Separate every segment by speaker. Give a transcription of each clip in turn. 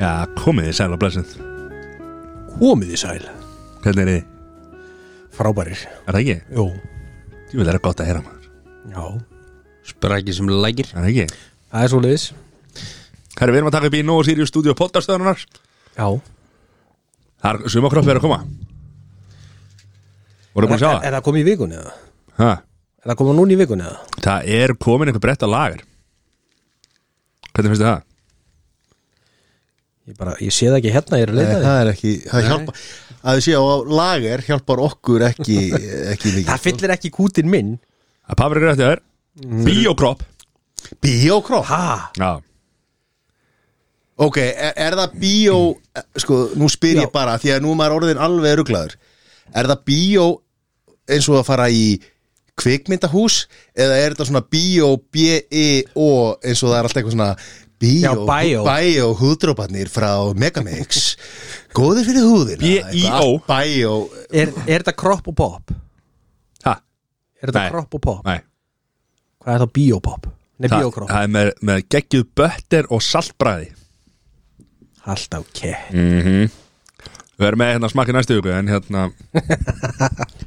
Speaker 1: Já, komið þið sæl og blessuð
Speaker 2: Komið í sæl
Speaker 1: Hvernig er þið?
Speaker 2: Frábærir
Speaker 1: Er það ekki?
Speaker 2: Jó
Speaker 1: Ég vil það gott að heyra maður
Speaker 2: Já
Speaker 3: Sprækið sem lækir
Speaker 1: Er það ekki?
Speaker 2: Það er svo leiðis
Speaker 1: Herri, við erum að taka upp í Nóa Sirius stúdíu podcastöðunar
Speaker 2: Já
Speaker 1: Það er sumakropp verið að koma Voru búin að sjá
Speaker 2: Er,
Speaker 1: það?
Speaker 2: er það komið í vikunni eða?
Speaker 1: Ha,
Speaker 2: Er það komið núna í vikunni eða?
Speaker 1: það er komin einhver brett að lagar Hvernig finnst þið það?
Speaker 2: Ég bara, ég sé það ekki hérna, ég er að
Speaker 4: Nei,
Speaker 2: leita
Speaker 4: það er ekki, það hjálpa að við séu á lager hjálpar okkur ekki, eh, ekki
Speaker 2: því Það
Speaker 4: mikið
Speaker 2: fyllir ekki kútin minn
Speaker 1: Að pafri grætti að þér
Speaker 2: Mm.
Speaker 1: Bíokropp
Speaker 4: Bíókropp?
Speaker 2: Ha?
Speaker 1: Já,
Speaker 4: Ok, er, er það bíó sko, nú
Speaker 2: Já.
Speaker 4: spyr ég bara því að nú er maður orðin alveg ruglaður er það bíó eins og að fara í kvikmyndahús eða er þetta svona bíó B-I-O eins og það er alltaf eitthvað svona
Speaker 2: Já,
Speaker 4: bíó,
Speaker 2: bæjó.
Speaker 4: bæjó húðdróparnir frá Megamix góðir fyrir húðina
Speaker 1: B.I.O..
Speaker 4: bæjó,
Speaker 2: Er, er þetta kropp og pop?
Speaker 1: ha,
Speaker 2: Er þetta
Speaker 1: Nei.
Speaker 2: kropp og pop?
Speaker 1: nei
Speaker 2: Hvað er það biopop? Nei,
Speaker 1: Það
Speaker 2: biokropp
Speaker 1: það er með, með geggjuð bötter og saltbræði
Speaker 2: Alltaf kett
Speaker 1: Mm. Við erum með hérna smakki næstu viku En hérna,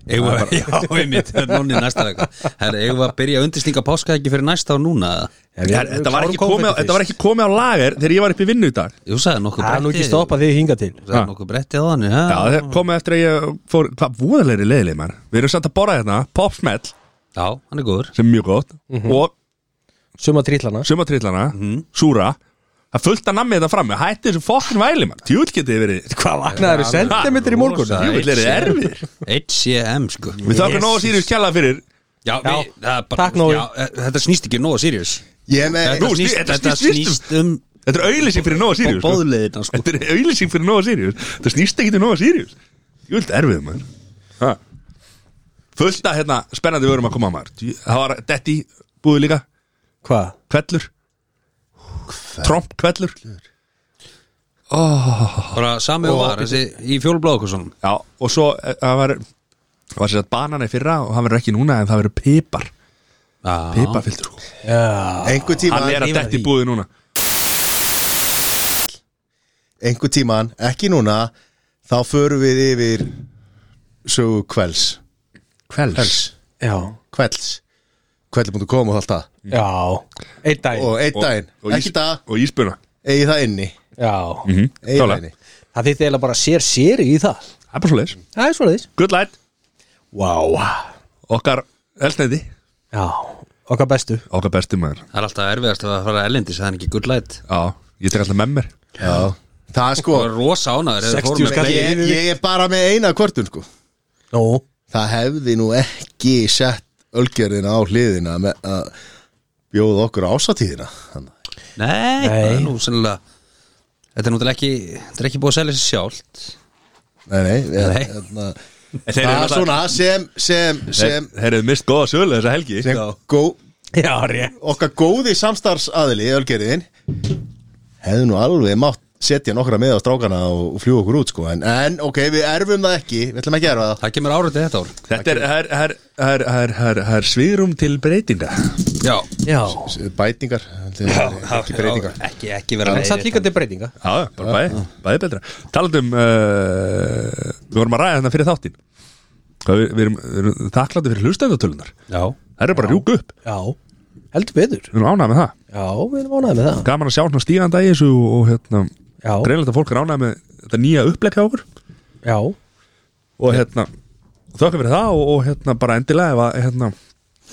Speaker 3: Eigum við, já, einmitt, nonni næsta vega Herra, eigum við að byrja að undirstinga páska ekki fyrir næsta og núna eða?
Speaker 1: Her, þetta, var ekki komið, á- þetta var ekki komið á lager Þegar ég var upp í vinnu í dag
Speaker 3: Jú, sagði nokkuð
Speaker 2: Það er nú ekki
Speaker 3: bretti
Speaker 2: stoppað þig hinga til
Speaker 3: Sagði nokkuð bretti á þannig,
Speaker 1: Já,
Speaker 3: já
Speaker 1: það komið eftir að ég fór Hvað voðalegri leiðileg maður Við erum samt að borða hérna Popsmell
Speaker 3: Já, hann er góður
Speaker 1: sem er mjög gott Og
Speaker 2: Suma trillana
Speaker 1: sumatrillana Súra Það er fullt að nammi þetta fram Hætti þessu fokkin væli maður Tjúl getið þið verið
Speaker 2: Hvað vaknaður
Speaker 3: Já,
Speaker 2: sentimetri í morgun?
Speaker 3: rosa.
Speaker 1: Tjúl er þið erfir
Speaker 3: HCM, sko
Speaker 1: Við þakkum nóg sírjus kjalla fyrir
Speaker 2: Já,
Speaker 3: Já, við, það er bara,
Speaker 2: takk, Nói.
Speaker 3: já, e- Þetta snýst ekki nóg að Sirius
Speaker 4: ég er með
Speaker 1: Nú, snýst- þetta
Speaker 3: þetta
Speaker 1: snýst um-
Speaker 3: snýst um
Speaker 1: Þetta er auðlýsing fyrir nóg sírjus
Speaker 3: Bóðleiðina, sko
Speaker 1: Þetta er auðlýsing fyrir nóg sírjus Það snýst ekki til nóg sírjus Tjúl er erfið maður Ha. Fullt að hérna Spennandi vörum að koma maður Djú- Það var Detti búið líka
Speaker 2: Hvað?
Speaker 1: Kvellur Tromp kvellur
Speaker 3: Bara sami og var, þessi í fjólblóðkursunum
Speaker 1: Já, og svo eh, það var, það var sér að banan í fyrra og það verður ekki núna en það verður pipar
Speaker 3: Já,
Speaker 1: Piparfiltur sko
Speaker 2: Já
Speaker 4: einhver tíma
Speaker 1: Hann er að detti búið núna
Speaker 4: einhver tíman, ekki núna þá förum við yfir sögu kvelds
Speaker 1: Kvelds
Speaker 2: Já
Speaker 4: kvelds, kveldi.com og allt það
Speaker 2: Já Eitt dag
Speaker 4: og einn
Speaker 1: Og-
Speaker 4: daginn,
Speaker 1: og
Speaker 4: ekki
Speaker 1: ís-
Speaker 4: dag
Speaker 1: Og íspuna
Speaker 4: eigi það inni,
Speaker 2: Já
Speaker 1: Mhm,
Speaker 4: eigi það
Speaker 1: klálega.
Speaker 4: inni
Speaker 2: Það þýtti eiginlega bara sér séri í það
Speaker 1: Það er bara svo leiðis
Speaker 2: Það er svoleiðis
Speaker 1: Good light
Speaker 2: Vá
Speaker 1: Okkar elsneiti
Speaker 2: Já, okkar bestu
Speaker 1: Okkar besti maður
Speaker 3: það er alltaf erfiðast að fara erlendis, það er ekki good light
Speaker 1: Já, ég tek alltaf með mér
Speaker 4: Já. það er sko
Speaker 3: Það var rosa ánæður
Speaker 2: 60 skall í
Speaker 4: ég, ég er bara með eina kvörtun sko
Speaker 2: Nú
Speaker 4: það hefði nú ekki sett ölgerðina á hliðina með að bjóða okkur ásatíðina Þannig.
Speaker 3: Nei,
Speaker 2: Nei.
Speaker 3: það er nú sennilega Þetta er náttúrulega ekki, þetta er ekki búið að selja sér sjálft
Speaker 4: nei, nei, við,
Speaker 3: Nei.
Speaker 4: Hérna,
Speaker 1: þeir
Speaker 4: það
Speaker 1: eru
Speaker 4: er svona sem sem, sem,
Speaker 1: Þeir þeir eru mist góða sölu þessa helgi
Speaker 4: sem gó,
Speaker 2: Já, rétt
Speaker 4: okkar góði samstarfsaðili Ölgerðin hefði nú alveg mátt setja nokkra með á strákana og og fljúga okkur út sko en, en ok, við erfum það ekki, við ætlum ekki að erfa það
Speaker 3: Það kemur árið þetta ár
Speaker 1: Þetta er, það er, það er, það er, það er, það er, það er sviðrum til breytinga
Speaker 3: Já,
Speaker 2: Já
Speaker 4: S- bætingar, held ég, ekki breytingar
Speaker 3: Já, Ekki, ekki vera
Speaker 2: En satt líka til breytinga
Speaker 1: Já, já, bara bæði, bæði betra Talandum, uh, við vorum að ræða þetta fyrir þáttinn Hvað Við, við erum, við erum þakklandi fyrir hlustendatölunar
Speaker 3: Já,
Speaker 1: Það eru bara að rjúka upp
Speaker 2: Já Heldur betur
Speaker 1: Við erum ánægð með það
Speaker 2: Já, við erum ánægði með það
Speaker 1: Gaman að sjá svona stíganda í þessu og, og hérna
Speaker 2: Já.
Speaker 1: Greinlega að fólk er ánægð með þetta nýja upplegg hjá okkur
Speaker 2: Já
Speaker 1: Og hérna Þökkum fyrir það og, og hérna bara endilega ef að hérna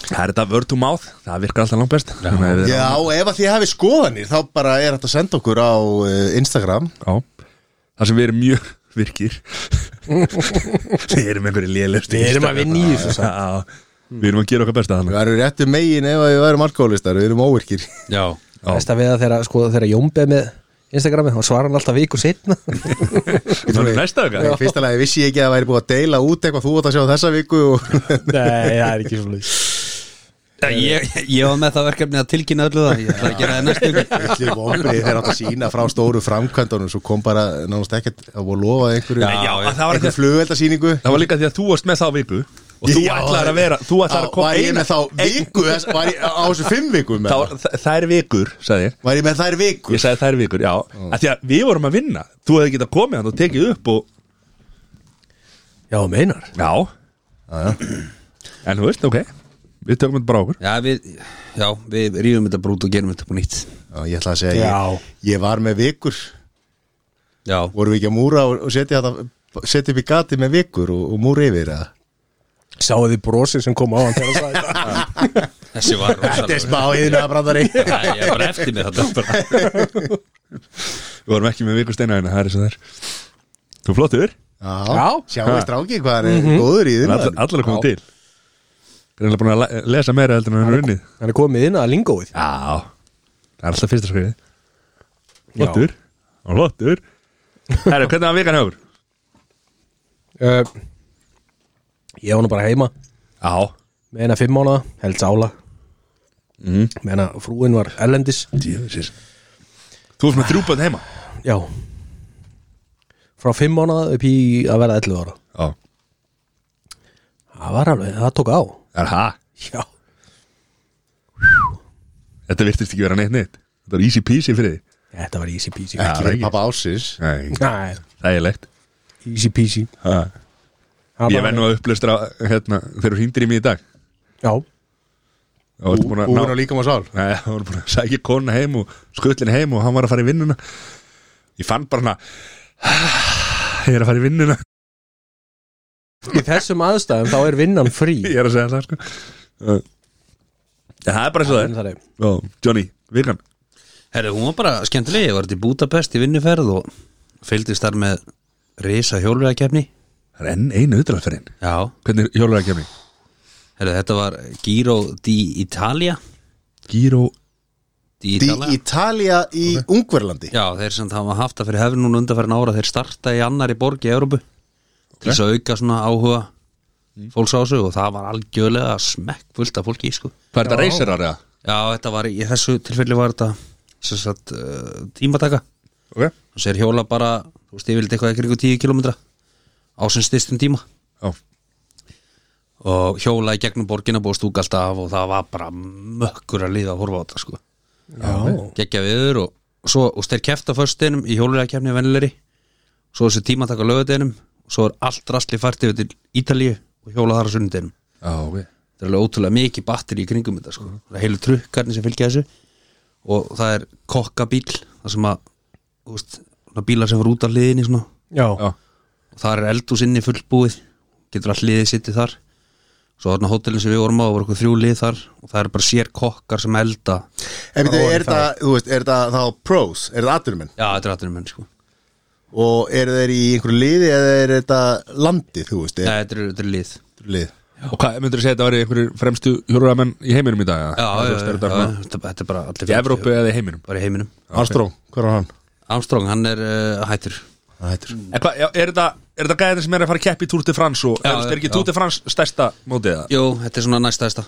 Speaker 1: Það er þetta word to mouth Það virkar alltaf langt best Já, við,
Speaker 4: Já, og ef að þið hafi skoðanir þá bara er þetta að senda okkur á eh, Instagram
Speaker 1: já. Það sem við erum mjög virkir Við erum einhverju lélegust
Speaker 2: Við erum að vinna í þessu samt.
Speaker 1: Við erum að gera okkar besta
Speaker 4: Við
Speaker 1: þannig
Speaker 4: erum réttu megin ef að við værum alkoholistar, við erum óvirkir
Speaker 3: já
Speaker 2: Best að við að þeirra, sko, þeirra jómbeð með Instagrami Þá svarar hann alltaf viku setna
Speaker 1: Það er næsta
Speaker 4: Í
Speaker 1: okkar
Speaker 4: fyrsta lagi vissi ég ekki að það væri búið að deila út eitthvað þú átt að sjá þessa viku og
Speaker 2: Nei, það er ekki svo leys
Speaker 3: ég, ég var með það verkefni að tilkynna öllu það Ég ætla að gera það í næstu viku.
Speaker 4: Allir vonbrið þeir átt að sína frá stóru framkvæmdunum svo kom bara nánast ekkert að voru lofa einhverju
Speaker 1: Já, já, það var
Speaker 4: einhver
Speaker 1: eitthvað-
Speaker 4: flugveldasýningu
Speaker 1: Það var líka því að þú varst með þá viku og þú ætlar að vera, þú ætlar að koma
Speaker 4: Var ég
Speaker 1: eina-
Speaker 4: með þá viku, þess- var ég á á þessu fimm viku með
Speaker 1: þá,
Speaker 4: það?
Speaker 1: þ- þær vikur, sagði ég
Speaker 4: Var ég með þær viku?
Speaker 1: Ég sagði þær vikur, já að Því að við vorum að vinna, þú hefði getað komið hann og tekið upp og,
Speaker 2: Já, meinar
Speaker 1: já En þú veist, ok Við tökum þetta bara á okkur
Speaker 3: Já, við, já, við rífum þetta brút og gerum þetta på nýtt
Speaker 4: Já, ég ætla að segja,
Speaker 2: Já.
Speaker 4: ég, ég var með vikur
Speaker 3: Já,
Speaker 4: Vorum við ekki að múra og og setja þetta setja upp í gati með vikur og, og múra yfir eða?
Speaker 2: Sáðu því brosið sem kom á hann þegar hann sagði þetta.
Speaker 3: þessi var
Speaker 4: Þetta er
Speaker 3: rosalega
Speaker 4: smá yðna að brandari
Speaker 3: Ég er bara eftir mig þetta bara.
Speaker 1: Við vorum ekki með viku steina hérna, það er svo þær Þú er flottur,
Speaker 4: Já,
Speaker 2: Já.
Speaker 4: sjáum við stráki hvað hann er góður í
Speaker 1: allar,
Speaker 4: yðna
Speaker 1: allar Mhm. að koma til Greinlega búin að le- lesa meira heldur en hann er unnið
Speaker 2: Hann er komið inn að lingóið
Speaker 1: Já, það er alltaf fyrsta skrifið Flottur, flottur Herru, hvernig var vikan höfur?
Speaker 2: uh, Ég var nú bara heima
Speaker 1: Já,
Speaker 2: með eina fimm mánuða, held sála mm. með eina frúin var ellendis
Speaker 1: Djöfisir Þú ert með þrjúbönd heima
Speaker 2: já frá fimm mánuða upp í að vera 11 ára
Speaker 1: Já
Speaker 2: það var alveg, það tók á
Speaker 1: Er það?
Speaker 2: já,
Speaker 1: Þetta virtist ekki vera neitt neitt Þetta er easy peasy fyrir því
Speaker 2: þetta var easy peasy
Speaker 1: Já.
Speaker 4: Ekki
Speaker 1: það er
Speaker 4: verið
Speaker 1: ekki.
Speaker 4: pappa ásins
Speaker 1: Nei,
Speaker 2: Nei,
Speaker 1: það er leikt
Speaker 2: easy peasy Það
Speaker 1: Ég
Speaker 2: bara-
Speaker 1: venn nú að upplustra hérna, þegar þú hringdir í mig í dag
Speaker 2: já,
Speaker 1: og ertu búin að
Speaker 4: Búin
Speaker 1: ná
Speaker 4: á líkam á um sál
Speaker 1: Nei, það var búin að sækja kona heim og skullin heim og hann var að fara í vinnuna Ég fann bara hana Ég er að fara í vinnuna
Speaker 2: í þessum aðstæðum þá er vinnan frí
Speaker 1: Ég er að segja það sko Uh, En það er bara eins og það er
Speaker 2: Það er-
Speaker 1: Ó, Johnny, vikan
Speaker 3: Herri, hún var bara skemmtileg, ég var þetta í Budapest í vinnuferð og fylgdist þar með risa hjólverðakefni
Speaker 1: Það er enn einu utalaferðin
Speaker 3: Já,
Speaker 1: Hvernig hjólar það kemni?
Speaker 3: herri, þetta var Giro di Italia
Speaker 1: Giro
Speaker 3: Di
Speaker 4: Í
Speaker 3: Italia
Speaker 4: Ítalía í Ungverlandi
Speaker 3: Já, þeir sem það var haft að fyrir hefði núna undanfærin ára þeir starta í annari borg í Európu til þess að auka svona áhuga fólks á þessu og það var algjörlega smekk fullt af fólki sko.
Speaker 1: Hvað er þetta reysirar eða?
Speaker 3: Já, þetta var í þessu tilfelli var þetta sem sagt uh, tímataka
Speaker 1: Ok
Speaker 3: og sér hjóla bara, þú veist, ég vildi eitthvað í kringu 10 km á sem styrstum tíma
Speaker 1: Já,
Speaker 3: og hjóla í gegnum borgina búið stúk allt af og það var bara mökkur að líða að horfa á þetta sko
Speaker 2: já,
Speaker 3: geggja viður og, og svo og þeir kefta föstinum í hjólulegakefni vennilegri svo þessi tíma taka lögutinum og svo er allt rastli fært yfir til Ítalíu og hjóla þar á sunnudinum
Speaker 1: já, ok
Speaker 3: það er alveg ótrúlega mikið batteri í kringum þetta sko. það er heilu trukkarnir sem fylgja þessu og það er kokkabíl það sem að þú veist, svona bílar sem var út af hliðinni svona,
Speaker 2: já.
Speaker 1: Já,
Speaker 3: og þar er eldús inni fullbúið getur all liðið sittið þar svo þarna hótelin sem við vorum á voru okkur þrjú lið þar og það er bara sér kokkar sem elda
Speaker 4: En veitu, er þetta, þú veist, er þetta þá pros, er þetta aturmenn
Speaker 3: já, þetta er aðtunum menn sko
Speaker 4: og eru þeir í einhverju liði eða er þetta landið, þú veist,
Speaker 3: Nei,
Speaker 4: er
Speaker 3: þetta er, þetta er lið
Speaker 4: þetta lið
Speaker 1: Og hvað myndur þú segja þetta væri einhverjir fremstu hjóluramenn í heiminum í dag? eða?
Speaker 3: já,
Speaker 1: Þú
Speaker 3: já,
Speaker 1: veist, er
Speaker 3: já, já,
Speaker 1: þetta svona
Speaker 3: þetta þetta er bara allir
Speaker 1: Í Evrópu eða í heiminum
Speaker 3: bara í heiminum
Speaker 4: Armstrong, hver var hann?
Speaker 3: Armstrong, hann er uh, hættur
Speaker 4: Það hættur
Speaker 1: En hvað, já, er þetta, er þetta gæðin sem er að fara að keppi í Tour de France og
Speaker 3: Já,
Speaker 1: er, er ekki
Speaker 3: já.
Speaker 1: Tour de France stærsta mótið það?
Speaker 3: Jú, þetta er svona næsta þesta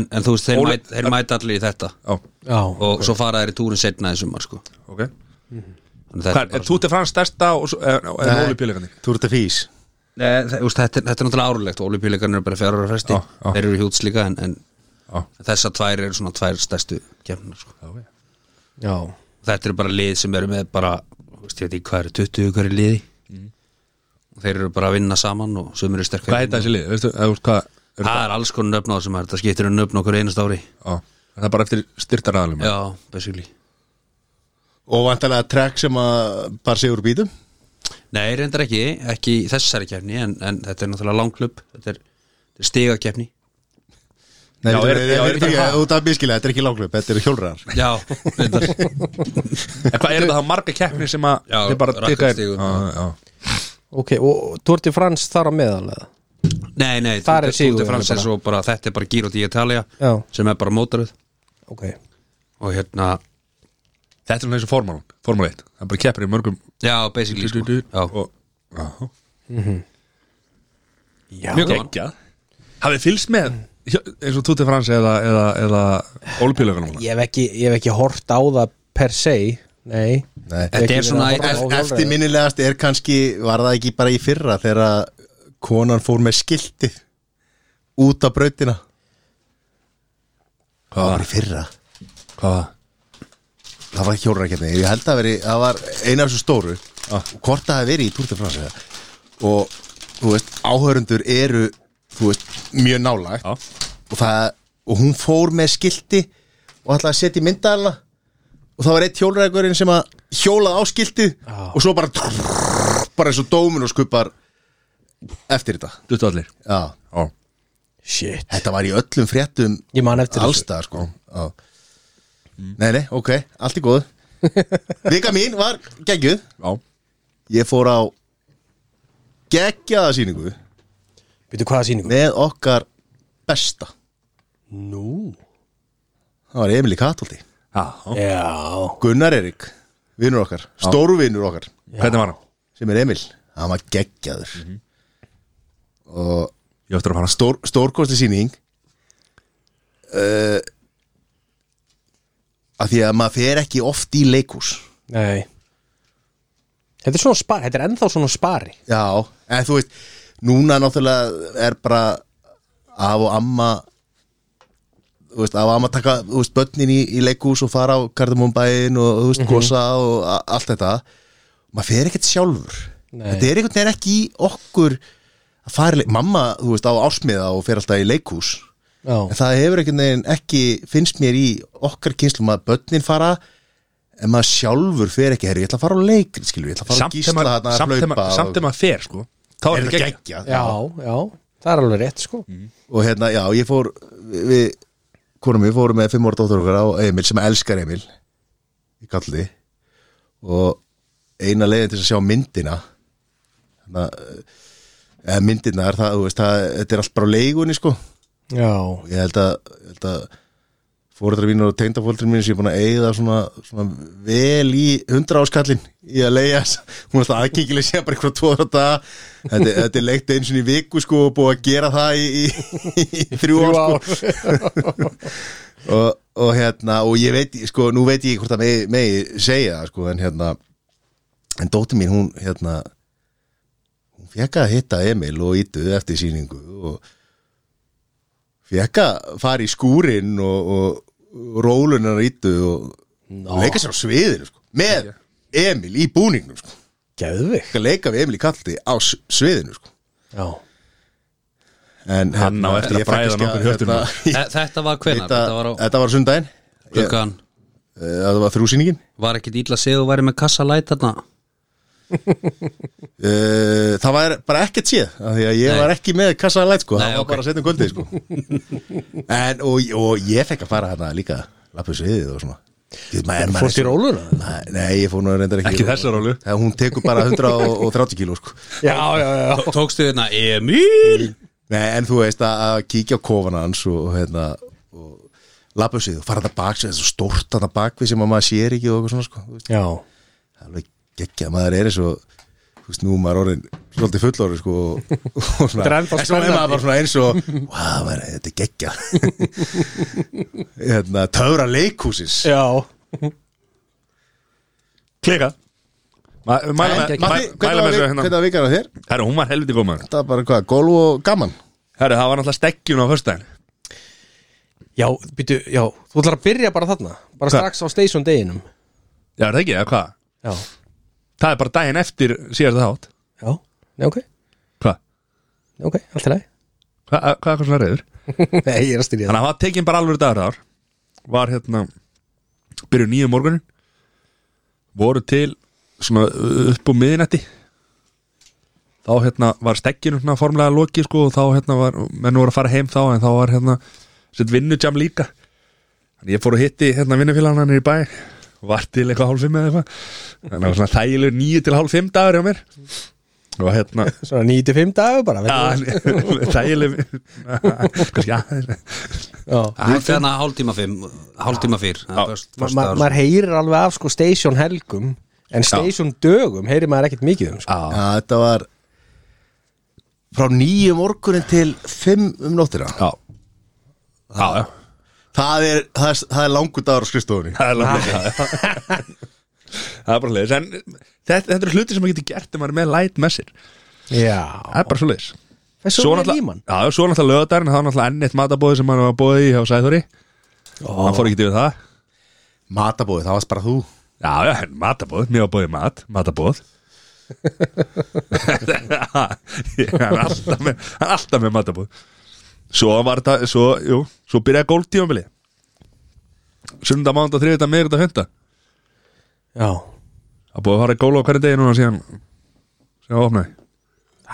Speaker 3: en, en þú veist, þeir,
Speaker 1: Óli-
Speaker 3: mæt, þeir mæta allir í þetta
Speaker 1: Já,
Speaker 2: já.
Speaker 3: og svo fara þeir í túrin setna í sumar sko.
Speaker 1: ok Hvað,
Speaker 3: Þannig þetta,
Speaker 1: er Tour de France stærsta og svo, er, er olupjulegandi?
Speaker 4: Þú ert að fís
Speaker 3: ne, þetta, er- þetta er náttúrulega árulegt olupíleikarnir eru bara fjara ára
Speaker 1: Já,
Speaker 3: fresti
Speaker 1: já.
Speaker 3: þeir eru hjúts líka en,
Speaker 1: Já.
Speaker 3: en þessar tvær eru svona tvær stærstu kemnar sko.
Speaker 2: já
Speaker 3: þetta eru bara lið sem eru með bara þú veist, ég veit ekki hvað eru 20 hver er liði og þeir eru bara að vinna saman og sem eru sterkar
Speaker 1: Hvað heita þessi lið? Veistu, eða, þú veist, hvað, er,
Speaker 3: Það er alls konar nöfn á þessum að þetta skiptir um nöfn okkur einast ári
Speaker 1: á, er það bara eftir styrtaraðalum?
Speaker 3: Já, basically
Speaker 4: Og vantarlega track sem að bara sigur úr bítum
Speaker 3: Nei, reyndar ekki, ekki í þessari kefni en, en þetta er náttúrulega langklub þetta er, þetta er stigakefni
Speaker 4: Nei,
Speaker 1: Já,
Speaker 4: veitu,
Speaker 1: er-
Speaker 4: nei,
Speaker 1: já,
Speaker 4: nei,
Speaker 1: er
Speaker 4: veitu,
Speaker 1: þetta
Speaker 4: ekki,
Speaker 1: hvað?
Speaker 4: þú ert að miskilega, þetta er ekki láglöp, þetta eru hjólrar
Speaker 3: Já, reyndar
Speaker 1: En hvað er það þá marga keppni sem að
Speaker 3: Já,
Speaker 1: þið bara
Speaker 3: rakka
Speaker 1: tikka er-
Speaker 3: stigum.
Speaker 1: Já, já.
Speaker 2: ok, og Tour de France þar á meðalega
Speaker 3: Nei, nei,
Speaker 2: Þar er sigur,
Speaker 3: Þetta er
Speaker 2: bara.
Speaker 3: svo bara, þetta er bara Giro d'Italia
Speaker 2: Já.
Speaker 3: sem er bara mótaröð
Speaker 2: ok,
Speaker 3: og hérna,
Speaker 1: Þetta er svona eins og formálun, formál 1 Það bara keppir í mörgum
Speaker 3: já, basically sko. já.
Speaker 1: og, já.
Speaker 2: já
Speaker 3: Mjög gaman
Speaker 1: geggjað Hafið fylgst með eins og Tutti Frans eða, eða, eða Olupílögunum
Speaker 2: Ég hef ekki, ég hef ekki hort á það per se Nei, Ég
Speaker 4: Nei.
Speaker 2: hef
Speaker 3: Þetta er
Speaker 2: ekki
Speaker 3: svona
Speaker 2: verið að
Speaker 3: ef-
Speaker 2: horfa á hjólreiðar.
Speaker 4: Eftir minnilegast er kannski Var það ekki bara í fyrra Þegar að konan fór með skiltið Út á brautina Það var í fyrra
Speaker 1: Hvað?
Speaker 4: Það var hjórakeppni, ég held að veri Það var eina af þessu stóru ah. Hvort það hafi verið í Túrta Fransa Og, þú veist, áhörundur eru Þú veist, mjög nálægt
Speaker 1: Já.
Speaker 4: og, það, og hún fór með skilti Og ætlaði að setja í myndaðalna Og það var eitt hjólrækurinn sem að Hjólað á skilti Og svo bara Bara eins og dómin og skupar Eftir þetta
Speaker 1: Duttu allir
Speaker 4: Já.
Speaker 1: Já.
Speaker 2: shit
Speaker 4: Þetta var í öllum fréttum
Speaker 2: Ég man eftir þessu.
Speaker 4: Allstað, sko Já. Nei, nei, ok, allt í góð Vika mín var geggjuð
Speaker 1: Já.
Speaker 4: Ég fór á geggjaða sýningu
Speaker 2: Veitu hvaða sýningu?
Speaker 4: með okkar besta
Speaker 2: Nú
Speaker 4: Það var Emil í Katolti
Speaker 1: Já.
Speaker 2: Já,
Speaker 4: Gunnar Erik, vinnur okkar, stóru vinnur okkar
Speaker 1: Hvernig var hann?
Speaker 4: sem er Emil, hann var geggjaður
Speaker 2: Mhm.
Speaker 4: og
Speaker 1: Ég á eftir að fara
Speaker 4: stór, stórkosti sýning uh, að því að maður fer ekki oft í leikús
Speaker 2: nei Þetta er svona spari, þetta er ennþá svona spari
Speaker 4: Já, en þú veist Núna náttúrulega er bara Af og amma Þú veist, af og amma taka Þú veist, börnin í, í leikús og fara á Kardamónbæin og þú veist,
Speaker 1: Mhm.
Speaker 4: gosa og a- allt þetta Maður fer ekkert sjálfur
Speaker 2: Nei.
Speaker 4: Þetta er einhvern veginn ekki í okkur að fara í leik Mamma, þú veist, á ásmiða og fer alltaf í leikús En
Speaker 2: Já,
Speaker 4: það hefur einhvern veginn ekki finnst mér í okkar kynslu maður börnin fara en maður sjálfur fer ekki, herri, ég ætla að fara á leik skilur, ég ætla að fara á
Speaker 1: Samt þegar
Speaker 4: gísla
Speaker 1: maður-
Speaker 4: þarna að
Speaker 1: samt þegar
Speaker 4: hlaupa
Speaker 1: maður- samt
Speaker 4: og,
Speaker 1: þegar maður fer sko Þá er þetta gegn
Speaker 4: geggja
Speaker 2: já, já Það er alveg rétt sko
Speaker 4: og hérna, já, ég fór við, við konum við fórum með fimm ára dóttur okkar á Emil sem elskar Emil í kalli og eina leiðin til að sjá myndina þannig að eða myndina er það, þú veist, það, þetta er allt bara á leigunni, sko
Speaker 2: Já,
Speaker 4: ég held að, ég held að fóreldrar mínir og tengdafóreldrar mínir sem ég er búin að eigða svona, svona vel í hundra áskallin í að leiða hún er alltaf aðgengileg sé bara eitthvað tóra daga þetta, þetta er leikt eins og í viku sko og búið að gera það í, í, í þrjú ár sko og, og hérna og ég veit, sko, nú veit ég hvort það megi, megi segja það, sko, en hérna en dóttir mín, hún, hérna hún fekk að hitta Emil og ítu eftir sýningu og fekk að fara í skúrin og, og rólunar ítu og
Speaker 2: Ná.
Speaker 4: og leika sér á sviðinu, sko, með Emil í búningnum, sko,
Speaker 2: Geðvig
Speaker 4: Fekk að leika við Emil í kalti á s- sviðinu, sko
Speaker 2: Já,
Speaker 4: en, hérna,
Speaker 1: Hann á eftir að
Speaker 4: ég fekk
Speaker 1: bræða
Speaker 4: ekki að-
Speaker 1: nokkur höttum.
Speaker 4: hérna,
Speaker 3: Þe- Þetta var hvenar,
Speaker 4: Þetta,
Speaker 3: þetta var á
Speaker 4: þetta var sundaginn,
Speaker 3: klukkan
Speaker 4: Eh, það var þrjúsýningin
Speaker 3: Var ekkit illa að segja þú væri með kassa læt þarna
Speaker 4: Uh, það var bara ekkert séð af því að ég
Speaker 3: Nei.
Speaker 4: var ekki með kassaða læt sko,
Speaker 3: Nei,
Speaker 4: það var
Speaker 3: ok.
Speaker 4: bara að setja um kvöldið sko en, og, og ég fekk að fara hérna líka lappu sviðið og svona Því, maður, maður-
Speaker 2: Fórstu í róluna?
Speaker 4: Ma- Nei, ég fór nú reyndar ekki
Speaker 1: Ekki þessa rólu.
Speaker 4: Það, Hún tekur bara 130 kíló sko
Speaker 2: já, já, já
Speaker 3: Tókstu þarna Emil
Speaker 4: Nei, en þú veist að, að kíkja á kofana hans og hérna og lappu sviðið og fara þetta bak þetta er svo stórt þetta bak við sem að maður sér ekki og eitthvað svona sko þú veist.
Speaker 2: Já,
Speaker 4: Það er alveg geggja, maður er eins og þú veist, nú er maður orðin svolítið fullorði sko og, og svona,
Speaker 2: Þetta er ennþá
Speaker 4: en svo er
Speaker 2: spennandi.
Speaker 4: maður bara svona eins og wow, maður, þetta er geggja hérna, töfra leikhúsis
Speaker 2: já
Speaker 1: Klika Mæla með
Speaker 4: Matti, hvernig
Speaker 1: mæla með þessu
Speaker 4: var vik- hvernig
Speaker 1: hérna
Speaker 4: var vikar á þér?
Speaker 1: Herru, hún var helviti góð maður
Speaker 4: Það var bara hvað, golf og gaman
Speaker 1: Herru, það var náttúrulega stekkjun á föstudaginn
Speaker 2: Já, býtu, já, þú ætlar að byrja bara þarna Bara
Speaker 1: Hvað?
Speaker 2: strax á station deginum
Speaker 1: Já, er það ekki, eða hvað?
Speaker 2: Já,
Speaker 1: Það er bara daginn eftir síðasta þátt
Speaker 2: já, nei, ok,
Speaker 1: Hvað?
Speaker 2: nei, ok, allt er læg
Speaker 1: Hvað hva, hva er svona reyður?
Speaker 2: Nei, ég er að styrja
Speaker 1: Þannig að það tekin bara alveg dagur þar Var hérna Byrju nýju morgunin Voru til svona uh, upp úr miðinetti Þá hérna var stekkinu svona formlega loki sko Og þá hérna var, menn voru að fara heim þá En þá var hérna sitt vinnujam líka Þannig ég fór að hitti hérna vinnufélagana niður í bæ Var til eitthvað hálf fimm eða eitthvað Þannig að það var svona þægilegur nýju til hálf fimm dagur hjá mér Og hérna
Speaker 2: Svona 95 dagur bara
Speaker 1: Já,
Speaker 2: veitum
Speaker 1: en- þægileg Kannski aðeins
Speaker 2: við. já.
Speaker 3: Þú ert þarna hérna hálftíma fimm, hálftíma fyrr Það er föst-
Speaker 2: Ma- ma-
Speaker 3: föstudagur.
Speaker 2: maður heyrir alveg af sko station helgum en station dögum heyrir maður ekkert mikið um sko.
Speaker 1: Já,
Speaker 4: Já, þetta var frá nýju morgunin til fimm um nóttina
Speaker 1: já Já, já
Speaker 4: það er, það er, það er langur dagur á skrifstofunni
Speaker 1: Það er langt það Það er bara leiðis En þetta, þetta eru hluti sem maður getur gert ef maður er með light með sér
Speaker 2: Já
Speaker 1: Það er bara svo leiðis
Speaker 2: Þessu er líman
Speaker 1: Já, svo náttúrulega lögadagurinn Það var náttúrulega enn eitt matabóði sem maður var bóði í hjá Sæþóri Hann fór ekki til það
Speaker 4: Matabóið, það varst bara þú
Speaker 1: Já, já, matabóð, mér var bóðið mat, matabóð Ég- Hann er alltaf með, hann er alltaf með matabóð Svo var þetta, svo, jú, svo byrjaði gólftífambili Sunda, mánda, þriðvita, miðvita, hönda
Speaker 2: Já
Speaker 1: Það búið að fara í gólf á hverju degi núna síðan Síðan það opnaði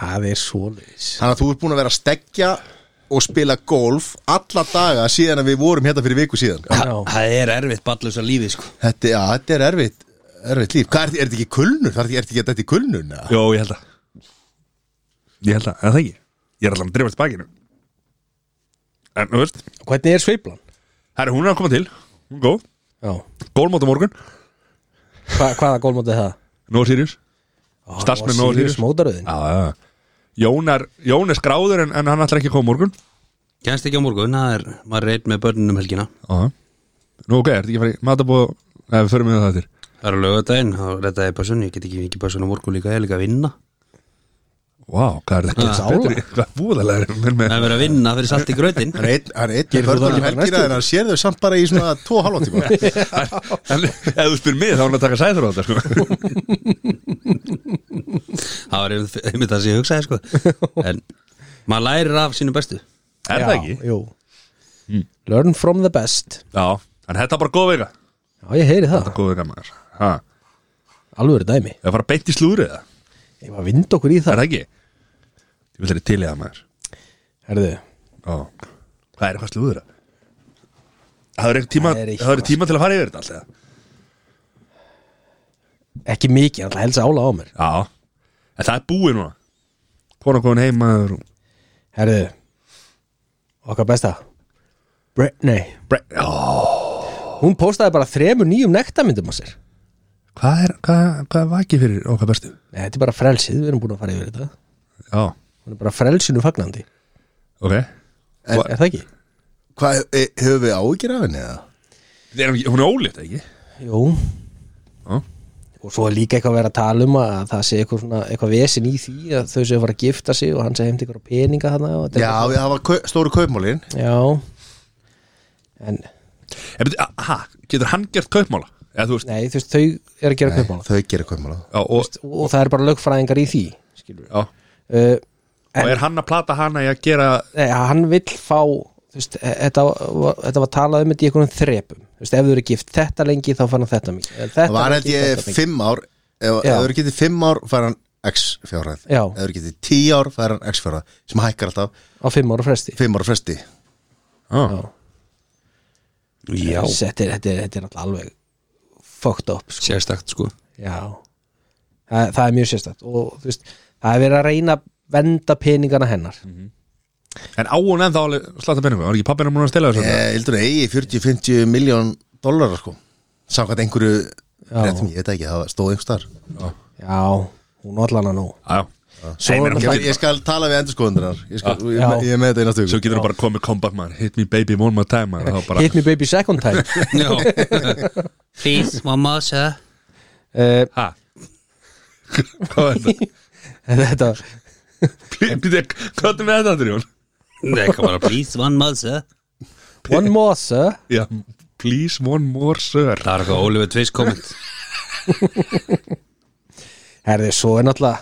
Speaker 2: Það er svoleiðis
Speaker 4: Þannig að þú ert búin að vera að stekja og spila golf alla daga síðan að við vorum hérna fyrir viku síðan
Speaker 2: Já.
Speaker 3: Það er erfitt ballus að lífi sko
Speaker 4: Þetta, já, þetta er erfitt, erfitt líf Hvað er, er þetta ekki kulnun? Það er þetta ekki, er þetta ekki kulnun? eða?
Speaker 1: Jó, ég held að Ég held að, eða það ekki Ég er allan að drifa til bakinu En, þú veist,
Speaker 2: Hvernig er sveiflan?
Speaker 1: herri, hún er að koma til Hún er góð,
Speaker 2: Já
Speaker 1: gólmóta morgun
Speaker 2: Hva, Hvaða gólmóti er það?
Speaker 1: Nó Sirius Starfsmenn Nóa Sirius.
Speaker 2: Mótaröðin
Speaker 1: Já, já, já. Jón er, Jón er skráður en, en hann ætlar ekki að koma á morgun
Speaker 3: Kennst ekki á morgun, það er, maður er einn með börnunum helgina
Speaker 1: Já Nú, ok, ertu ekki að fara í matabóð Nei, við förum við það eftir
Speaker 3: Það er að löga daginn, þá redda ég passun, ég get ekki ekki passun á morgun líka, ég er líka að vinna
Speaker 1: Vá, hvað er þetta?
Speaker 2: Þetta er
Speaker 1: Betur í- Hvað búðalega er menn
Speaker 3: Það
Speaker 1: með
Speaker 3: er verið að vinna fyrir salt í grötin
Speaker 4: Hann er einn, hann er einn
Speaker 2: Gerir
Speaker 4: með
Speaker 2: þú það ekki
Speaker 4: börnum
Speaker 2: bara næstu
Speaker 4: helgina en hann sér þau samt bara í svona tvo halvan tíma
Speaker 1: En ef þú spyr mig þá er hann að taka sæður á þetta sko.
Speaker 3: Það var einmitt einmitt það sem ég hugsaði sko En maður lærir af sínu bestu
Speaker 1: Er það ekki? Hmm.
Speaker 2: Jú Learn from the best
Speaker 1: Já, en þetta er bara góð veika
Speaker 2: Já, ég heyri það
Speaker 1: Góð veika maður Ha,
Speaker 2: Alvöru dæmi
Speaker 1: það fara beint í slúrið það
Speaker 2: Ég var að vinda okkur í
Speaker 1: Er
Speaker 2: það
Speaker 1: það ekki? Ég vil þeirri til í það maður
Speaker 2: Herðu
Speaker 1: Ó. Hvað er eitthvað slúður það? Það er tíma,
Speaker 2: Það er eitthvað.
Speaker 1: það er tíma til að fara yfir þetta alltaf
Speaker 2: Ekki mikið, alltaf helsa ála á mér
Speaker 1: Já, en það er búið núna Kona komin heim maður og-
Speaker 2: Herðu Okkar besta Britney
Speaker 1: Bre- Já,
Speaker 2: Hún postaði bara þremur nýjum nektamyndum á sér
Speaker 1: Hvað er, hvað, hvað er vakið fyrir okkar bestu?
Speaker 2: Nei, þetta er bara frelsið, við erum búin að fara yfir þetta
Speaker 1: Já,
Speaker 2: Hún er bara frelsinu fagnandi
Speaker 1: ok
Speaker 2: Er, er það ekki?
Speaker 4: Hvað, e, höfum við áhyggjur af henni eða?
Speaker 1: Er hún ekki- Hún er ólíkt ekki?
Speaker 2: Jú
Speaker 1: Já.
Speaker 2: Og svo er líka eitthvað að vera að tala um að það sé eitthvað, svona, eitthvað vesin í því að þau séu að fara að gifta sig og hann sé heimt eitthvað peninga þarna og þetta
Speaker 4: Já,
Speaker 2: er
Speaker 4: það var kau, stóru kaupmálin
Speaker 2: eitthvað- Já En,
Speaker 1: En beti, ha, getur hann gert kaupmála? Eða þú veist,
Speaker 2: nei, þú veist, þau eru að gera kaupmála
Speaker 4: Þau gera kaupmála
Speaker 1: já, og,
Speaker 2: Og það eru bara lögfræðingar í því Skilur
Speaker 1: já,
Speaker 2: uh,
Speaker 1: og er hann að plata hana í að gera
Speaker 2: Nei, hann vill fá þú veist, e- þetta, var- þetta var talað um þetta í einhvern þrepum þú veist, ef þú eru gift þetta lengi þá fann hann þetta mikið Ef þetta
Speaker 4: Það var
Speaker 2: lengi,
Speaker 4: held ég
Speaker 2: þetta mikið.
Speaker 4: fimm ár Ef ef
Speaker 2: Já.
Speaker 4: þau eru getið fimm ár fær hann x fjárhæð
Speaker 2: Já.
Speaker 4: Ef þau eru getið tí ár fær hann x fjárhæð sem hækkar alltaf
Speaker 2: á fimm ára fresti
Speaker 4: fimm ára fresti
Speaker 1: Já,
Speaker 3: Já
Speaker 2: þetta er, þetta er, þetta er náttúrulega alveg fucked up sko.
Speaker 3: Sérstakt sko
Speaker 2: Já. Það, það er mjög sérstætt og þú veist, það er verið að reyna að venda peningana hennar
Speaker 1: En á hún ennþá alveg slata penningu Var ekki pappina múin að stela þessu?
Speaker 4: Ég heldur að eigi 40-50 miljón dólarar sko Samkvæmt einhverju réttum, ég veit ekki, það stóð einhver starf
Speaker 2: Já, hún allan að nú
Speaker 1: Já, já
Speaker 2: Svo
Speaker 1: Nei,
Speaker 2: er
Speaker 1: menn,
Speaker 2: hann
Speaker 1: hún
Speaker 4: Ég,
Speaker 1: getur-
Speaker 4: ég skal tala við endurskoðundunar Ég, skal, ég,
Speaker 2: Já.
Speaker 4: ég, ég er með þetta einastu
Speaker 1: Svo getur hann bara komið comeback maður Hit me baby one more time maður og þá bara-
Speaker 2: Hit me baby second time
Speaker 3: Já Please mamma sir
Speaker 2: uh,
Speaker 1: Ha? Hvað er þetta?
Speaker 2: Þetta
Speaker 1: Býttu, Hvað er með þetta, Andrjón?
Speaker 3: Nei, ekki bara please one more sir
Speaker 2: One more sir
Speaker 1: Já, please one more sir
Speaker 3: Það er eitthvað Oliver Twist komment
Speaker 2: Herði, svo er náttúrulega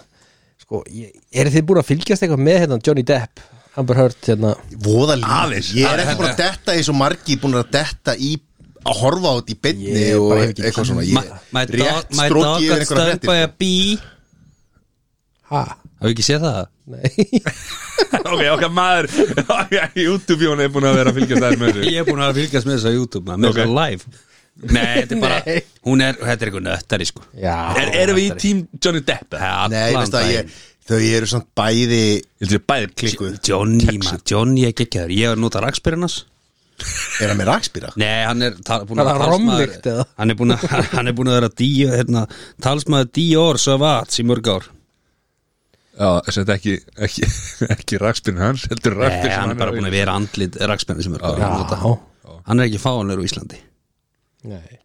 Speaker 2: sko, ég- Eru þið búin að fylgjast eitthvað með hérna Johnny Depp, Amber Heard hérna
Speaker 4: Voða líf
Speaker 1: Aðeins.
Speaker 4: Ég er ekki búin að detta í svo margi Búin að detta í að horfa á þetta í beinni
Speaker 2: Ég
Speaker 4: og
Speaker 2: bara hef ekki
Speaker 4: eitthvað svona
Speaker 3: My,
Speaker 4: ég,
Speaker 3: my dog,
Speaker 4: rétt
Speaker 3: my
Speaker 4: stróki
Speaker 3: dog
Speaker 4: yfir
Speaker 3: got
Speaker 4: einhverja
Speaker 3: stung by
Speaker 4: hrettir
Speaker 3: a bee
Speaker 2: Ha?
Speaker 3: Hafið ekki séð það?
Speaker 2: Nei
Speaker 1: Ok, ok, maður YouTube-jón er búin að vera að fylgjast aðeins með þessu
Speaker 3: Ég er búin að fylgjast með þess að YouTube maður, með
Speaker 1: Ok.
Speaker 3: þess að live Nei, þetta er bara,
Speaker 2: Nei.
Speaker 3: hún er, þetta er eitthvað nöttari sko
Speaker 2: Já,
Speaker 1: er, Erum við í tím Johnny Depp? eða?
Speaker 3: Allan
Speaker 4: Nei, veist það,
Speaker 3: daginn.
Speaker 4: ég, þau eru samt bæði
Speaker 1: Ég heldur ég bæði klikkuð
Speaker 4: klikkuð
Speaker 3: Johnny, maður, Johnny er geggjaður Ég er notað rakspyrinnas
Speaker 4: Er hann með rakspýra?
Speaker 3: Nei, hann er tal- búin
Speaker 2: Var það
Speaker 3: talsmaður-
Speaker 2: romlykt eða?
Speaker 3: Hann er búin að, hann er búin að vera díu, hérna, talsmaður Dior Savat í mörg ár
Speaker 1: Já, þess að þetta ekki, ekki, ekki rakspinn hans, heldur rakspinn
Speaker 3: Nei, hann er bara búin að vera andlit rakspenni sem er bara að nota.
Speaker 2: Já.
Speaker 3: Hann er ekki fáanlegur á Íslandi
Speaker 2: Nei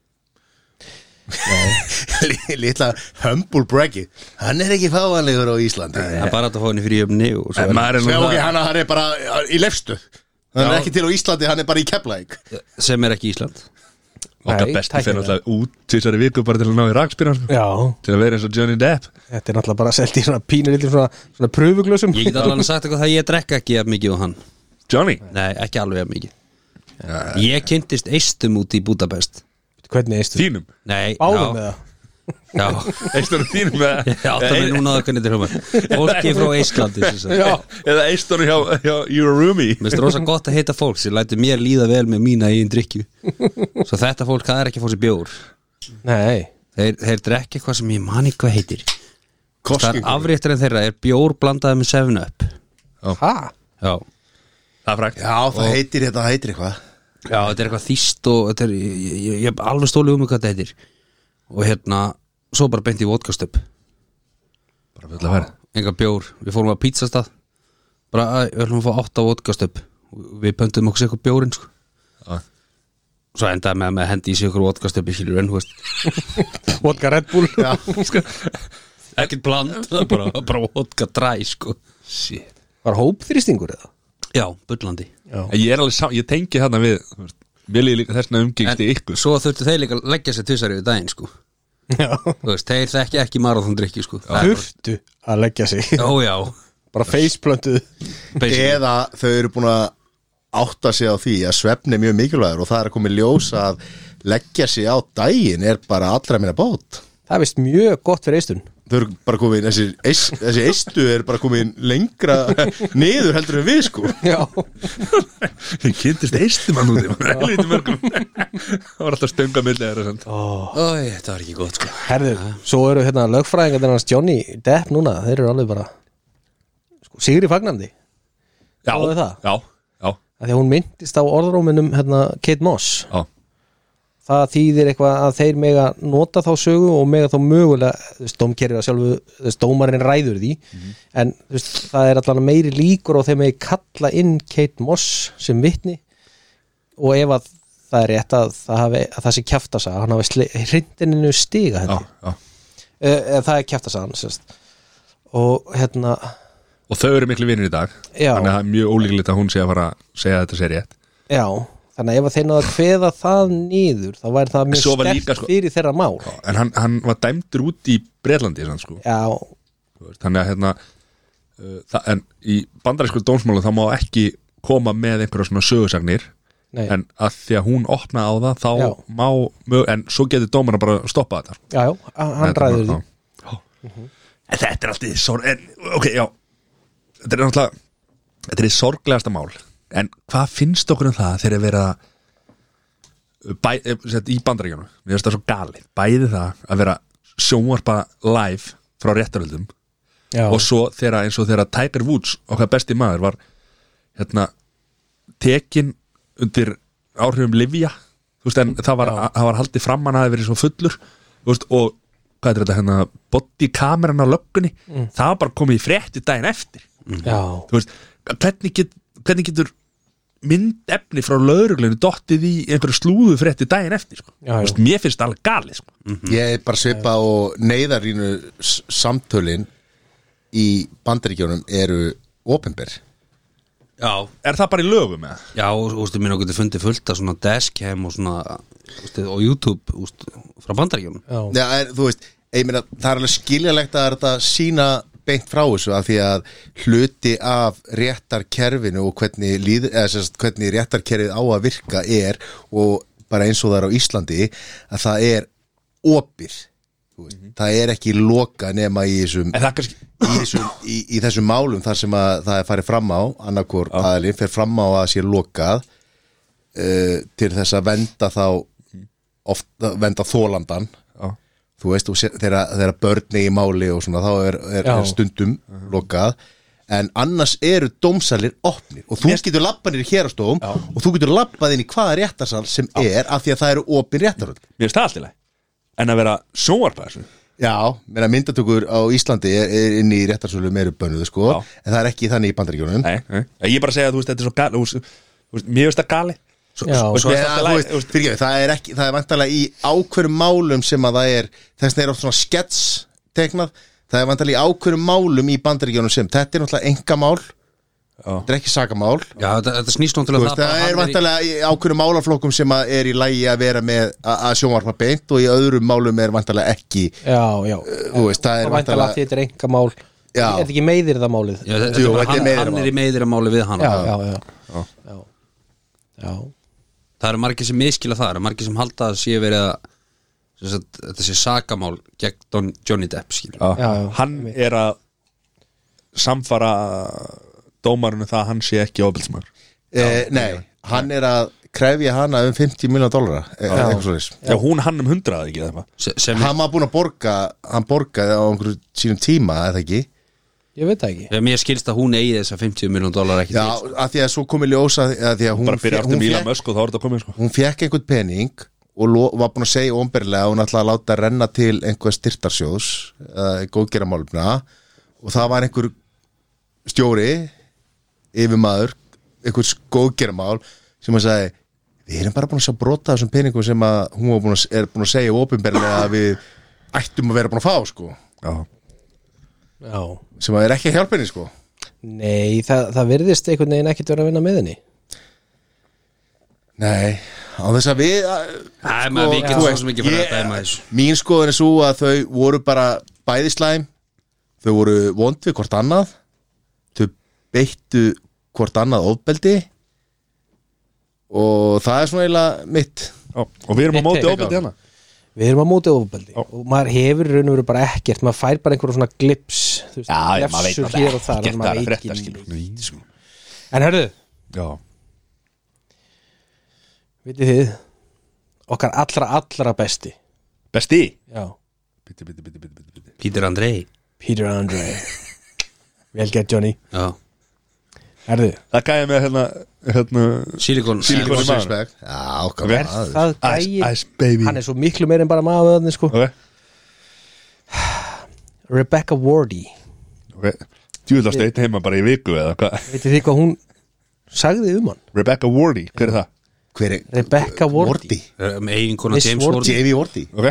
Speaker 4: Lilla humble braggi Hann er ekki fáanlegur á Íslandi
Speaker 3: Það er bara hægt að fá henni fyrir jöfni og svo
Speaker 1: En
Speaker 3: er-
Speaker 1: maður er
Speaker 4: Sjá,
Speaker 1: nú
Speaker 4: ok, hann, hann er bara í lefstu Hann er
Speaker 1: Já.
Speaker 4: ekki til á Íslandi, hann er bara í Keflæk
Speaker 3: sem er ekki Ísland
Speaker 1: okkar
Speaker 2: Nei,
Speaker 1: besti fyrir
Speaker 2: tæknilega.
Speaker 1: alltaf út tvisari viku bara til að ná í rakspinn hans
Speaker 2: Já,
Speaker 1: til að vera eins og Johnny Depp
Speaker 2: þetta er náttúrulega bara selt í svona pínur lítið svona, svona pröfuglösum
Speaker 3: Ég get allan sagt eitthvað það ég drekka ekki jafn mikið og hann
Speaker 1: Johnny,
Speaker 3: Nei, ekki alveg jafn mikið Ég kynntist eistum út í Budapest
Speaker 2: Hvernig eistu?
Speaker 1: þínum
Speaker 3: Nei,
Speaker 2: Báðum
Speaker 3: já,
Speaker 2: eða?
Speaker 3: já
Speaker 1: Eistunum þínum eða,
Speaker 3: Já, það er núna að hvernig þetta hljóma Fólki frá Íslandi sem sagt.
Speaker 1: eða eistunum hjá, hjá Euroroomy
Speaker 3: Mér finnst rosa gott að heita fólk sem lætur mér líða vel með mína eigin drykju Svo þetta fólk, það er ekki að fá sér bjór
Speaker 2: Nei
Speaker 3: Þeir, þeir drekki eitthvað sem ég mani hvað heitir Það er
Speaker 4: Koskingur
Speaker 3: afriðturinn þeirra er bjór blandaði með 7-up
Speaker 2: Ha?
Speaker 3: Já
Speaker 1: Það er frækt
Speaker 4: Já, það heitir þetta, það heitir eitthvað
Speaker 3: Já, þetta er eitthvað þýst og þetta er, ég, ég, ég, ég er alveg stólið um hvað þetta heitir og hérna, svo bara beint í vodkastöp
Speaker 1: Bara fulla að vera
Speaker 3: enga bjór, við fórum að pizzastað bara, æ, við ætlum að fá 8 vodkastöp við pöntum okkur sér eitthvað bjórinn sko.
Speaker 1: Já.
Speaker 3: svo endaði með að með hendi í sér okkur vodkastöp í skilur enn, hú veist
Speaker 2: Vodka Red Bull Já,
Speaker 3: ekkert bland, bara, bara vodka dræ sko.
Speaker 1: Shit
Speaker 2: Var hópþrýstingur eða?
Speaker 3: já, bullandi
Speaker 1: En Ég er alveg sá, ég tengi hérna við þú veist, Vil ég líka þessna umgengst í ykkur sko.
Speaker 3: svo þurftu þeir líka að leggja sér tvisar yfir daginn sko.
Speaker 2: Já
Speaker 3: Þú veist, þeir þekki ekki marathondrykki sko. Það er
Speaker 2: Þurftu að leggja sig
Speaker 3: bara- Ó, já,
Speaker 2: Bara faceplöntuð
Speaker 3: basically.
Speaker 4: Eða þau eru búin að átta sig á því að svefn er mjög mikilvægur og það er að koma í ljós að leggja sig á daginn er bara allra minna bót
Speaker 2: Það er vist mjög gott fyrir eistun
Speaker 4: Þau eru bara komin, þessi, eist, þessi eistu er bara komin lengra niður heldur en við sko
Speaker 2: Já
Speaker 1: Ég kynntist eistum hann úti Helviti mörgum Það var alltaf stönga milli þeirra samt.
Speaker 3: Æ, þetta var ekki gott sko.
Speaker 2: Herðu, svo eru hérna lögfræðingar hans Johnny Depp núna Þeir eru alveg bara sko, Sigri fagnandi
Speaker 1: Já,
Speaker 2: Sáðu það?
Speaker 1: já, já,
Speaker 2: Af Því að hún myndist á orðróminum hérna, Kate Moss
Speaker 1: já
Speaker 2: það þýðir eitthvað að þeir mega nota þá sögu og mega þá mögulega stómkerri að sjálfu, þú veist, dómarinn ræður því
Speaker 1: Mhm.
Speaker 2: en þú veist, það er allan meiri líkur og þeir megi kalla inn Kate Moss sem vitni og ef að það er rétt að það, hafi, að það sé kjaftasaga, hann hafi hrindininu stiga
Speaker 1: Já,
Speaker 2: henni,
Speaker 1: já.
Speaker 2: eða það er kjaftasagan sérst. og hérna
Speaker 1: Og þau eru miklu vinnir í dag
Speaker 2: Já.
Speaker 1: Þannig að það er mjög ólíklegt að hún sé að fara að segja að þetta sé rétt
Speaker 2: já, þannig að ef að þeir náða að kveða það niður, þá væri það mjög
Speaker 1: Svo var
Speaker 2: sterkt
Speaker 1: líka, sko-
Speaker 2: fyrir þeirra mál
Speaker 1: En hann, hann var dæmdur út í Breitlandi sann, sko.
Speaker 2: já,
Speaker 1: Þú veist, Þannig að hérna uh, það, En í bandarísku dómsmálu þá má ekki koma með einhverja svona sögusagnir
Speaker 2: nei,
Speaker 1: En að því að hún opna á það þá
Speaker 2: Já.
Speaker 1: má, mög, en svo getur dómarna bara að stoppa þetta sko.
Speaker 2: já, já, hann
Speaker 1: Þetta er
Speaker 2: ræður því
Speaker 1: bara- Já. En þetta er alltaf í sorg en, Ok, já Þetta er náttúrulega Þetta er í sorglegasta mál En hvað finnst okkur um það þegar verið að bæ, eh, sett, í bandaríkjunum Mér finnst það svo galið Bæði það að vera sjónvarpa live frá réttaröldum
Speaker 2: Já.
Speaker 1: og svo þegar eins og þegar Tiger Woods okkar besti maður var hérna tekin undir áhrifum Livia þú veist en það var, það var haldið fram hann hafi verið svo fullur þú veist, og hvað er þetta hérna bodykameran á löggunni það var bara komið í frétti daginn eftir
Speaker 2: Já,
Speaker 1: þú veist hvernig, get, hvernig getur myndefni frá lögreglunni dottið í einhverju slúðu frétti daginn eftir sko.
Speaker 2: Já, já.
Speaker 1: Þú veist, mér finnst það alveg galið sko.
Speaker 4: Ég er bara svipa og neyðarínu s- samtölin í bandaríkjónum eru opinber
Speaker 3: Já,
Speaker 1: er það bara í lögum eða?
Speaker 3: Já, og þú veist, mér getur fundið fullt af svona dashcam og svona úst, og YouTube úst, frá bandaríkjum
Speaker 2: já,
Speaker 4: Já, er, þú veist, ég meina, það er alveg skiljalegt að þetta sína beint frá þessu af því að hluti af réttarkerfinu og hvernig, líð, eða, sérst, hvernig réttarkerfið á að virka er og bara eins og það er á Íslandi að það er opið þú veist, það er ekki loka nema í þessum
Speaker 1: en það er kannski
Speaker 4: í þessum, í, í þessum málum þar sem að það er farið fram á annarkor aðalinn fer fram á að það sé lokað uh, til þess að venda þá oft, venda þólandan
Speaker 1: Já.
Speaker 4: þú veist, og sé- þegar þegar börni í máli og svona, þá er, er,
Speaker 2: Já.
Speaker 4: er stundum lokað en annars eru dómsalir opnir og þú getur labbanir í hérastofum og þú getur labbað inn í hvaða réttarsal sem er af því að það eru opin réttaröld
Speaker 1: mér finnst það allt í lagi en að vera sjónvarpa þessu
Speaker 4: Já, meina myndatökur á Íslandi er, er inn í réttarsölu meiru bönnuðu sko
Speaker 1: Já.
Speaker 4: en það er ekki þannig í bandaríkjónum
Speaker 1: Nei, nei. Ég er bara að segja að þú veist, þetta er svo gali þú veist, þú veist, Mér veist það gali
Speaker 3: Svo,
Speaker 2: Já.
Speaker 3: svo, svo er það
Speaker 1: læg-
Speaker 4: það,
Speaker 1: þú veist-
Speaker 4: það er ekki, það er vantarlega í ákveðum málum sem að það er þess vegna er oft svona skets teiknað það er vantarlega í ákveðum málum í bandaríkjónum sem þetta er náttúrulega engamál
Speaker 1: Já.
Speaker 4: þetta er ekki sakamál
Speaker 3: Já, þetta, þetta snýst
Speaker 4: Þú
Speaker 3: náttúrulega um
Speaker 4: veist, það er vantarlega í ákveðum málaflokkum sem að er í lagi að vera með að að sjónvarpa beint og í öðrum málum er vantarlega ekki
Speaker 2: já, já
Speaker 4: þú veist, það
Speaker 2: Það
Speaker 4: er
Speaker 2: er væntalega að
Speaker 4: vantarlega
Speaker 2: þetta er enga mál
Speaker 4: Já.
Speaker 2: Er þetta ekki meiðir það málið?
Speaker 3: Já, þetta,
Speaker 4: Jú,
Speaker 3: þetta,
Speaker 4: þetta er
Speaker 3: hann,
Speaker 4: meira
Speaker 3: hann
Speaker 4: mál.
Speaker 3: er í meðir að máli við hann
Speaker 2: já, já, já Já, já.
Speaker 3: Það eru margir sem miskila það, það eru margir sem halda að sé verið að sem sagt, þetta sé sakamál gegn Don, Johnny Depp skilur.
Speaker 2: Já, já.
Speaker 1: Hann er að samfara dómarinu það að hann sé ekki ofbilsmaður
Speaker 4: Eh, Nei, hann er að krefja hana um 50 miljonar dólara eh, eitthvað svo
Speaker 1: Já, hún hann um hundrað ekki eða eitthvað.
Speaker 3: Se, sem,
Speaker 4: hann var búin að borga hann borgaði á einhverju sínum tíma eða ekki
Speaker 2: Ég veit það ekki
Speaker 3: sem ég skilst að hún eigi þessa 50 miljón dólar ekki
Speaker 4: já, að því að svo komið ljósa að því að
Speaker 1: sko.
Speaker 4: hún,
Speaker 1: bara byrja
Speaker 4: fe-
Speaker 1: aftur
Speaker 4: hún,
Speaker 1: Míla
Speaker 4: fekk,
Speaker 1: Mösk og þá er þetta komið sko.
Speaker 4: hún fekk einhvern pening og lo, var búin að segja ómberlega að hún ætlaði að láta renna til einhver styrtarsjóðs uh, góðgeramálumna og það var einhver stjóri yfirmaður, einhvers góðgeramál sem að sagði við erum bara búin að sjá brota af þessum peningum sem að hún var búin að, er búin að segja ópenberlega að við ættum að vera búin að fá sko,
Speaker 1: Já.
Speaker 2: Já.
Speaker 4: sem að er ekki að hjálpa henni sko
Speaker 2: Nei, það, það virðist einhvern veginn ekkert vera að vinna með henni
Speaker 4: Nei, á þess að við að-
Speaker 3: Það er maður
Speaker 4: sko,
Speaker 3: við
Speaker 4: þú
Speaker 3: getum svo
Speaker 4: veist,
Speaker 3: sem ekki fyrir
Speaker 4: ég-
Speaker 3: að dæma þessu
Speaker 4: Mín skoðun er svo að þau voru bara bæði slæm Þau voru vond við hvort annað Þau beittu hvort annað ofbeldi Og það er svona eiginlega mitt
Speaker 1: Já. og við erum á
Speaker 2: Eitt
Speaker 1: móti
Speaker 2: take,
Speaker 1: ofbildi hérna
Speaker 2: Við erum að móti ofbeldi
Speaker 1: Já.
Speaker 2: og maður hefur í raun og veru bara ekkert maður fær bara einhverjum svona glips þú veist, glefsur hér og þar en maður veit ekki neitt.
Speaker 1: sko.
Speaker 2: En hörðu,
Speaker 1: Já,
Speaker 2: vitið þið okkar allra allra besti
Speaker 1: besti
Speaker 2: Já,
Speaker 1: Bitti, bitti, bitti, bitti, bitti, bitti.
Speaker 3: Peter Andrei
Speaker 2: Peter Andre Vel gett Johnny
Speaker 3: Já,
Speaker 2: Herðu,
Speaker 1: Það gæði með hérna, hérna
Speaker 3: Silikon
Speaker 1: Silicon- Silikon-
Speaker 4: Six pack. Já, okkar
Speaker 1: Vel.
Speaker 4: maður.
Speaker 2: það
Speaker 1: Ice,
Speaker 2: gæi
Speaker 1: ice baby
Speaker 2: hann er svo miklu meir en bara maður öðni, sko.
Speaker 1: Ok,
Speaker 2: Rebecca Wardy
Speaker 1: ok Djúðlast eitt heima bara í viku eða hvað
Speaker 2: Vitið þið hvað hún sagði um hann?
Speaker 1: Rebecca Wardy, hver er það?
Speaker 4: Hver er
Speaker 2: Rebecca Wardy
Speaker 3: Eiginkona
Speaker 2: Miss
Speaker 3: James
Speaker 2: Ward.
Speaker 3: Ward
Speaker 4: Jamie Vorti
Speaker 1: Ok,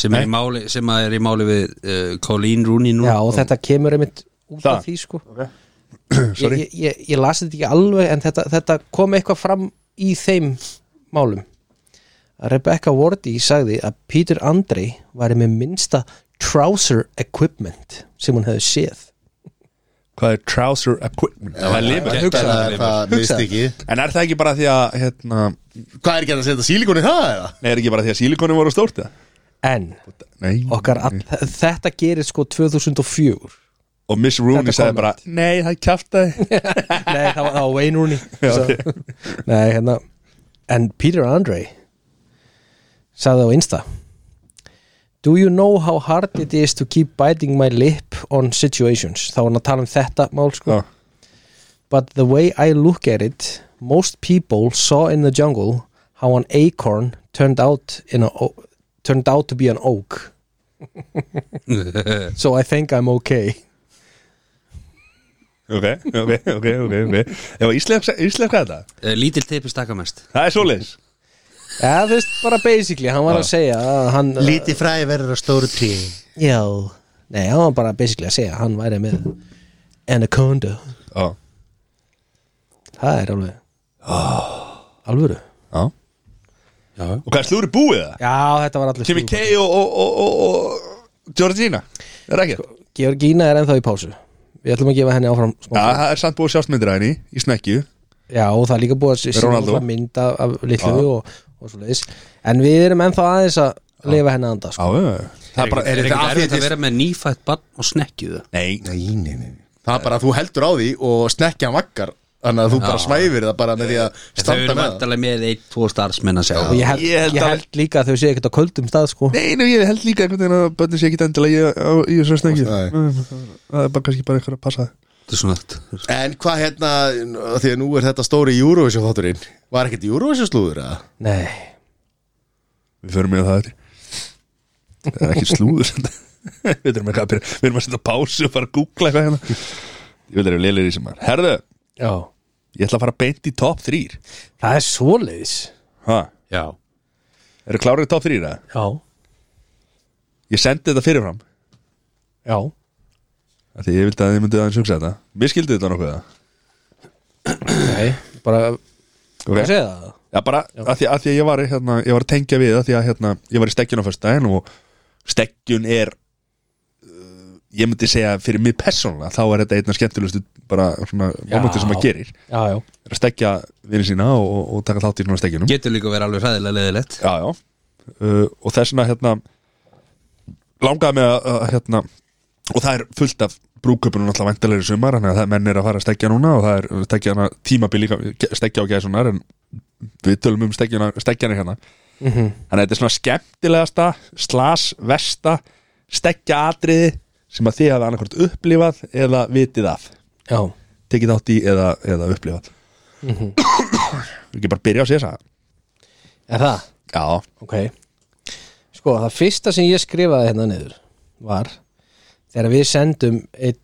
Speaker 3: sem er í máli, sem að er í máli við uh, Colleen Rooney núna
Speaker 2: Já, og þetta kemur einmitt út
Speaker 1: Það.
Speaker 2: af því sko
Speaker 1: Eh, Sorry.
Speaker 2: ég, ég, ég, ég lasi þetta ekki alveg en þetta, þetta kom eitthvað fram í þeim málum að Rebecca Wardy sagði að Peter Andrei væri með minnsta trouser equipment sem hún hefði séð
Speaker 1: hvað er trouser equipment það var limur
Speaker 3: hugsaðu
Speaker 4: Það
Speaker 3: þér,
Speaker 4: er það
Speaker 2: hugsaðu
Speaker 4: mist ekki
Speaker 1: en er það ekki bara því að hérna,
Speaker 4: Hvað er ekki hægt að setja sílíkonu í það eða?
Speaker 1: nei, er ekki bara því að sílikonin voru stórt eða?
Speaker 2: en
Speaker 1: nei,
Speaker 2: okkar all, þetta gerir sko 2004
Speaker 1: og Miss Rooney
Speaker 2: Þetta
Speaker 1: sagði
Speaker 2: kom
Speaker 1: bara nei, það er kjaftaði
Speaker 2: Nei, það var, það var Wayne Rooney
Speaker 1: Já,
Speaker 2: Svo- Nei, hérna En Peter Andre sagði á Insta Do you know how hard it is to keep biting my lip on situations? Þá var hann að tala um þetta mál sko
Speaker 1: Já.
Speaker 2: But the way I look at it most people saw in the jungle how an acorn turned out in a o- turned out to be an oak So I think I'm okay
Speaker 1: ok, ok, ok, ok, okay. Ef að íslenska, íslenska þetta
Speaker 3: Eh, Lítil teipi stakka mest
Speaker 1: það er svoleiðis
Speaker 2: Já, þú veist, bara basically, hann var að segja að hann,
Speaker 4: Lítið fræði verður að stóru trí
Speaker 2: Já Nei, hann var bara basically að segja að hann væri með Anaconda
Speaker 1: já,
Speaker 2: Það er alveg Ah. Alvöru
Speaker 1: já og hvað er slúri búið það?
Speaker 2: Já, þetta var allir
Speaker 1: Kimi K og, og, og, og, og Georgina, það er ekki já,
Speaker 2: Georgína er ennþá í pásu Við ætlum að gefa henni áfram smá
Speaker 1: það er samt búið sjástmyndir að henni í snekju
Speaker 2: Já, og það er líka búið að sýna
Speaker 1: Ronaldo.
Speaker 2: náttúrulega mynd af, af litlu og, og svo leiðis En við erum ennþá aðeins að lifa henni að anda sko.
Speaker 1: já, já, já.
Speaker 4: Það er bara, er
Speaker 3: ekkert
Speaker 4: þetta af því
Speaker 3: erfitt
Speaker 4: þetta
Speaker 3: að vera með nýfætt barn og snekkju það
Speaker 1: nei,
Speaker 4: Nei, nei, nei Það er bara að þú heldur á því og snekkja vaggar Þannig að þú bara svæfir það bara með því að
Speaker 3: Þau eru
Speaker 4: standa með það
Speaker 3: vantarlega með eitt, tvo starfsmenn að sjá
Speaker 2: Og ég held,
Speaker 1: Ég
Speaker 2: ég
Speaker 1: held
Speaker 2: held,
Speaker 1: að-
Speaker 2: líka að þau séu ekkert á köldum stað sko.
Speaker 1: Nei, nú, ég held líka einhvern veginn að börnum sé ekki endilega í, á, í þessu snengi
Speaker 4: Nei.
Speaker 1: Það er bara kannski bara eitthvað að passa
Speaker 3: Þetta er svona
Speaker 4: En hvað hérna, af því að nú er þetta stóri Eurovision þátturinn Var ekkert Eurovision slúður að?
Speaker 2: Nei,
Speaker 1: Við förum með það eftir það er ekki slúður við erum, eitthvað, að byrja- við erum að setja pásu og fara að googla eitthvað hérna ég vil eru lélir í sem mann herðu,
Speaker 2: Já,
Speaker 1: ég ætla að fara beint í top 3
Speaker 2: það er svoleiðis
Speaker 1: ha,
Speaker 3: Já,
Speaker 1: eru klárið í top 3 eða?
Speaker 2: Já,
Speaker 1: ég sendi þetta fyrirfram
Speaker 2: já
Speaker 1: af því ég vildi að þið myndið aðeins hugsa þetta mér skildið þetta nokkuð það
Speaker 2: Nei, bara, hvað
Speaker 1: okay.
Speaker 2: segja það?
Speaker 1: já, bara, af því, af því að ég var, í, hérna, ég var að tengja við af því að hérna, ég var í stekjun á fyrst daginn og stekjun er uh, ég myndi segja fyrir mig persónulega þá er þetta einna skemmtilegustu bara svona momentu sem maður gerir
Speaker 2: Já, já,
Speaker 1: er að stekja vinni sína og, og, og taka þátt í svona stekjunum
Speaker 3: getur líka verið alveg hræðilega leðilegt
Speaker 1: já, já. Uh, og þess vegna hérna, langaði mig að að, hérna, og það er fullt af brúköpunum náttúrulega væntalegri sumar þannig að það menn er að fara að stekja núna og það er stekja hana tímabil líka ge- stekja og gæsunar en við tölum um stekjana, stekjana hérna þannig að þetta er svona skemmtilegasta slas, vesta, stekja atriði sem að þið hafa annarkvort upplifað eða vitið af
Speaker 2: já
Speaker 1: tekið átt í eða, eða upplifað við ekki bara byrja á sér það
Speaker 2: Er það?
Speaker 1: já,
Speaker 2: Ok Sko, það fyrsta sem ég skrifaði hérna niður var þegar við sendum einn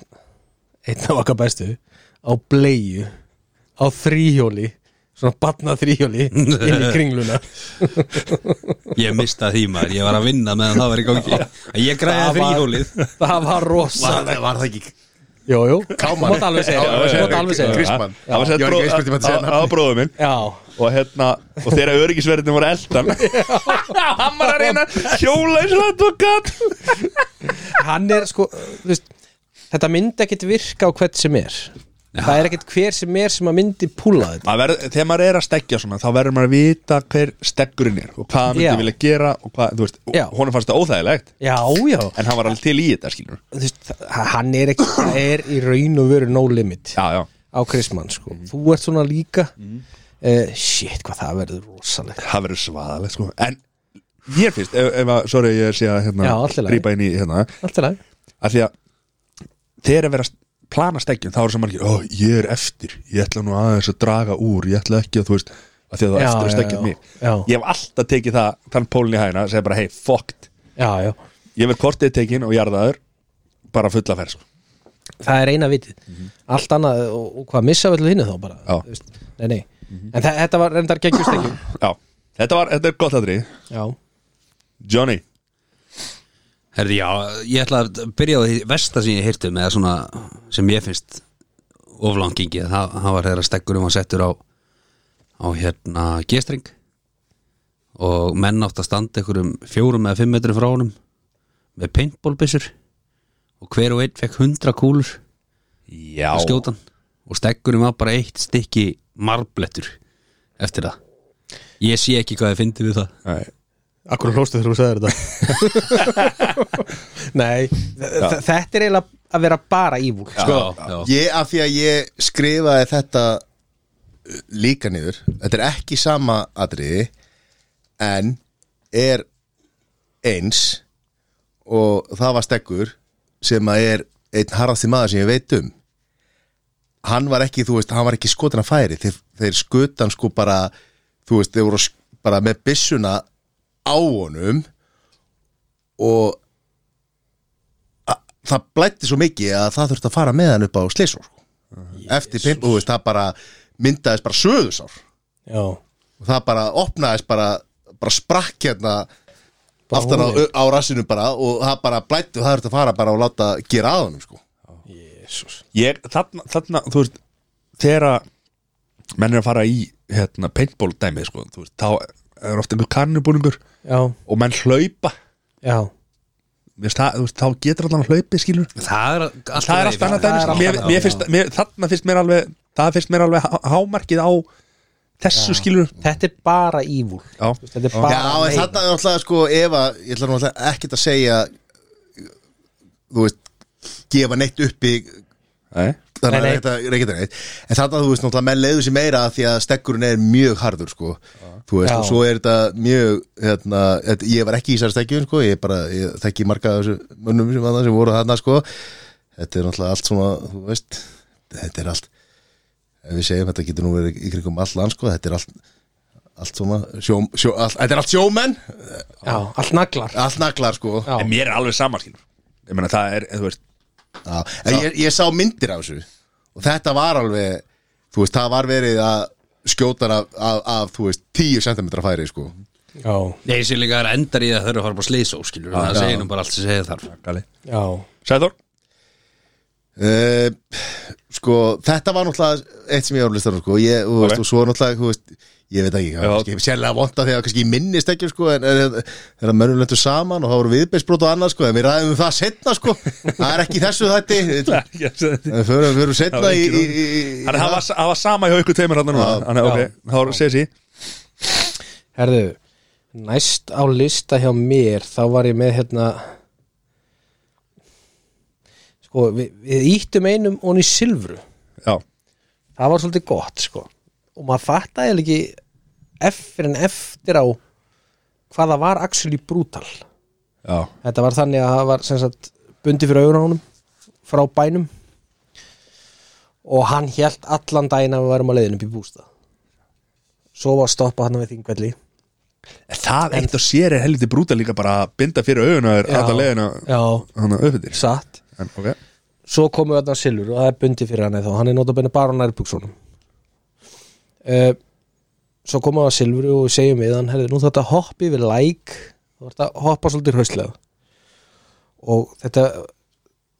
Speaker 2: einn af okkar bestu á bleiu á þríhjóli svona batna þríhjóli inn í kringluna
Speaker 3: Ég mista því maður, ég var að vinna meðan það var í gangi Ég græði
Speaker 2: Það var-
Speaker 3: þrýhjólið
Speaker 2: það var rosa
Speaker 4: var, var það ekki
Speaker 2: Jú, jú, mátt alveg segja
Speaker 4: Já,
Speaker 2: það,
Speaker 4: já,
Speaker 2: mátt
Speaker 4: já,
Speaker 2: alveg segja það.
Speaker 4: Kristmann.
Speaker 1: Það var sett
Speaker 4: Ég var ekki viss hvort ég mætti segja
Speaker 1: bróð- á-
Speaker 4: nafnið.
Speaker 1: á bróðum minn
Speaker 2: Já,
Speaker 1: og hérna, og þeirra öryggisverðin voru eldan hann var að reyna að hjóla eins og advokat
Speaker 2: hann er sko þú veist, þetta myndi ekkit virka á hvert sem er það er ekkit hver sem er sem að myndi púla þetta
Speaker 1: Maður verð- þegar maður er að stekja svona þá verður maður að vita hver stekkurinn er og hvað hann
Speaker 2: Já.
Speaker 1: myndi vilja gera og hvað, þú veist, og
Speaker 2: Já.
Speaker 1: honum fannst það óþægilegt
Speaker 2: Já, já,
Speaker 1: en hann var alveg til í þetta, skilur
Speaker 2: þú veist, þa- hann er ekki það er í raun og veru no limit
Speaker 1: já, já,
Speaker 2: á Kristmann sko þú ert svona líka mm. shit hvað það verður rosalegt
Speaker 1: það verður svaðalegt sko. en mér finnst, ef, ef að, sorry ég sé að hérna,
Speaker 2: Já, allt í lagi.
Speaker 1: rýpa inn í hérna
Speaker 2: allt er það
Speaker 1: af því að þegar er verið að plana stekkjum þá eru sem margir, ó ég er eftir ég ætla nú aðeins að draga úr, ég ætla ekki að þú veist, af því að það er
Speaker 2: Já,
Speaker 1: eftir að
Speaker 2: já,
Speaker 1: stekkja
Speaker 2: já.
Speaker 1: mig
Speaker 2: Já.
Speaker 1: ég hef alltaf tekið það, þann pólun í hæna og segja bara, hei, fokkt,
Speaker 2: já, já.
Speaker 1: ég verð kortið tekin og jarðaður bara fulla ferð, sko
Speaker 2: það er eina vitið allt annað og, og hvað missa við til hinnu þá bara
Speaker 1: Já.
Speaker 2: þú veist, nei, nei. en þa- þetta var reyndar geggjustekjum
Speaker 1: já, þetta var, þetta er gott aðri
Speaker 2: já,
Speaker 1: Johnny,
Speaker 3: Herði já, ég ætla að byrja á því versta sem ég heyrti um eða svona sem ég finnst oflangingi það, það var þeirra stekkurum að settur á á hérna gestring og menn átt að standa einhverjum fjórum eða fimm metrum frá honum með paintballbyssur og hver og einn fekk hundra kúlur
Speaker 1: já
Speaker 3: að skjóta hann og stekkurum var bara eitt stykki marblettur eftir það ég sé ekki hvað ég fyndi við það
Speaker 1: Nei.
Speaker 2: akkur hlóstu þegar þú sagðir þetta nei, þa- þa- þetta er eiginlega að vera bara ívúl
Speaker 3: sko, já,
Speaker 4: Ég, af því að ég skrifaði þetta uh, líka niður Þetta er ekki sama atriði En er eins Og það var stekkur Sem að er einn harðasti maður sem ég veit um Hann var ekki, þú veist, hann var ekki skotin að færi Þeir, þeir skutan sko bara Þú veist, þeir voru sk- bara með byssuna á honum Og það blætti svo mikið að það þurfti að fara með hann upp á Sleisór sko. eftir pimpu, þú veist, það bara myndaðist bara söðusár
Speaker 2: já,
Speaker 4: og það bara opnaðist bara, bara sprakk hérna
Speaker 2: Bara
Speaker 4: aftan á,
Speaker 2: hólið.
Speaker 4: á rassinu bara og það bara blætti og það þurfti að fara bara og láta gera að honum sko.
Speaker 2: jésús
Speaker 1: ég, þarna, þarna, þú veist þegar að menn er að fara í hérna, paintball dæmi, sko, þú veist, þá er ofta einhver kannubúningur
Speaker 2: já,
Speaker 1: og menn hlaupa
Speaker 2: já
Speaker 1: Mér finnst það, þú veist, þá getur allan hlaupið skilur
Speaker 3: það er alltaf
Speaker 1: það er allt annað sko. dæmis
Speaker 2: er allt
Speaker 1: mér,
Speaker 2: annað,
Speaker 1: mér
Speaker 2: já.
Speaker 1: finnst, mér, þarna finnst mér alveg það finnst mér alveg há- hámarkið á þessu já. skilur
Speaker 2: þetta er bara ívúl
Speaker 1: Já.
Speaker 2: þetta er bara
Speaker 4: Já, en
Speaker 2: meira.
Speaker 4: þarna er náttúrulega sko ef að, ég ætla náttúrulega ekkert að segja þú veist gefa neitt upp í
Speaker 1: Nei.
Speaker 4: þannig
Speaker 2: Nei,
Speaker 4: að
Speaker 2: nei.
Speaker 4: þetta er ekkert neitt en þetta þú veist náttúrulega menn leiðu sér meira af því að stekkurinn er mjög harður sko þú veist
Speaker 2: Já.
Speaker 4: og svo er þetta mjög hérna, þetta, ég var ekki í þessar stekkjun sko ég bara, ég þekki marga af þessu mönnum sem, að, sem voru þarna sko þetta er náttúrulega allt svona, þú veist þetta er allt ef við segjum þetta getur nú verið í kringum all land sko þetta er allt allt svona sjó, sjó, all, Þetta er allt sjómenn
Speaker 2: Já, allt naglar
Speaker 4: Allt naglar sko
Speaker 2: Já.
Speaker 1: En mér er alveg samanskilur Ég meina það er, þú veist
Speaker 4: Já, en ég, ég sá myndir af þessu og þetta var alveg þú veist, það var verið að skjóta af, af, af þú veist, 10 cm færi sko.
Speaker 2: Já,
Speaker 3: Nei, sem líka er endar í að þurfa að fara bara slýsó skilur, það
Speaker 4: já.
Speaker 3: segir nú bara allt sem segir þarf
Speaker 1: Gali
Speaker 2: já,
Speaker 1: Sæður
Speaker 4: Uh, sko, þetta var náttúrulega eitt sem ég árlistar sko. ég, þú veist,
Speaker 1: Ok.
Speaker 4: og svo náttúrulega, þú veist ég veit ekki, það
Speaker 1: Já.
Speaker 4: var kannski sérlega vonda þegar kannski ég minnist ekki, sko, en en- þegar mönnum lentur saman og þá voru viðbeisbrot og annað, sko en við ræðum um það setna, sko það er ekki í þessu þætti
Speaker 1: Það
Speaker 4: en förum, förum setna í, í, í, í
Speaker 1: er- það var- það var sama hjá ykkur tveimur hann núna
Speaker 4: Já.
Speaker 1: Þannig ok, þá segir sí
Speaker 2: herðu Næst á lista hjá mér þá var ég með hérna sko, við, við íttum einum og í silfru
Speaker 1: Já,
Speaker 2: það var svolítið gott sko og maður fattaði eiginlega ekki eftir en eftir á hvað það var actually brutal
Speaker 1: já,
Speaker 2: þetta var þannig að það var sem sagt bundi fyrir augur á honum frá bænum og hann hélt allan daginn að við varum að leiðin upp í bústað svo var stoppað hann við þingvelli
Speaker 1: En Það eitt og sér er helviti brúta líka bara að binda fyrir augun að þér
Speaker 2: Já.
Speaker 1: alltaf leiðina
Speaker 2: já,
Speaker 1: hann að uppbyttir
Speaker 2: satt
Speaker 1: En ok,
Speaker 2: svo komu þarna silur og það er bundi fyrir hann eða þá, hann er notabenni bara á nærbuxunum uh, svo komu það silfru og við segjum við hann, herri, nú þetta hoppi við læk þú ert að hoppa svolítið hrauslega og þetta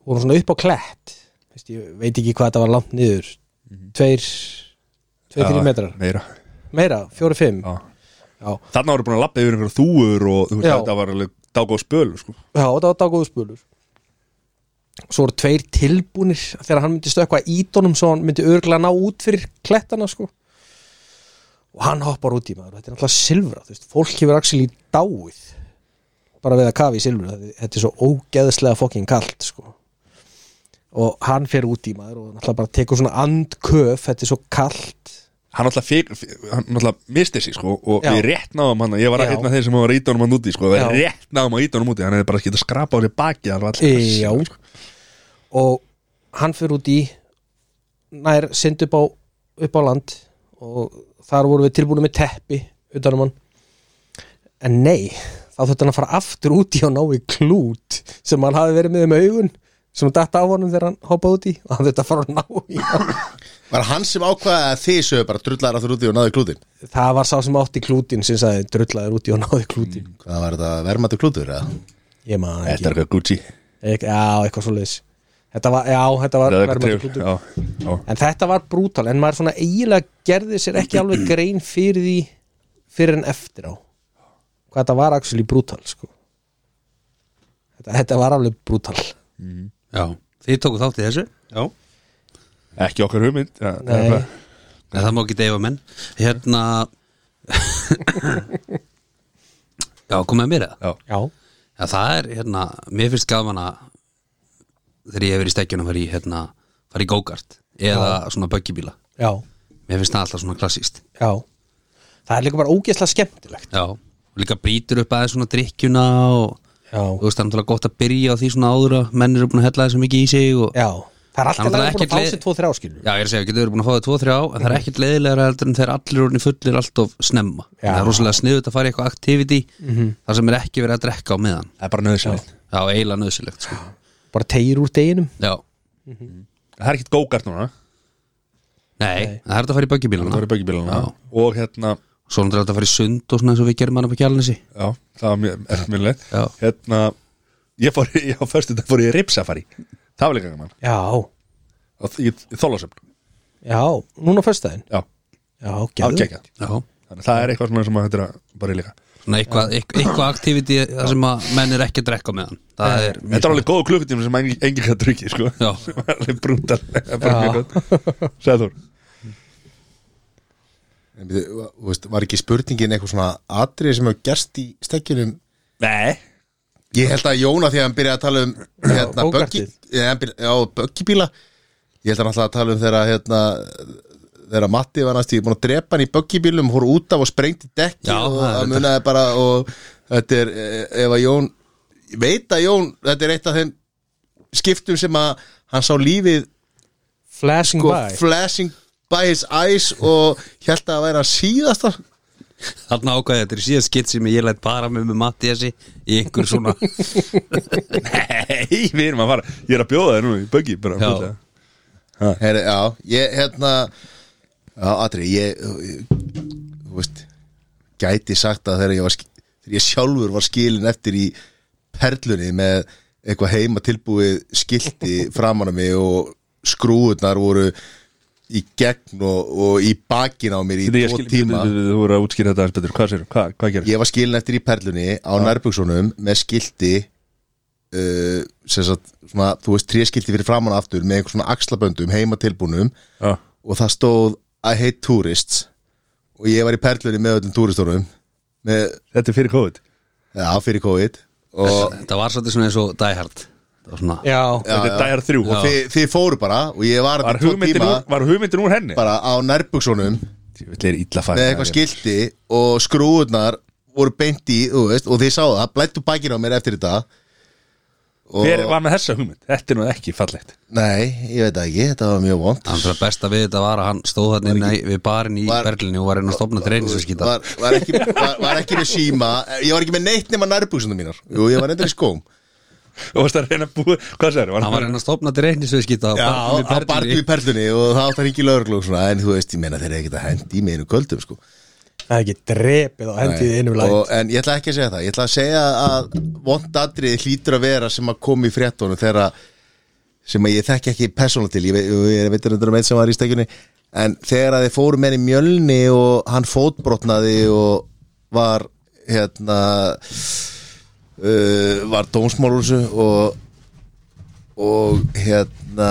Speaker 2: voru svona upp á klætt Vist, ég veit ekki hvað þetta var langt niður tveir tveir,
Speaker 1: Já,
Speaker 2: þrír metrar,
Speaker 1: Meira
Speaker 2: meira, fjóri, fimm já,
Speaker 1: Já.
Speaker 2: já
Speaker 1: Þarna voru búin að lappa yfir einhverja þúur og þú veist,
Speaker 2: Já.
Speaker 1: þetta var alveg dágóð spöl sko.
Speaker 2: þetta var daggóðu spölur svo voru tveir tilbúnir þegar hann myndi stökkva ídónum svo hann myndi örgla ná út fyrir klettana sko og hann hoppar út í maður þetta er alltaf silfra, þú veist, fólk hefur axil í dáið bara við að kafa í silfra þetta- þetta er svo ógeðslega fokkin kalt sko og hann fer út í maður og alltaf bara tekur svona andköf, þetta er svo kalt
Speaker 1: Hann alltaf, fik, hann alltaf misti sig sko, og
Speaker 2: Já.
Speaker 1: við rétt náðum hann ég var
Speaker 2: Já.
Speaker 1: einn af þeir sem var að íta honum hann úti sko, við
Speaker 2: Já.
Speaker 1: rétt náðum að íta honum úti hann hefði bara getað skrapað á sér baki alveg allir. Sko.
Speaker 2: Já sko. Og hann fyrir út í nær sind upp á, upp á land og þar vorum við tilbúinu með teppi utanum hann en nei, þá þurfti hann að fara aftur út í og ná í klút sem hann hafi verið með um augun sem hann datt af honum þegar hann hoppaði út í og hann þurfti að fara að ná í hann.
Speaker 4: var hann sem ákvaða að þið sögur bara drullar að þú út í og náðu klútin
Speaker 2: það var sá sem átti klútin sem sagði drullaður út í og náði klútin
Speaker 4: hvað var þetta, vermandi klútur eða?
Speaker 2: ég maður
Speaker 1: Mm. Þetta
Speaker 2: ekki,
Speaker 1: er eitthvað Gucci
Speaker 2: Ek, já, eitthvað svo leis þetta var, já, þetta var
Speaker 1: Það er eitthvað
Speaker 2: verðmætur
Speaker 1: trefur
Speaker 2: klútur.
Speaker 1: Já, já,
Speaker 2: En þetta var brútal En maður svona eiginlega gerði sér ekki alveg grein fyrir því Fyrir en eftir á Hvað þetta var actually brútal sko. þetta, þetta var alveg brútal
Speaker 3: Já, þið tóku þátt í þessu Já
Speaker 1: ekki okkar hugmynd ja,
Speaker 2: Nei.
Speaker 1: eitthvað.
Speaker 3: Nei, það má ekki deyfa menn Hérna Já, komið að mér eða
Speaker 1: Já.
Speaker 2: Já,
Speaker 3: Já, það er, hérna, mér finnst gaman að þegar ég hef verið í stekkjunum fara í, hérna, fara í go-kart eða svona böggibíla
Speaker 2: já,
Speaker 3: Mér finnst það alltaf svona klassíst
Speaker 2: já Það er líka bara ógeðslega skemmtilegt
Speaker 3: Já, og líka brýtur upp aðeins svona drikkjuna og
Speaker 2: Já,
Speaker 3: þú veist, það er náttúrulega gott að byrja á því svona áður að menn eru búin að hella þessu mikið í sig og
Speaker 2: já Það er alltaf
Speaker 3: Þannig að
Speaker 2: lægur búin
Speaker 3: ekkert
Speaker 2: að fá
Speaker 3: leið-
Speaker 2: sér tvo þrjá skilur
Speaker 3: Já, ég er að segja, getur verið búin að fá það 2-3 á en það er ekkert leiðilegra heldur en þeir allir orðin fullir alltof snemma
Speaker 2: Já.
Speaker 3: það er rosalega sniðut að fara í eitthvað activity þar sem er ekki verið að drekka á meðan
Speaker 1: Það er bara nöðsynlegt
Speaker 3: Já, eiginlega nöðsilegt sko.
Speaker 2: Bara tegir úr deginum
Speaker 3: Já,
Speaker 1: Það er ekkit gókart núna
Speaker 3: nei, það er þetta að fara í
Speaker 1: Það
Speaker 3: böggibílana
Speaker 1: var í böggibílana Og hérna,
Speaker 3: Svo er þetta að fara í sund og svona eins og við gerum hann upp á kjálnesi
Speaker 1: já, það var mjög ekki minnilegt
Speaker 3: Já.
Speaker 1: Hérna, ég fór, ég fór, fyrstu, fór í ripsafari Það var líka gaman
Speaker 2: Já,
Speaker 1: Og þ- Í, í þólasöfn
Speaker 2: já, núna á föstudaginn
Speaker 1: Já,
Speaker 2: Já,
Speaker 1: það
Speaker 2: gerðu
Speaker 1: kekja
Speaker 3: Já,
Speaker 1: Þannig að það er eitthvað svona sem maður hættir að bara í líka
Speaker 3: svona eitthvað, eitthvað, eitthvað activity þar sem að menn er ekki að drekka á meðan Það er mjög-
Speaker 1: Þetta er alveg góð klukkutíma sem engin, engin hættir ekki sko.
Speaker 3: Já.
Speaker 1: Alveg brúntal Sæður
Speaker 4: En við- þú veist, var ekki spurningin eitthvað svona atrið sem hefur gerst í stekkjunum
Speaker 1: Nei
Speaker 4: ég held að Jóna þegar hann byrjaði að tala um hérna, böggi,
Speaker 2: go-kartið.
Speaker 4: ja, já, böggibíla ég held að hann alltaf að tala um þegar hérna, þegar Matti var næst ég búin að drepa hann í böggibílum hóru út af og sprengti dekki
Speaker 3: Já,
Speaker 4: og
Speaker 3: það er
Speaker 4: það munaði bara og þetta er, eh, ef að Jón ég veit að Jón, þetta er eitt af þeim skiptum sem að hann sá lífið
Speaker 2: Flashing
Speaker 4: sko,
Speaker 2: by
Speaker 4: flashing by his eyes og held að það væri að síðasta
Speaker 3: Þarna ákvæði þetta er síðan skitt sem ég læt bara með með Mattiasi í einhver svona
Speaker 1: Nei, við erum að fara Ég er að bjóða þér núna í böggi bara
Speaker 3: Já.
Speaker 1: fljótlega.
Speaker 4: Heri, já, ég, hérna Já, Adri, ég, ég Þú veist Gæti sagt að þegar ég var sk- Þegar ég sjálfur var skilin eftir í Perlunni með eitthvað heima tilbúið Skilti framan að mig Og skrúðnar voru Í gegn og, og í bakin á mér Í
Speaker 1: Þetta ég
Speaker 4: tvo
Speaker 1: skil-
Speaker 4: tíma
Speaker 1: Þú þú voru að útskýra þetta aðeins betur Hvað sér, hvað, hvað gerir?
Speaker 4: Ég var skilin eftir í Perlunni á nærbuksunum Með skilti uh, sem sagt, svona, Þú veist, tréskilti fyrir framan og aftur Með einhver svona axlaböndum heima tilbúnum
Speaker 1: Já,
Speaker 4: og það stóð I hate tourists og ég var í perlunni með öllum túristunum með,
Speaker 1: Þetta er fyrir COVID
Speaker 4: já, fyrir COVID og,
Speaker 3: Þetta var svolítið svona eins og Die Hard Það var svona
Speaker 2: já,
Speaker 1: Þetta er dæjar þrjú
Speaker 4: og þið, þið fóru bara og ég var
Speaker 1: Var
Speaker 4: þetta í tvo
Speaker 1: hugmyndin um-
Speaker 4: tíma
Speaker 1: úr, var hugmyndin úr henni?
Speaker 4: bara á nærbuksunum
Speaker 1: Þetta er illa
Speaker 4: með
Speaker 1: fæðið
Speaker 4: eitthvað skilti og skrúðnar voru beint í, þú veist, og þið sáðu það blættu bakinn á mér eftir þetta og,
Speaker 1: Hver var með þessa hugmynd? Þetta er nú ekki fallegt
Speaker 4: nei, ég veit það ekki, þetta var mjög vond
Speaker 3: Þannig að besta við þetta var að hann stóð þarna inn í- við barinn í
Speaker 4: Var-
Speaker 3: Berlínu og var einn að stopna treyni sem skýta
Speaker 4: var, var, ekki, var, var ekki með síma ég var ekki með neitt nema nærbuksunum mínar Jú, ég var endur í skóm
Speaker 1: Og varst að reyna að búa Hvað sér?
Speaker 3: Hann var einn að stopna treyni sem skýta
Speaker 4: Já, á barnum í
Speaker 3: Berlínu
Speaker 4: perlunni og það átt að ringi lögreglu og svona, en þú veist, ég meina þeir eru ekkert að hendi í mig einu köldum, sko
Speaker 2: það er ekki drepið og hendið innum læg
Speaker 4: og, En ég ætla ekki að segja það, ég ætla að segja að vond atrið hlýtur að vera sem að koma í fréttunum þegar að sem að ég þekki ekki persónal til, ég, veit- ég veit að með sem var í stekjunni en þegar að þið fóru með henni í mjölni og hann fótbrotnaði og var hérna uh, var dómsmálursu og og hérna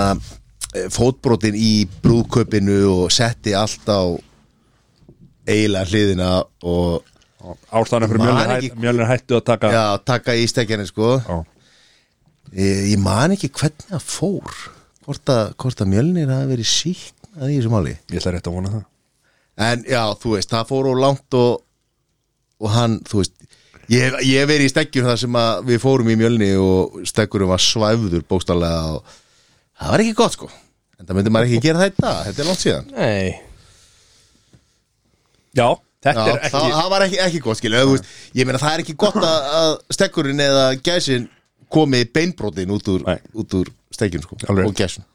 Speaker 4: eh, fótbrotin í brúðkaupinu og setti allt á eiginlega hliðina og
Speaker 1: Ástæðan fyrir
Speaker 4: Man
Speaker 1: mjölnir,
Speaker 4: ekki-
Speaker 1: hæ, mjölnir hættu að taka
Speaker 4: já, taka í stekjarni sko
Speaker 1: Já.
Speaker 4: ég, ég man ekki hvernig það fór hvort að, hvort að mjölnir hafi verið síknað í þessu máli
Speaker 1: Ég ætla rétt að vona það
Speaker 4: en já, þú veist, það fór og langt og, og hann, þú veist ég, ég hef verið í stekjur þar sem að við fórum í mjölni og stekjurum var svæfður bókstallega og það var ekki gott sko en það myndi maður ekki gera þetta, þetta er langt síðan
Speaker 2: nei,
Speaker 1: Já,
Speaker 4: Já,
Speaker 1: þetta er
Speaker 4: það,
Speaker 1: ekki
Speaker 4: það var ekki, ekki gott skilja veist, ég meina það er ekki gott að, að stekkurinn eða gæsin komi beinbrotin út úr,
Speaker 1: Nei.
Speaker 4: út úr stekkjun sko,
Speaker 1: Alveg.
Speaker 4: og gæsin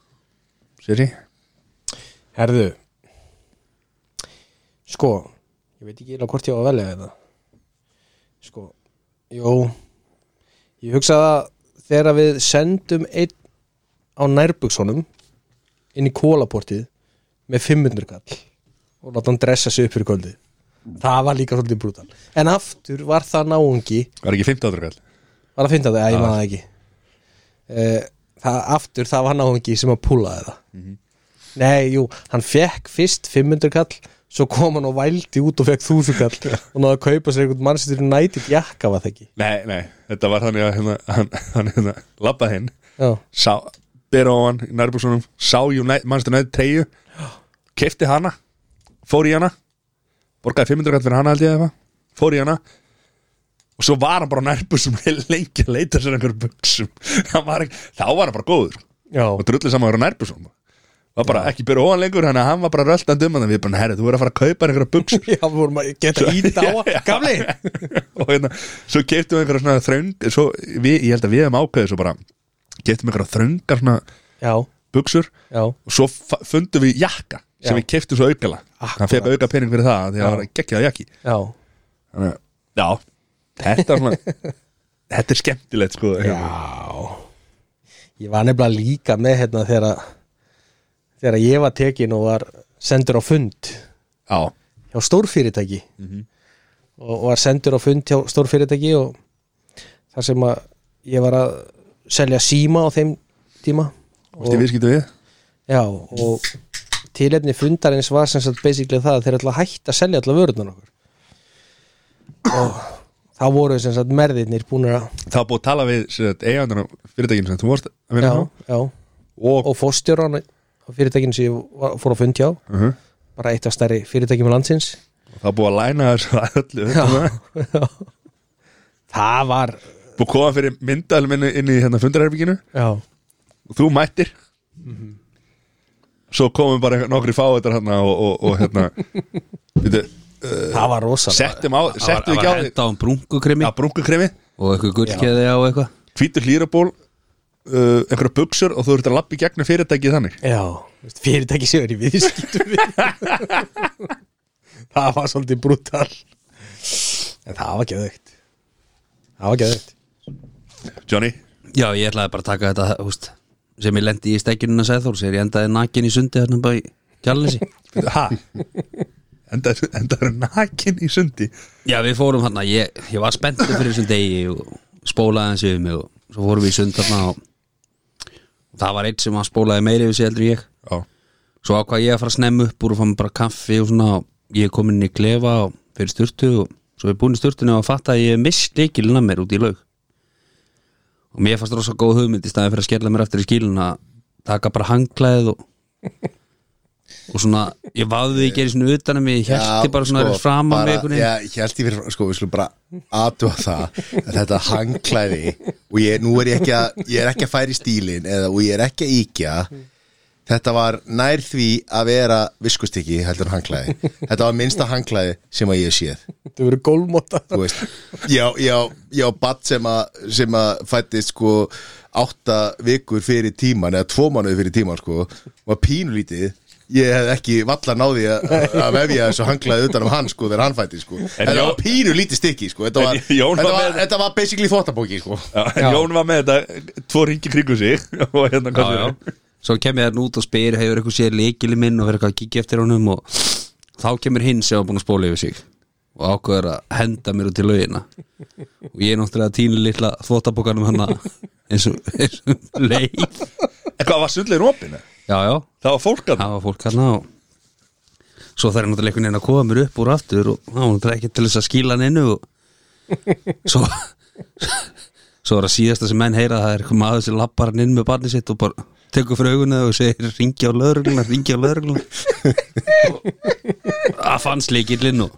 Speaker 1: Sér ég?
Speaker 2: herðu sko ég veit ekki eiginlega hvort ég á að velja þetta sko jú, ég hugsa að þegar við sendum einn á nærbuksonum inn í kólaportið með 500 kall og láta hann dressa sig upp fyrir kvöldi það var líka svolítið brútal en aftur var það náungi
Speaker 1: Var ekki 15 ára kall?
Speaker 2: Var það 15. að ég maður það ekki Eh, Það aftur, það var náðungi sem að púlaði það Nei, jú, hann fekk fyrst 500 kall Svo kom hann og vældi út og fekk 1000 kall Og náði að kaupa sér einhvern mann sem þurfið nætið jakka var það ekki
Speaker 1: Nei, nei, þetta var þannig að hérna, hann, hann hérna, labbað hinn
Speaker 2: Já,
Speaker 1: sá, byrja á hann í nærbúksunum sá United, mannstu næði treyju kefti hana, fór í hana borgaði 500 kall fyrir hana held ég eða eitthvað, fór í hana og svo var hann bara á nærbúksunum lengi að leita sér einhverjum buksum Hann var ekki, þá var hann bara góður
Speaker 2: já,
Speaker 1: og drullið saman að vera nærbúksunum var bara ekki byrja ofan lengur þannig að hann var bara röltandi um hann við bara, herri, þú verður að fara að kaupa þér einhverja buksum
Speaker 2: já vorum að geta íta á hann Gamli
Speaker 1: og hérna, svo keftum við einhverja svona þröng svo við, ég held að við hefum ákveðið svo bara keftum einhverja þröngar svona
Speaker 2: Já,
Speaker 1: buksur
Speaker 2: já,
Speaker 1: og svo fa- fundum við jakka sem
Speaker 2: Já.
Speaker 1: við keftum svo aukala
Speaker 2: Akkurat.
Speaker 1: hann fekk auka pening fyrir það því að það var geggjað jakki
Speaker 2: já
Speaker 1: þannig að, já, þetta er svona þetta er skemmtilegt sko já,
Speaker 2: Já Ég var nefnilega líka með hérna þegar að Þegar að ég var tekin og var sendur á fund
Speaker 1: já,
Speaker 2: hjá stórfyrirtæki og var sendur á fund hjá stórfyrirtæki og þar sem að ég var að selja síma á þeim tíma
Speaker 1: veist ég viðskiptu við
Speaker 2: já, og tilefni fundarins var sem sagt basically það að þeir ætla að hætta að selja allar vörunar okkur og þá voru sem sagt merðirnir búinir að
Speaker 1: það var búið að tala við sem sagt, eigandur á fyrirtækinu sem þú varst að vinna
Speaker 2: já,
Speaker 1: hjá
Speaker 2: já,
Speaker 1: og,
Speaker 2: og fórstjóran á fyrirtækinu sem ég var, fór á fund hjá
Speaker 1: uh -huh,
Speaker 2: bara eitt af stærri fyrirtækjum landsins
Speaker 1: og það var búið að læna þessu að öllu
Speaker 2: já,
Speaker 1: svona.
Speaker 2: já. það var
Speaker 1: búið að koma fyrir myndaðal minni inn í hérna fundarherbygginu
Speaker 2: já
Speaker 1: og þú mættir svo komum bara nokkri fáið þetta hérna og, og, og hérna veitu,
Speaker 2: það var rosa
Speaker 1: settum á,
Speaker 3: Það var-
Speaker 1: settum
Speaker 3: það
Speaker 1: ekki á
Speaker 3: var henda á um brúnkukremi
Speaker 1: að brúnkukremi,
Speaker 3: og eitthvað gullkeði á eitthvað
Speaker 1: hvítur hlýraból uh, einhverja buksur og þú ert að lappa í gegnum fyrirtækið þannig
Speaker 2: já, veist, fyrirtæki séður í viðskiptum við það var svolítið brútal en það var geðveikt það var geðveikt
Speaker 1: Johnny,
Speaker 3: Já, ég ætlaði bara að taka þetta húst, sem ég lendi í stækjununa sæðþór sér ég endaði nakin í sundi hérna bara í kjallinsi
Speaker 1: ha endaður endaður nakin í sundi
Speaker 3: Já, við fórum hérna, ég, ég var spenntur fyrir þessum degi og spólaði hans yfir mig og svo fórum við í sund hérna og og það var eitt sem að spólaði meiri yfir sig heldur en ég
Speaker 1: já,
Speaker 3: Svo ákvað ég að fara að snemma upp úr og fann bara kaffi og svona og ég er komin inn í klefa og fyrir styrtu og svo er búin í styrtunni og að fatta að ég hef mist leikilina mér út í laug og mér fannst rosa góð hugmynd í staðið fyrir að skella mér eftir í skilin að taka bara hanglaðið og og svona, ég vaði ekki einu svona utan að mig, ég hælti bara svona sko, fram að mig einhvern veginn.
Speaker 4: Já, ég held ég fyrir, sko, við skulum bara aðtúa það að þetta hangklæði og ég, nú er ég ekki að, ég er ekki að færi stílin eða, og ég er ekki að íkja þetta var nær því að vera viskustykki heldur en hangklæði þetta var minnsta hangklæði sem að ég hef séð
Speaker 2: þau voru gólmóta
Speaker 4: þú veist já, já, já, badd sem að sem að fætti sko átta vikur fyrir tíman eða tvo mánuði fyrir tíman sko var pínulítið ég hef ekki valla náði að að vefja þessu hanglaði utan um hann sko þegar hann fætti sko þetta
Speaker 1: Jón-
Speaker 4: var pínulítið stykki sko þetta var,
Speaker 1: En Jón var
Speaker 4: þetta var,
Speaker 1: með-
Speaker 4: þetta var basically þvottabóki sko
Speaker 1: já, en Jón var með þetta tvo ringi kringu sig og hérna hvað
Speaker 3: já,
Speaker 1: fyrir
Speaker 3: já. Svo kem ég þarna út og spyr hefur eitthvað séð leikili minn og verður eitthvað að kíkja eftir honum og þá kemur hinn sem var búin að spóla yfir sig og ákveður að henda mér út í laugina og ég er náttúrulega tínu litla þvóttabokanum hana eins og, eins og leið
Speaker 1: en hvað var sundlegin opinn eða?
Speaker 3: Já, já,
Speaker 1: það var fólk að
Speaker 3: það var fólk hana og svo þarf náttúrulega einhvern veginn að koma mér upp úr aftur og það var náttúrulega ekki til þess að skýla hann innu og svo svo er að síðasta sem menn heyra það er eitthvað maður sem lappar hann inn með barni sitt og bara tekur fyrir augunni og segir ringi á lögregluna, ringi á lögregluna það fannst leikillinn og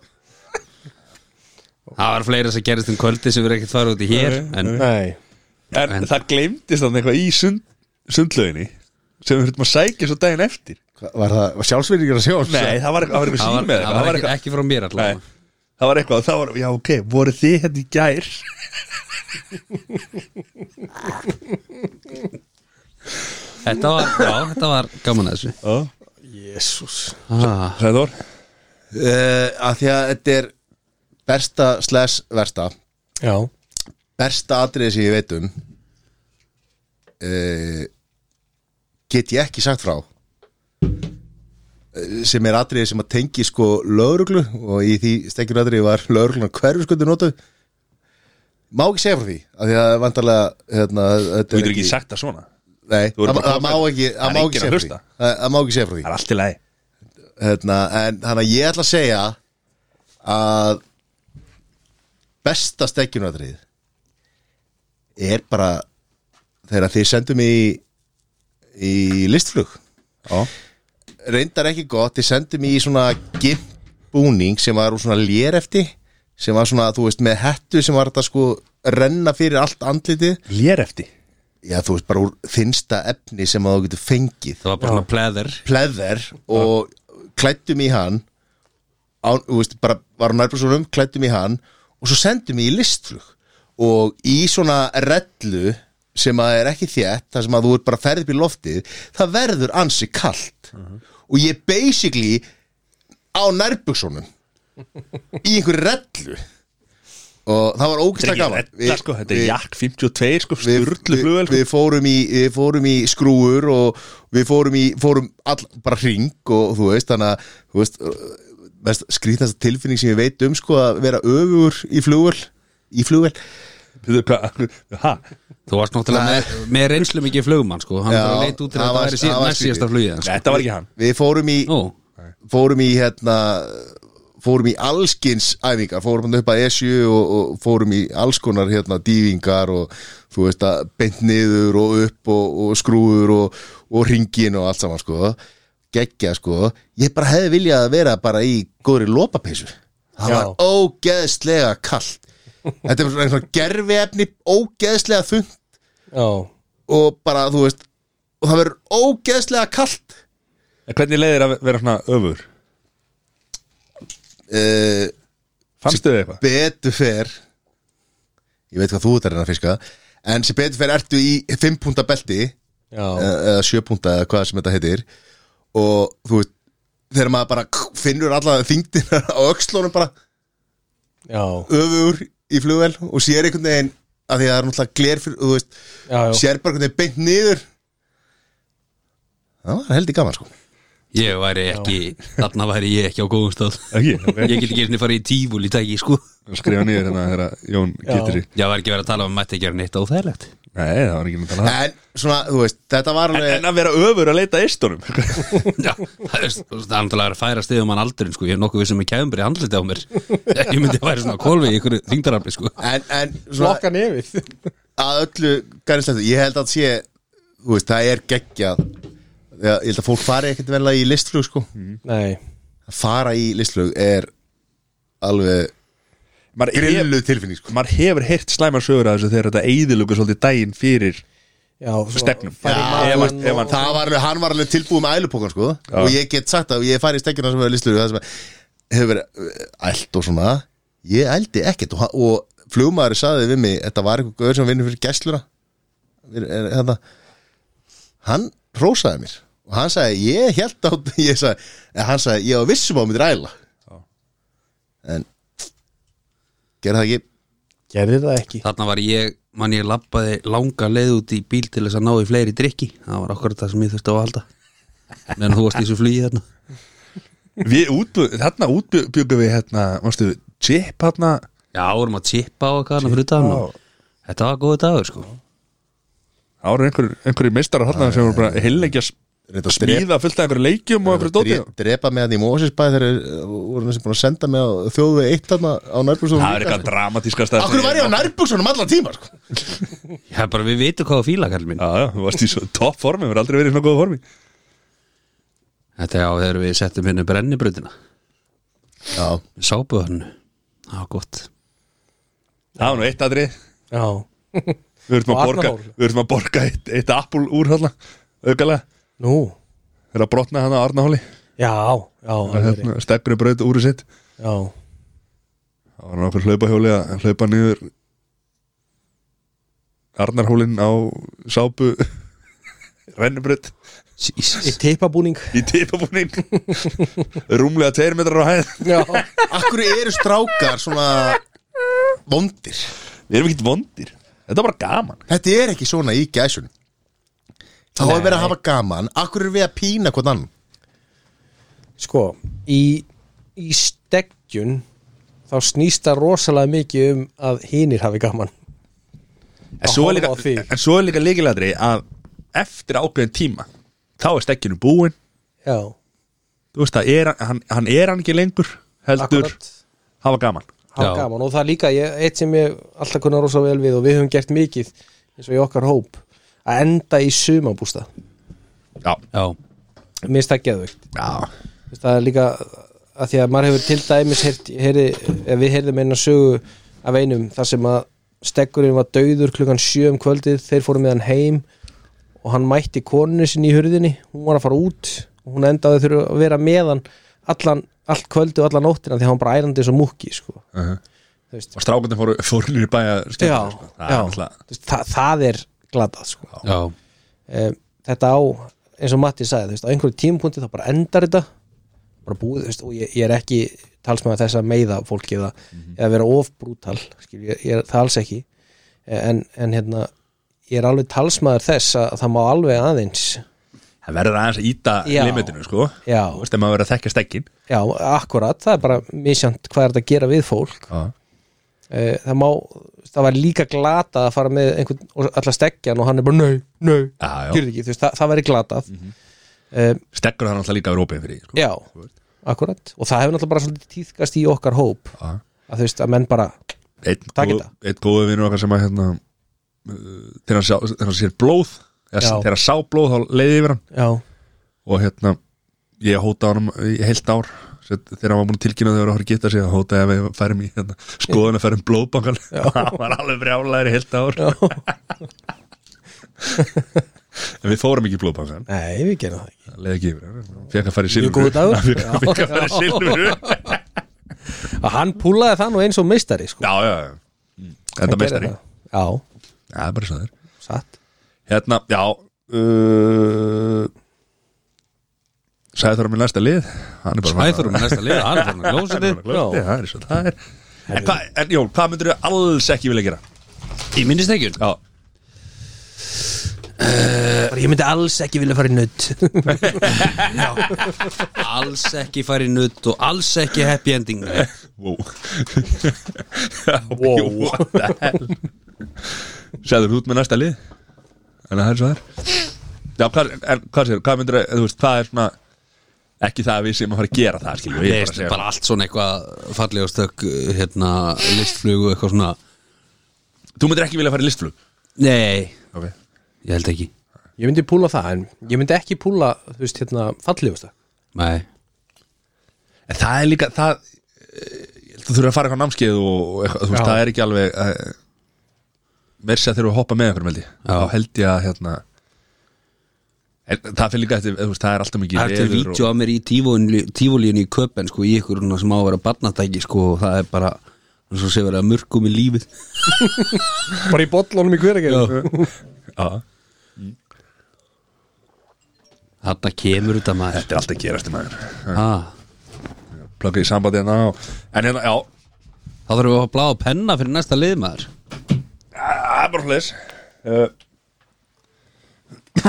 Speaker 3: það var fleira sem gerist um kvöldi sem við ekkert fara út í hér en
Speaker 2: nei,
Speaker 1: en, það gleymdist þannig eitthvað í sund, sundleginni sem við höfum að sækja svo daginn eftir
Speaker 4: var það var sjálfsverðingar að sjálfs
Speaker 1: nei, það var eitthvað, það var
Speaker 3: það
Speaker 1: eitthvað
Speaker 3: var,
Speaker 1: sími
Speaker 3: það var ekki,
Speaker 1: eitthvað,
Speaker 3: ekki frá mér allavega
Speaker 1: nei, það var eitthvað, það var, já ok, voru þið hérna í gær
Speaker 3: þetta var, já, þetta var gaman að þessu
Speaker 2: jésús
Speaker 3: ah.
Speaker 1: Sæður,
Speaker 4: uh, að því að þetta er besta slash versta
Speaker 2: já,
Speaker 4: besta atriði sem ég veit um uh, get ég ekki sagt frá Eh, sem er atriði sem að tengi sko lögruglu og í því stengjur atriði var lögruglan hverfiskundu notu má ekki segja frá því af því að það er vantarlega hérna, þetta
Speaker 1: þú
Speaker 4: er
Speaker 1: getur ekki sagt það svona
Speaker 4: nei,
Speaker 1: þú verður
Speaker 4: það
Speaker 1: bara
Speaker 4: það
Speaker 1: að
Speaker 4: má
Speaker 1: koma-
Speaker 4: ekki
Speaker 1: Það er
Speaker 4: það má
Speaker 1: enginn
Speaker 4: ekki
Speaker 1: að
Speaker 4: segja frá því
Speaker 1: hlusta.
Speaker 4: það það má ekki segja frá því
Speaker 1: það er allt í lagi
Speaker 4: hérna, en þannig að ég ætla að segja að besta stekkjunatrið er bara þegar þið sendum í í listflug
Speaker 1: já,
Speaker 4: reyndar ekki gott, þið sendum í svona gimp búning sem var úr svona lér eftir, sem var svona, þú veist, með hettu sem var þetta sko renna fyrir allt andlitið,
Speaker 1: lér eftir
Speaker 4: já, þú veist, bara úr þinnsta efni sem að þú getur fengið
Speaker 3: Það var bara svona pleður
Speaker 4: pleðver og klættum í hann á, þú veist, bara var á nærpersoðum klættum í hann og svo sendum í listflug og í svona rellu sem að er ekki þétt þar sem að þú er bara ferð upp í loftið það verður ansi kalt og ég basically á nærbuksónum í einhver rellu og það var ógæslega
Speaker 1: Þetta er
Speaker 4: gaman
Speaker 1: ekki
Speaker 4: Við-
Speaker 1: redda sko, þetta er
Speaker 4: við-
Speaker 1: jakk 52 sko,
Speaker 4: við,
Speaker 1: sturlu
Speaker 4: við-
Speaker 1: flugvel sko.
Speaker 4: við fórum í, við fórum í skrúur og við fórum í fórum all, bara hring og þú veist þannig að þú veist, mest skrýtast tilfinning sem ég veit um sko að vera öfugur í flugvel í flugvel
Speaker 1: Við þau hvað, ha,
Speaker 3: Þú varst náttúrulega
Speaker 4: Nei.
Speaker 3: með, með reynslu mikið flugmann sko Hann
Speaker 4: Já,
Speaker 3: bara leit út til að
Speaker 4: það
Speaker 3: það
Speaker 4: var-
Speaker 3: væri síðan
Speaker 4: það var
Speaker 3: næst síðasta
Speaker 4: skrítið.
Speaker 3: flugið hans sko.
Speaker 1: þetta var ekki hann
Speaker 4: við fórum í
Speaker 3: Nú,
Speaker 4: fórum í hérna fórum í allskins æfingar fórum hann upp að S7 og, og fórum í allskonar hérna dývingar og þú veist að bent niður og upp og, og skrúður og, og ringin og allt saman sko geggja sko, ég bara hefði viljað að vera bara í góðri lopapeysu það
Speaker 2: Já.
Speaker 4: var ógeðslega kallt þetta er svona einhvern gerfiefni ógeðslega þungt
Speaker 2: já,
Speaker 4: og bara þú veist og það verður ógeðslega kallt
Speaker 1: En hvernig leiðir að vera svona öfur?
Speaker 4: Eh, uh,
Speaker 1: Fannstu þið eitthvað?
Speaker 4: betur fer ég veit hvað þú ert að reyna að fiska en sem betur fer ertu í 5 púnta belti
Speaker 2: já,
Speaker 4: eða eða 7 púnta eða hvað sem þetta heitir og þú veist þegar maður bara finnur alla þingdina á öxlunum bara
Speaker 2: já,
Speaker 4: öfur í flugvel og sér einhvern veginn að því að það er náttúrulega gler fyrir, þú veist,
Speaker 2: já, já.
Speaker 4: sér bara einhvern veginn beint niður það var heldig gaman sko
Speaker 3: Ég væri ekki, þarna væri ég ekki á góðum stöð
Speaker 1: Ekki,
Speaker 3: Ég get ekki einnig farið í tífúl í tæki, sko
Speaker 1: ok Skrifa nýður hérna þegar Jón getur í
Speaker 3: Ég var ekki verið að tala um að mætti ekki að gera neitt óþægilegt
Speaker 1: Nei, það var ekki mynd að tala
Speaker 4: en svona, þú veist, þetta var
Speaker 1: En,
Speaker 4: alveg
Speaker 1: en að vera öfur að leita eistunum
Speaker 3: Já, það er það er náttúrulega að færa stegum hann aldurinn, sko Ég er nokkuð við sem er kæðumbri andliti á mér Ég myndi að væri svona kólfi í ykkur þingdarafli, sko
Speaker 4: en, en svona,
Speaker 2: Flokka nefið
Speaker 4: að öllu garðislegt, ég held að sé þú veist, það er geggjað Já, ég held að fólk fari ekkert vel í listflug sko.
Speaker 2: Nei,
Speaker 4: að fara í listflug er alveg grillu tilfinning sko.
Speaker 1: Maður hefur heyrt slæmar sögur að þessu þegar þetta eyðilugur svolítið daginn fyrir
Speaker 2: já, svo
Speaker 1: stefnum
Speaker 2: fara í
Speaker 1: Já, ef
Speaker 2: magann
Speaker 1: hann- ef hann-
Speaker 2: og-
Speaker 4: það var alveg, hann var alveg tilbúið með ælupokan sko. og ég get sagt að ég fari í stekkjuna sem hefur listflug það sem hefur verið eh, ælt og svona ég ældi ekkert og, og flugmaður saði við mig, þetta var eitthvað gauður sem vinnur fyrir gæsluna Fyrir- er- hérna. hann rósaði mér og hann sagði, ég held á ég sagði, eh, hann sagði, ég var vissum á myndir æla en gerði það ekki
Speaker 2: Gerði það ekki
Speaker 3: Þarna var ég, mann ég labbaði langa leið út í bíl til þess að ná í fleiri drikki Það var okkur það sem ég þurfti á að halda Meðan þú varst í þessu flugi þarna
Speaker 1: Við útbjögum, þarna útbjögum við hérna, mástu, chip hérna
Speaker 3: Já, vorum að tippa á eitthvað hana fyrir dagann og Þetta var góðu dagur, sko
Speaker 1: Það voru einhverjir einhver meistarar hérna sem voru bara heilengja
Speaker 4: Reyndu að drepa-
Speaker 1: smíða fullt af einhverju leikjum og einhverju dóti
Speaker 4: Dre- drepa með hann í Mósisbæ þegar eh, voru þessi búin að senda mig á þjóðu eitt þarna á nærbúrstunum
Speaker 1: Það er eitthvað dramatíska stað
Speaker 4: Akkur var ég á nærbúksunum allan tíma sko.
Speaker 3: Já, bara við vitum hvað að fíla, kallið minn
Speaker 1: Já, já, þú varst í svo topp formi, við erum aldrei verið í svona góða formi
Speaker 3: Þetta er á þegar við settum hérna henni brennibrutina
Speaker 4: Já,
Speaker 3: Sápuðarnu Það var gott
Speaker 1: Það var nú eitt aðri
Speaker 2: Já,
Speaker 1: Við ertum
Speaker 2: Og
Speaker 1: að borga,
Speaker 2: Arnarhól.
Speaker 1: við ertum að borga eitt, eitt appul úr hérna Aukalega,
Speaker 2: nú
Speaker 1: við erum að brotna hérna á Arnahóli
Speaker 2: Já, já, alveg rétt.
Speaker 1: hérna, Stekkurinn braut úr sitt
Speaker 2: já
Speaker 1: Það var nokkur hlaupahjóli að hlaupa niður Arnarhólinn á sápu rennubrödd
Speaker 2: Í teipabúning
Speaker 1: í tipabúning rúmlega tveir metrar á hæð
Speaker 2: Já,
Speaker 4: akkur eru strákar svona vondir
Speaker 1: Við erum ekkert vondir Þetta er bara gaman
Speaker 4: Þetta er ekki svona í gæsunum Það hafa verið að hafa gaman Akkur eru við að pína hvort annan
Speaker 2: sko Í, í steggjun þá snýst það rosalega mikið um að hinir hafi gaman
Speaker 1: En svo er
Speaker 2: horfa
Speaker 1: líka,
Speaker 2: á þig.
Speaker 1: en svo er líka líkilegri að eftir ákveðin tíma þá er stekkinu búinn
Speaker 2: Já,
Speaker 1: Þú veist, það er, hann, hann er hann ekki lengur heldur
Speaker 2: akkurat
Speaker 1: hafa gaman
Speaker 2: hafa
Speaker 3: Já.
Speaker 2: gaman og það er líka ég, eitt sem ég alltaf kunna rosa vel við og við höfum gert mikið eins og í okkar hóp að enda í sumabústa
Speaker 1: Já,
Speaker 3: Já,
Speaker 2: minnst það geðvögt
Speaker 1: já,
Speaker 2: það er líka að því að maður hefur til dæmis heyrt, heyri, ef við heyrðum eina sögu af einum þar sem að stekkurinn var dauður klukkan sjö um kvöldið þeir fóru með hann heim og hann mætti koninu sinni í hurðinni hún var að fara út og hún endaði þurfa að vera með hann allan, allt kvöldi og allan nóttina því að hann bara ærandi eins og múkki sko. Þú veist,
Speaker 1: og strákundin fóru fórnir í bæja
Speaker 2: já,
Speaker 1: sko. Það er
Speaker 2: já.
Speaker 1: náttúrulega-
Speaker 2: Þú veist, það, það er glatað sko.
Speaker 3: já,
Speaker 2: um, þetta á eins og Matti sagði, þú veist, á einhverju tímapunkti þá bara endar þetta bara búið, þú veist, og ég, ég er ekki talsmaður þess að meiða fólki eða,
Speaker 1: Mhm.
Speaker 2: eða vera of brútal skil, ég, ég er það alls ekki en, en hérna, ég er alveg talsmaður þess að það má alveg aðeins
Speaker 1: Það verður aðeins að íta
Speaker 2: Já.
Speaker 1: limitinu sko
Speaker 2: já,
Speaker 1: Þú veist, ef maður verður að þekkja stekkin
Speaker 2: já, akkurat, það er bara misjant hvað er þetta að gera við fólk Eh, það má, það var líka glata að fara með einhvern og alla stekjan og hann er bara nö, nö,
Speaker 1: Já, Mhm. já.
Speaker 2: gerðu ekki, þú veist, það, það væri glatað mm
Speaker 1: Stekkur það náttúrulega líka að vera opið fyrir því, sko.
Speaker 2: já, akkurat og það hefur náttúrulega bara svolítið tíðkast í okkar hóp
Speaker 1: Já.
Speaker 2: að þú veist, að menn bara
Speaker 1: Einn
Speaker 2: Takk hérna.
Speaker 1: góð-
Speaker 2: þetta.
Speaker 1: Einn góðu vinnur okkar sem að hérna, uh, þegar hann sjá- þegar hann sér blóð eða
Speaker 2: Já.
Speaker 1: þegar hann sá blóð þá leiði yfir hann
Speaker 2: já,
Speaker 1: og hérna ég hóta honum í heilt ár Sér, þegar hann var búin að tilkynna þegar hann var að geta sig þá hóta ég að við færum í hérna, skoðun að færum blóðbankan hann var alveg brjálæður í heilt ár en við fórum ekki í blóðbankan
Speaker 2: nei, við gerum það ekki
Speaker 1: leiði ekki yfir hérna. hann fekk að fara í
Speaker 2: Mjög góður
Speaker 1: silfur
Speaker 2: dagur.
Speaker 1: Hann fékk- hann fékk að fara í silfur
Speaker 2: að hann púlaði það nú eins og meistari sko.
Speaker 1: já, já, já. Þetta
Speaker 2: Hann gerði
Speaker 1: meistari
Speaker 2: það. já,
Speaker 1: Já, það er bara svo þér
Speaker 2: satt
Speaker 1: Hérna, já uh, Sæður minn næsta lið Hann er bara
Speaker 3: Sæþór er með næsta liða, hann er farin að glósa
Speaker 1: Hann er
Speaker 3: þið
Speaker 1: bara glöð. Já, það er svo það er En, hva, en Jón, hvað myndir þú alls ekki vilja gera?
Speaker 3: Í minnistekjun
Speaker 1: Já,
Speaker 2: Bara, ég myndi alls ekki vilja fara í nutt
Speaker 3: Alls ekki fara í nutt og alls ekki happy ending Nei.
Speaker 1: wow Wow, what the hell Sæður út með næsta lið En það er svo það er Já, hvað, en, hvað sér, hvað myndir þú veist, hvað er svona ekki það að við sem að fara að gera það, skiljum við
Speaker 3: Ég veist, bara allt svona eitthvað fallega stökk hérna, listflugu eitthvað svona
Speaker 1: Þú myndir ekki vilja fara í listflug
Speaker 3: Nei,
Speaker 1: okay.
Speaker 3: ég held ekki
Speaker 2: ég myndi púla það en ég myndi ekki púla þú veist hérna fallegust
Speaker 3: Nei,
Speaker 1: En það er líka það, eh, ég held að þú þurfir að fara eitthvað á námskeið og, og eitthvað, þú veist,
Speaker 2: Já.
Speaker 1: það er ekki alveg eh, meira sér þegar við hoppa með einhverjum held ég
Speaker 3: Já.
Speaker 1: þá held ég að hérna en, það fyrir líka eftir, eh, þú veist, það er alltaf mikið
Speaker 3: það er til
Speaker 1: veður
Speaker 3: vídeo af mér í tífólíunni tífólíunni í köpen sko, í ykkur svona sem á að vera barnatæki sko, og það er bara eins og sé verið að mörgum í lífið
Speaker 2: bara í bollunum í hverjargerð
Speaker 1: og, já,
Speaker 3: Þarna kemur þetta maður
Speaker 1: Þetta er alltaf að gerast í maður
Speaker 3: ha,
Speaker 1: Plöggið í sambandi hérna og, En hérna, já,
Speaker 3: Þá þurfum við að blá að penna fyrir næsta lið maður
Speaker 1: það er bara hlis uh,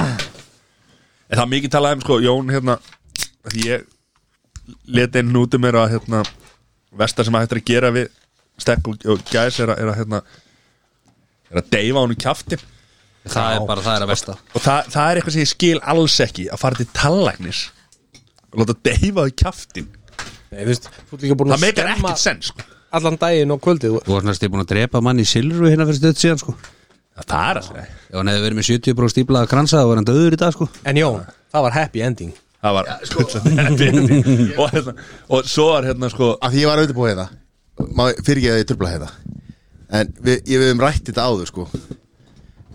Speaker 1: En það er mikið talað um, sko, Jón, hérna Því ég leti einn út um mér að, hérna Vesta sem að hættir að gera við Stekk og, og gæs er að, er að, hérna Er að deyfa honum kjaftin
Speaker 3: Það er bara, það er að versta
Speaker 1: Og það, það er eitthvað sem ég skil alls ekki Að fara til tallagnis Og láta deyfa þau kjaftin
Speaker 2: Nei, þú veist, þú ert líka búin
Speaker 1: Það
Speaker 2: að
Speaker 1: meikar
Speaker 2: skemma
Speaker 1: ekkert sens, sko
Speaker 2: allan daginn og kvöldið
Speaker 3: Þú varst næstu búin að drepa mann í silru hérna fyrir stöð síðan sko
Speaker 1: Það er alltaf
Speaker 3: Ef hann hefði verið með 70 bró stíplaða kransa þá var hann döður í dag sko
Speaker 2: en Jón, það var happy ending
Speaker 1: það var bullandi og, hérna, og svo var hérna sko
Speaker 4: af því ég var auðvitað búið hérna fyrir ekki að ég trubla hérna en við, ég við höfum rætt þetta áður sko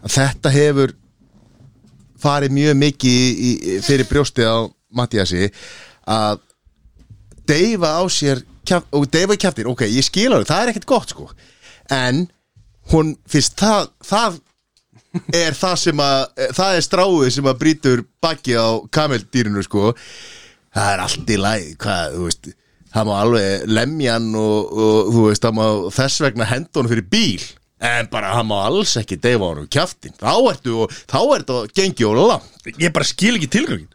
Speaker 4: að þetta hefur farið mjög mikið í, í, fyrir brjóstið á Mattiasi að deyfa á sér kjaf, og deyfa í kjaftir, ok, ég skil alveg, það er ekkert gott sko en hún finnst það, það er það sem að eh, það er stráið sem að brýtur baki á kameldýrinu sko það er allt í læg, hvað, þú veist það má alveg lemjan og, og þú veist, það má þess vegna henda honum fyrir bíl, en bara það má alls ekki deyfa honum kjaftin, þá ertu og þá ertu að gengi og langt
Speaker 1: ég bara skil ekki tilgangin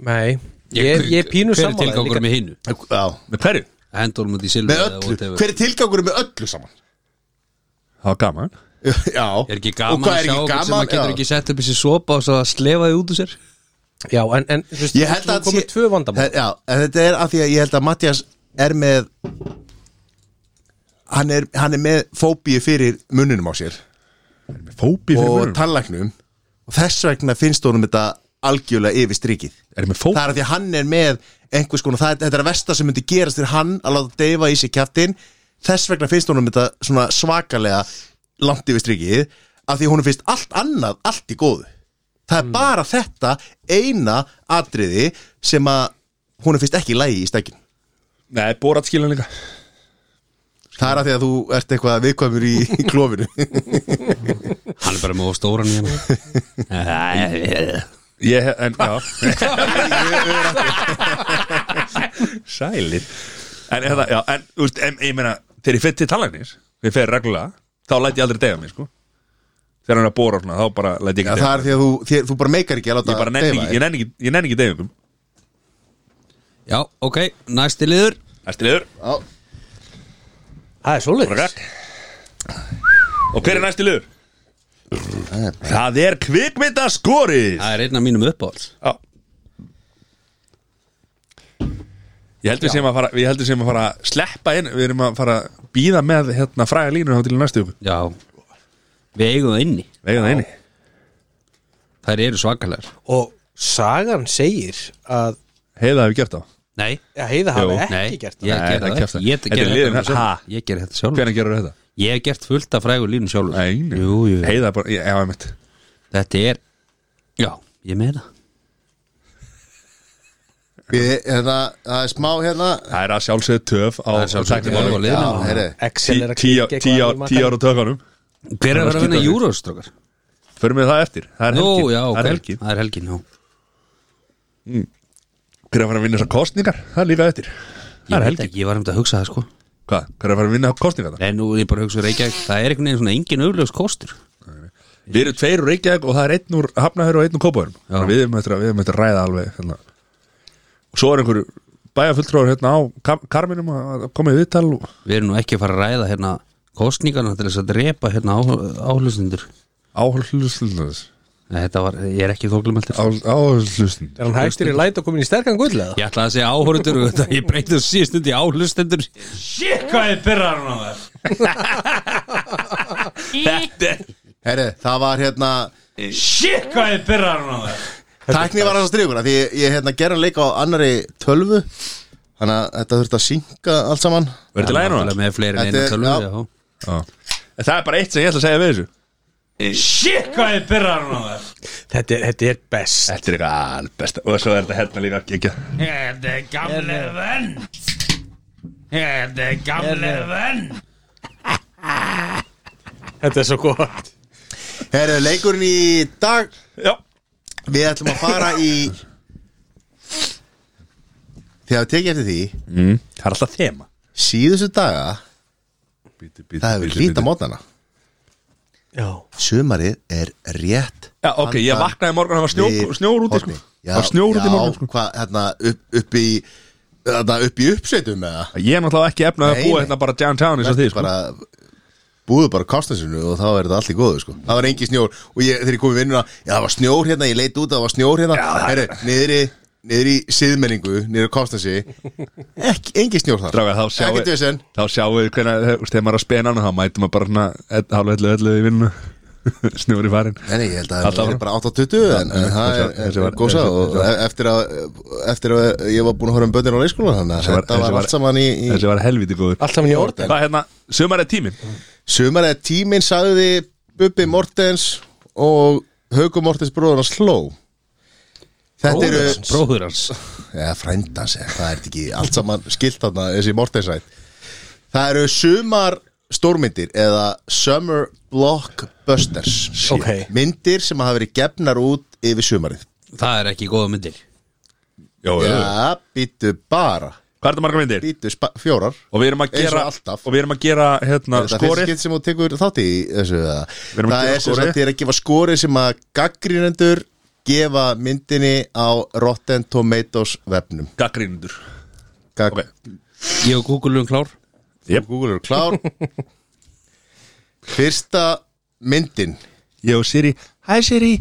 Speaker 2: nei, ég, ég er pínu
Speaker 3: Hver er
Speaker 2: sammála
Speaker 3: tilgangur
Speaker 2: líka.
Speaker 3: með hinnu?
Speaker 4: Já,
Speaker 1: með hverju?
Speaker 3: Hendólum út í silru
Speaker 4: með
Speaker 3: eða
Speaker 4: öllu,
Speaker 3: whatever.
Speaker 4: hver er tilgangur með öllu saman?
Speaker 1: það var gaman
Speaker 4: Já,
Speaker 3: Er ekki
Speaker 4: Og
Speaker 3: gaman
Speaker 4: hvað
Speaker 3: að sjá okkur sem að getur
Speaker 4: Já.
Speaker 3: ekki sett upp í sér sopa og svo að slefa þið út úr sér?
Speaker 2: já, en, en þú veist,
Speaker 4: Ég held
Speaker 2: þú
Speaker 4: að
Speaker 2: komið
Speaker 4: sé-
Speaker 2: tvö vandamál
Speaker 4: Það- Já, en þetta er af því að ég held að Mattias er með hann er, hann er með fóbíu fyrir munninum á sér
Speaker 1: með fóbi fyrir
Speaker 4: og
Speaker 1: munum
Speaker 4: tannlæknum og þess vegna finnst honum þetta algjörlega yfir strikið
Speaker 1: er með fóbi
Speaker 4: það er af því að hann er með einhvers konar, það, er- þetta er að versta sem myndi gerast fyrir hann að láta deyfa í sig kjaftin þess vegna finnst honum þetta svona svakalega langt yfir strikið af því að honum finnst allt annað, allt í góðu það er
Speaker 1: Mm.
Speaker 4: bara þetta eina atriði sem að honum finnst ekki í lægi í stekkin
Speaker 1: nei, borat skilin líka
Speaker 4: það er af því að þú ert eitthvað viðkvæmur í, í klófinu
Speaker 3: Hann er bara með stóran hérna
Speaker 1: ég, hef- en, já sælir en, hérna, já, en, úst, en ég meina þegar ég fyrir til tallagnis ég fer reglulega þá læt ég aldrei dega mig sko þegar hann er að bora og svona þá bara læt ég ekki
Speaker 4: það
Speaker 1: dega
Speaker 4: er af því að þú, þér, þú bara meikar ekki að
Speaker 1: mig.
Speaker 4: láta
Speaker 1: ég bara nenni ekki
Speaker 4: deyfa þig.
Speaker 1: ég nenni ekki, ég nenni ekki degum
Speaker 3: Já, ok, næsti liður
Speaker 1: næsti liður
Speaker 4: Já.
Speaker 2: það er svolítið
Speaker 1: Rakk. og hver er næsti liður? Það er kvikmyndaskorið
Speaker 3: Það er einn af mínum uppáhalds
Speaker 1: Já Ég heldur sem að fara Við heldur sem að fara að sleppa inn Við erum að fara að býða með hérna fræga línur þá til í næstu ykkur
Speaker 3: Já Við eigum það inni
Speaker 1: Vegið það inni
Speaker 3: Þær eru svakalegar
Speaker 2: og sagan segir að
Speaker 1: Heiða hefur gert á
Speaker 3: Nei,
Speaker 2: að heiða hafi
Speaker 1: Jú,
Speaker 2: ekki
Speaker 3: nei,
Speaker 2: gert það
Speaker 3: ég
Speaker 1: Nei,
Speaker 3: ger
Speaker 1: það
Speaker 3: það
Speaker 1: kjafta.
Speaker 3: ekki. Ég
Speaker 1: Þetta
Speaker 3: ger
Speaker 1: er
Speaker 3: þetta
Speaker 1: liðin-
Speaker 3: alveg
Speaker 1: ha?
Speaker 3: sjálfur. Ég ger þetta sjálf
Speaker 1: Hvernig gerur þetta?
Speaker 3: Ég hef gert fullt af frægur línum sjálfur
Speaker 1: Nei,
Speaker 3: jú, jú.
Speaker 1: Heiða bara Já, ég mitt
Speaker 3: Þetta er Já, ég meina
Speaker 4: Við, hérna, það er smá hérna
Speaker 1: Það er að sjálfsögðu töf á
Speaker 3: Það er sjálfsögðu töf á
Speaker 1: tæknimálum.
Speaker 3: liðinu.
Speaker 4: Já, heyrðu.
Speaker 2: Excel er að
Speaker 1: Tí-
Speaker 2: klikka eitthvað
Speaker 1: tíu
Speaker 2: í
Speaker 1: á-
Speaker 2: makann.
Speaker 1: Tíu ára tökanum
Speaker 3: Hver er að vera að vinna
Speaker 1: skipta-
Speaker 3: júróstrókar?
Speaker 1: Förum við það eftir, það er
Speaker 3: Nú,
Speaker 1: helgin
Speaker 3: já,
Speaker 1: Það
Speaker 3: ok.
Speaker 1: er helgin
Speaker 3: Það er helgin, já
Speaker 1: Hver er að fara að vinna þessar kostningar, það er líka eftir Það
Speaker 3: Ég
Speaker 1: er
Speaker 3: veit
Speaker 1: helgin
Speaker 3: ekki, ég var um þetta að hugsa það sko
Speaker 1: Hvað, hver er að fara að vinna kostningar það?
Speaker 3: Nei, nú er ég bara að hugsa Reykjavík Það er einhvern veginn svona engin augljós kostur
Speaker 1: Við erum tveir úr Reykjavík og það er einn úr Hafnahöru og einn úr
Speaker 3: Já.
Speaker 1: Kópaðurum Við erum eftir að, við erum eftir að ræða alveg hérna. Og svo er einhver bæjarfulltróður hérna á Kar- Karminum að að koma í viðtal og
Speaker 3: Við erum nú ekki að fara að ræða hérna kostningarna til þess að drepa hérna áhlustundur
Speaker 1: áhlustundas
Speaker 3: Nei, þetta var, ég er ekki þóklum heldur
Speaker 1: Áhlustundas
Speaker 2: Er hann hægtur í læt og komin í sterkan gull eða?
Speaker 3: Ég ætlaði að segja áhörundur Ég breyti þessu síðstund í áhlustundur Shit, hvað ég byrjar hún á það Þetta er
Speaker 4: Herri, það var hérna
Speaker 3: Shit, hvað ég byrjar hún á það
Speaker 4: Tækni var að strikuna Því ég, ég hérna gerði leik á annari tölvu Þannig að þetta þurfti að synka allt saman
Speaker 1: Verður til lægin á það?
Speaker 3: Með fleiri en
Speaker 4: Þetta
Speaker 3: einu
Speaker 4: er- já.
Speaker 3: tölvu
Speaker 1: Já. En Það er bara eitt sem ég ætla að segja við þessu
Speaker 3: Shit, hvað ég byrjar hún á það
Speaker 2: Þetta er, þetta er best
Speaker 1: Þetta er eitthvað albesta og svo er þetta hérna líka ekki
Speaker 5: Þetta er gamle venn Þetta er gamle venn
Speaker 2: Þetta er svo gott
Speaker 4: Herri, leikurinn í dag
Speaker 1: Já,
Speaker 4: Við ætlum að fara í Þið hafið tekið eftir því
Speaker 1: mm. það er alltaf þema
Speaker 4: Síðustu daga
Speaker 1: bíti, bíti,
Speaker 4: Það hefur hlýta mótana
Speaker 2: Já
Speaker 4: Sumarið er rétt
Speaker 1: Já, ok, ég
Speaker 4: Handan
Speaker 1: vaknaði í morgun það var snjó,
Speaker 4: við
Speaker 1: snjór úti sko.
Speaker 4: hornið. Já,
Speaker 1: Það var snjór úti í morgun sko.
Speaker 4: Já, hvað, hérna, upp, upp í Þarna upp í uppsveitum eða
Speaker 1: Ég er náttúrulega ekki efnað að
Speaker 4: Nei,
Speaker 1: búa
Speaker 4: nei.
Speaker 1: hérna bara downtown eins og því sko.
Speaker 4: bara, Búðu bara kostnarsinu og þá er þetta allt í góðu sko Það var engin snjór og ég, þegar ég kom í vinnuna Já, það var snjór hérna, ég leit út, það var snjór hérna Herri, niðri, niðri í siðmenningu, niðri á kostnarsi Ekki, engin snjór þar
Speaker 1: Draga, þá sjáum
Speaker 4: Ekkert vesen.
Speaker 1: við Þá sjáum við hvernig, þú veist, þegar maður er að spena hann þá mætum maður bara svona edd- hálf ellu ellu í vinnu snjór í farin
Speaker 4: Nei, nei, ég held að
Speaker 1: Alltaf áfram.
Speaker 4: það er bara 8.20 en, en
Speaker 1: þessi-
Speaker 4: það er, er,
Speaker 1: þessi var-
Speaker 4: er gósa
Speaker 1: þessi-
Speaker 4: og
Speaker 1: þessi var-
Speaker 4: eftir að, eftir að ég var búin að horfa um bönnir á leikskóla þannig að
Speaker 1: var-
Speaker 4: þetta
Speaker 1: þessi
Speaker 4: var
Speaker 1: var-
Speaker 4: allt saman í, í
Speaker 1: Þessi var helviti góður
Speaker 2: Allt saman í orð
Speaker 1: Hvað hérna, sumar er tímin
Speaker 4: Sumar eða tíminn sagði Bubbi Mortens og Hauku Mortens bróður hans hló Þetta eru
Speaker 3: Bróður hans
Speaker 4: ja, Frændans, eða hvað er þetta ekki Allt saman skilt þarna, þessi Mortensætt Það eru sumar stórmyndir eða Summer Blockbusters
Speaker 2: Ok.
Speaker 4: Myndir sem hafa verið gefnar út yfir sumarið
Speaker 3: Það er ekki góða myndir
Speaker 1: Jó,
Speaker 4: Já,
Speaker 1: ja.
Speaker 4: býttu bara
Speaker 1: Hvað er þetta marga myndir?
Speaker 4: Býttu spa- fjórar
Speaker 1: Og við erum að
Speaker 4: Eins og
Speaker 1: gera,
Speaker 4: alltaf.
Speaker 1: og við erum að gera hérna,
Speaker 4: Er þetta fyrsta
Speaker 1: skorið
Speaker 4: skipt sem þú tekur þátt í þessu eða?
Speaker 1: erum að
Speaker 4: það
Speaker 1: gefa
Speaker 4: er sem
Speaker 1: skorið.
Speaker 4: sagt ég er að gefa skori sem að gaggrínendur gefa myndinni á Rotten Tomatoes vefnum
Speaker 1: Gaggrínundur
Speaker 4: Gag
Speaker 1: Ok.
Speaker 3: Ég og Google um klár
Speaker 1: yep.
Speaker 4: Google eru klár fyrsta myndin
Speaker 1: Ég og Siri, hæ Siri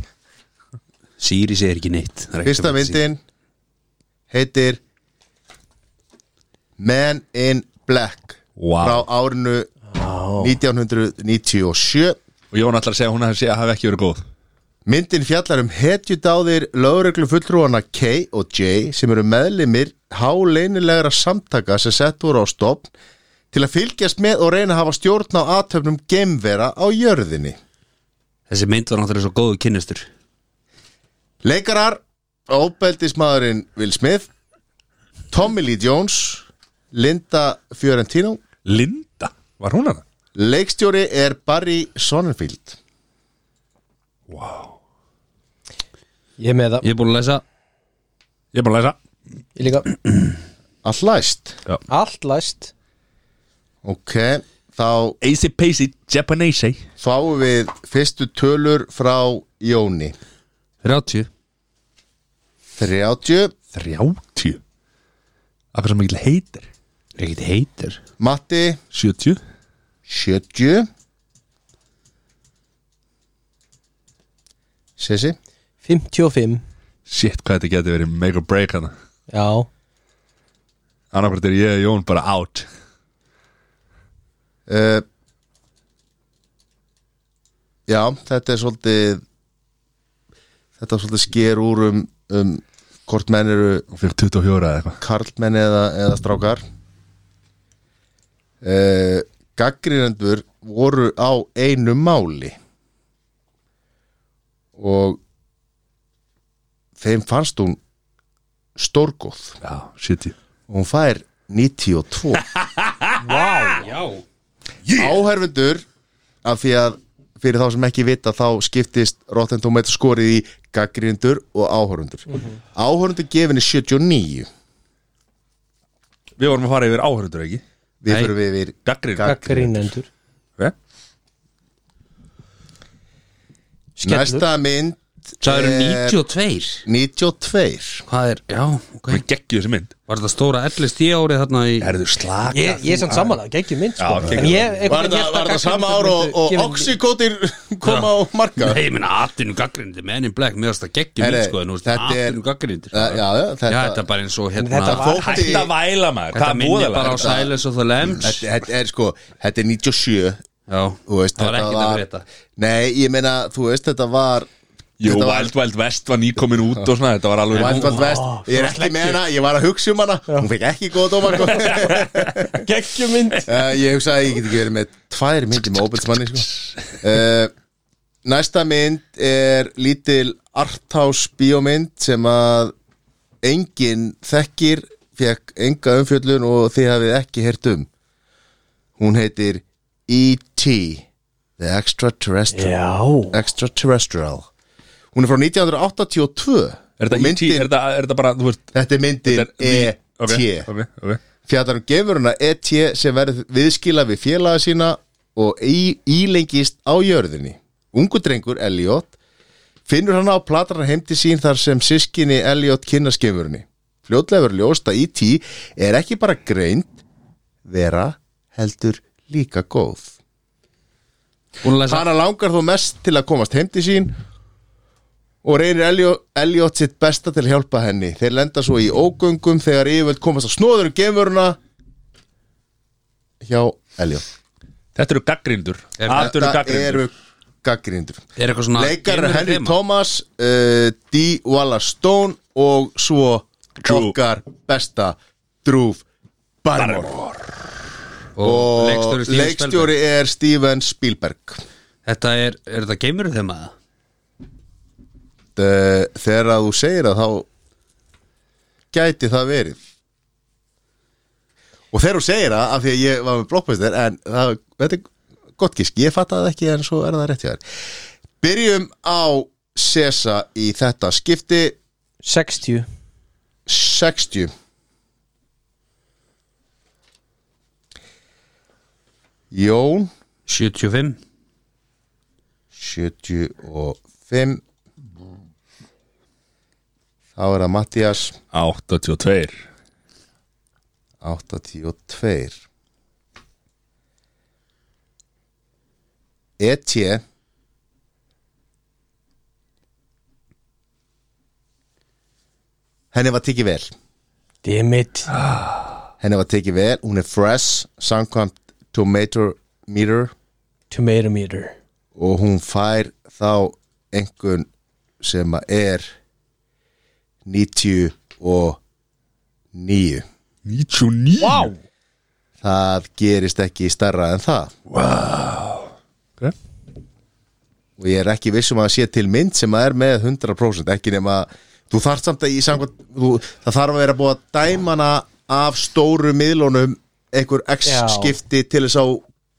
Speaker 3: Siri segir ekki neitt Það er ekki
Speaker 4: fyrsta
Speaker 3: sem að
Speaker 4: myndin heitir Man in Black
Speaker 1: Vá.
Speaker 4: frá árinu 1997
Speaker 1: Og Jón ætlar að segja að hún að segja að hafi ekki verið góð
Speaker 4: Myndin fjallar um hetjudáðir lögreglu fulltrúana K og J sem eru meðlimir háleinilegra samtaka sem sett voru á stofn til að fylgjast með og reyna að hafa stjórn á aðtöfnum geimvera á jörðinni.
Speaker 3: Þessi mynd var náttúrulega svo góðu kynnistur
Speaker 4: Leikarar, óbeldismadurinn Will Smith, Tommy Lee Jones, Linda Fiorentino,
Speaker 1: Linda, var hún að það?
Speaker 4: leikstjóri er Barry Sonnenfield.
Speaker 2: Ég er með það,
Speaker 3: Ég er búin að lesa
Speaker 1: Ég er bara að læsa
Speaker 2: ég líka
Speaker 4: Allt læst.
Speaker 2: Allt læst
Speaker 4: Ok, þá
Speaker 1: Easy Pacey Japanese eh?
Speaker 4: fáum við fyrstu tölur frá Jóni.
Speaker 3: 30
Speaker 4: 30
Speaker 1: 30 Akkur sem ekki heitir
Speaker 3: Ekkert heitir
Speaker 4: Matti
Speaker 1: 70
Speaker 4: 70 Sessi
Speaker 2: 55
Speaker 1: Shit, hvað þetta getur verið make or break hana
Speaker 2: Já
Speaker 1: Annarkvært er ég og Jón bara out
Speaker 4: uh, Já, þetta er svolítið Þetta er svolítið sker úr um, um hvort menn eru
Speaker 1: Hún fyrir 24 eða eitthvað
Speaker 4: karlmenn eða, eða strákar uh, Gaggrinendur voru á einu máli og þeim fannst hún stórgóð
Speaker 1: Já, shit ég
Speaker 4: og hún fær 92
Speaker 3: Já,
Speaker 4: áhærfundur af því að fyrir þá sem ekki vita þá skiptist Rotten Tomatoes skorið í gaggrindur og áhörundur mm
Speaker 3: Mhm.
Speaker 4: -hmm. áhörundur gefinni 79
Speaker 1: Við vorum að fara yfir áhörður ekki
Speaker 4: við
Speaker 3: Nei.
Speaker 4: fyrir við yfir
Speaker 1: Gaggrind
Speaker 4: Gag-
Speaker 2: Gaggrínendur
Speaker 1: Ok.
Speaker 2: Skellur
Speaker 4: næsta mynd
Speaker 3: það eru
Speaker 4: er
Speaker 3: 92
Speaker 4: 92
Speaker 3: Hvað er, já, ok
Speaker 1: Við geggjum þessi mynd
Speaker 3: Var þetta stóra ellist ég árið þarna í
Speaker 1: Erðu slaka
Speaker 2: Ég, ég er samt samanlega, geggjum mynd sko.
Speaker 1: Já, geggjum.
Speaker 2: En ég,
Speaker 4: var
Speaker 2: einhvern veginn hélt
Speaker 4: það,
Speaker 2: að
Speaker 4: var það sama
Speaker 2: gagnrýnendur
Speaker 4: ár og,
Speaker 2: myndu
Speaker 4: og
Speaker 2: gefa-
Speaker 4: oxykotir kom á marka
Speaker 3: Nei, ég minna atvinnu gaggrindi menn in black, mér varst að geggjum
Speaker 4: Herri,
Speaker 3: mynd sko en þú veist
Speaker 4: þetta er-
Speaker 3: atvinnu gaggrindi
Speaker 4: Já, já, þetta-
Speaker 3: já, þetta er bara eins og
Speaker 2: En
Speaker 3: hérna
Speaker 2: þetta var-
Speaker 4: Þótti-
Speaker 1: Hætt að væla maður
Speaker 3: Þetta
Speaker 1: Það er
Speaker 3: minni
Speaker 1: búðalega
Speaker 3: bara á Silence of the Lambs
Speaker 4: þetta, þetta er sko þetta er 97
Speaker 3: Já,
Speaker 4: þú veist,
Speaker 3: það var
Speaker 4: þetta
Speaker 3: ekkert að breyta
Speaker 4: nei ég meina þú veist þetta var
Speaker 1: Jú,
Speaker 4: þetta var-
Speaker 1: Wild Wild West var nýkomin út og svona Þetta var alveg
Speaker 4: Wild Wild West, ég er ekki með hana, ég var að hugsa um hana hún fekk ekki góða dóma sko.
Speaker 2: Geggjum mynd
Speaker 4: uh, ég hugsaði að ég geti ekki verið með tvær myndir með óbælsmanni sko. uh, næsta mynd er lítil arthouse bíómynd sem að engin þekkir fekk enga umfjöllun og þið hafið ekki heyrt um hún heitir E.T. The Extraterrestrial
Speaker 2: Já
Speaker 4: Extraterrestrial hún er frá 1982
Speaker 1: Er
Speaker 4: Og
Speaker 1: þetta ET? Er þetta- er þetta bara, þú veist
Speaker 4: Þetta er myndin
Speaker 1: þetta er-
Speaker 4: E.T.
Speaker 1: Ok, ok, ok
Speaker 4: Fjallar um gefuruna E.T. sem verður viðskila við félaga sína og í, ílengist á jörðinni. Ungu drengur Elliot finnur hann á platan heim til sín þar sem sískinni Elliot kynnast gefurunni. Fljótlega verður ljóst að E.T. er ekki bara greind vera heldur líka góð.
Speaker 3: Búin að lesa
Speaker 4: Hanna langar þó mest til að komast heim til sín og reynir Elliot, Elliot sitt besta til að hjálpa henni. Þeir lenda svo í ógöngum þegar yfirvöld komast á snóður um geimuruna hjá Elliot.
Speaker 1: Þetta eru gaggrindur
Speaker 3: Er-
Speaker 1: Allt eru
Speaker 4: Þetta
Speaker 1: gaggrindur
Speaker 4: eru gaggrindur.
Speaker 3: Er eitthvað svona
Speaker 4: Leikar
Speaker 3: geimur
Speaker 4: Henry
Speaker 3: þema?
Speaker 4: Thomas, uh, D. Wallace Stone og svo
Speaker 1: Drew.
Speaker 4: okkar besta Drew Barrymore.
Speaker 3: og leikstjóri
Speaker 4: Og
Speaker 3: Steven Spielberg.
Speaker 4: leikstjóri er Steven Spielberg.
Speaker 3: Þetta er, er þetta geimur þeim að
Speaker 4: Eh, þegar að þú segir að þá gæti það verið og þegar þú segir það af því að ég var með blokkbæstir en það, þetta er gott gísk ég fatt að það ekki en svo er það rétt hjá þér byrjum á Sesa í þetta skipti
Speaker 2: 60
Speaker 4: 60 Jón
Speaker 3: 75
Speaker 4: 75 þá er það Mattias
Speaker 1: 82
Speaker 4: 82 E Etje Henni var tekið vel
Speaker 2: Dimmit
Speaker 4: Henni var tekið vel, hún er fresh samkvæmt tomato meter
Speaker 2: Tomato meter
Speaker 4: og hún fær þá einhvern sem að er 99
Speaker 1: 99 wow.
Speaker 4: það gerist ekki stærra en það
Speaker 1: okay.
Speaker 4: og ég er ekki vissum að sé til mynd sem að er með 100% ekki nema þú þarft samt að í samkvæmt þú, það þarf að vera búið að dæma hana af stóru miðlunum einhver x
Speaker 2: Já.
Speaker 4: skipti til þess að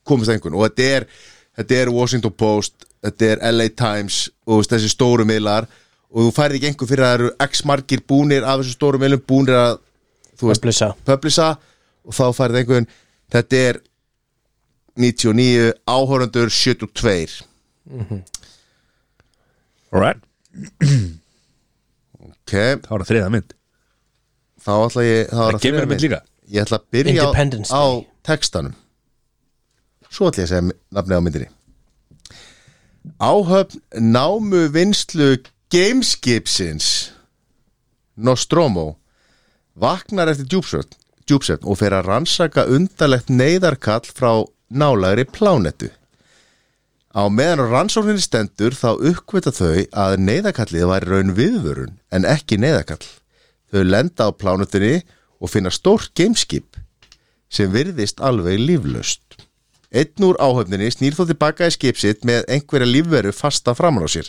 Speaker 4: komast einhvern og þetta er, þetta er Washington Post þetta er LA Times og þú veist, þessi stóru miðlar og þú færði ekki einhver fyrir að það eru x margir búnir af þessu stóru miðlum búnir að þú veist,
Speaker 2: Blessa
Speaker 4: publisa og þá færði einhvern þetta er 99 áhörundur 72
Speaker 1: Alright,
Speaker 4: ok
Speaker 1: þá er það þriða mynd
Speaker 4: þá ætla ég þá er
Speaker 1: Það kemur
Speaker 4: þriðja
Speaker 1: mynd líka
Speaker 4: ég ætla að byrja á,
Speaker 2: Independence
Speaker 4: á
Speaker 2: Day.
Speaker 4: textanum svo ætla ég að segja mi- nafnið á myndinni áhöfn námu vinslu gameskipsins Nostromo vaknar eftir djúpsvöld djúpsvöld og fer að rannsaka undarlegt neyðarkall frá nálagri plánetu Á meðan á rannsókninni stendur þá uppkvita þau að neyðakallið væri raun viðvörun en ekki neyðakall. Þau lenda á plánutinni og finna stórt gameskip sem virðist alveg líflaust. Einn úr áhöfninni snýr þó tilbaka í skip sitt með einhverja lífveru fasta framan á sér.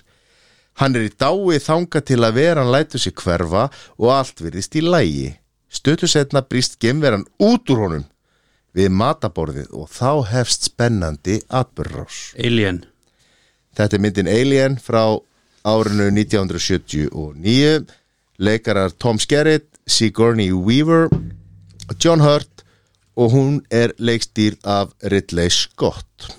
Speaker 4: Hann er í dái þanga til að veran lætur sig hverfa og allt virðist í lægi. Stötu setna brýst gemveran út úr honum við mataborðið og þá hefst spennandi atbyrrás.
Speaker 3: Alien
Speaker 4: Þetta er myndin Alien frá árinu 1979 leikarar Tom Skerritt, Sigourney Weaver John Hurt og hún er leikstýrð af Ridley Scott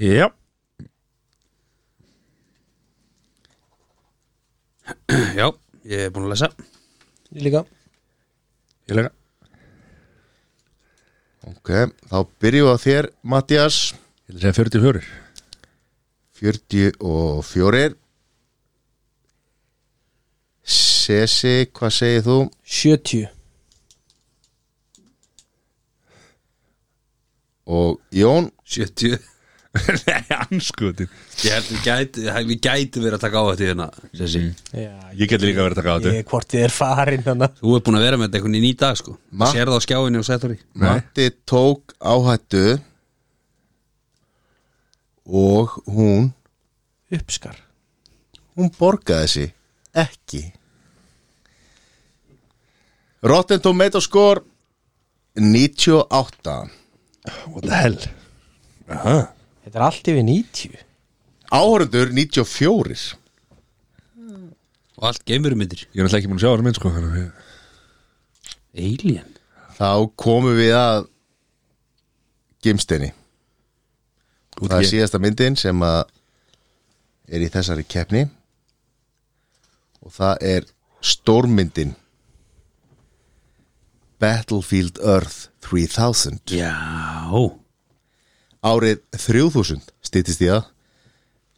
Speaker 1: Já
Speaker 3: Já, ég er búin að lesa
Speaker 2: Ég líka
Speaker 1: Ég lega
Speaker 4: Ok, þá byrjum við á þér Mattias,
Speaker 1: Ég ætla að segja 40 hörur
Speaker 4: 44 Sesi, hvað segir þú?
Speaker 2: 70
Speaker 4: Og Jón
Speaker 3: 70
Speaker 1: Nei, anskutin
Speaker 3: Ég held við gæti, við gæti verið að taka á þetta hérna Sessi
Speaker 2: Já,
Speaker 1: Ég get líka verið að taka á þetta
Speaker 2: ég hvort ég er farin hana.
Speaker 3: Þú er búin að vera með þetta einhvern í nýta sko
Speaker 4: Ma?
Speaker 3: Sér það á skjáinu og sættur í
Speaker 4: Matti tók áhættu og hún
Speaker 2: uppskar
Speaker 4: hún borgaði sig ekki Rotten Tomato score 98
Speaker 1: What the hell Aha.
Speaker 2: Þetta er allt yfir 90
Speaker 4: áhörundur 94
Speaker 3: Og allt geimurmyndir
Speaker 1: Ég er náttúrulega ekki múin að sjá það minn sko þannig að ég-
Speaker 3: Alien
Speaker 4: þá komum við að gimsteini
Speaker 1: Út
Speaker 4: það er
Speaker 1: ekki.
Speaker 4: síðasta myndin sem að er í þessari keppni og það er stórmyndin Battlefield Earth 3000
Speaker 3: Já
Speaker 4: árið 3000 stýttist í það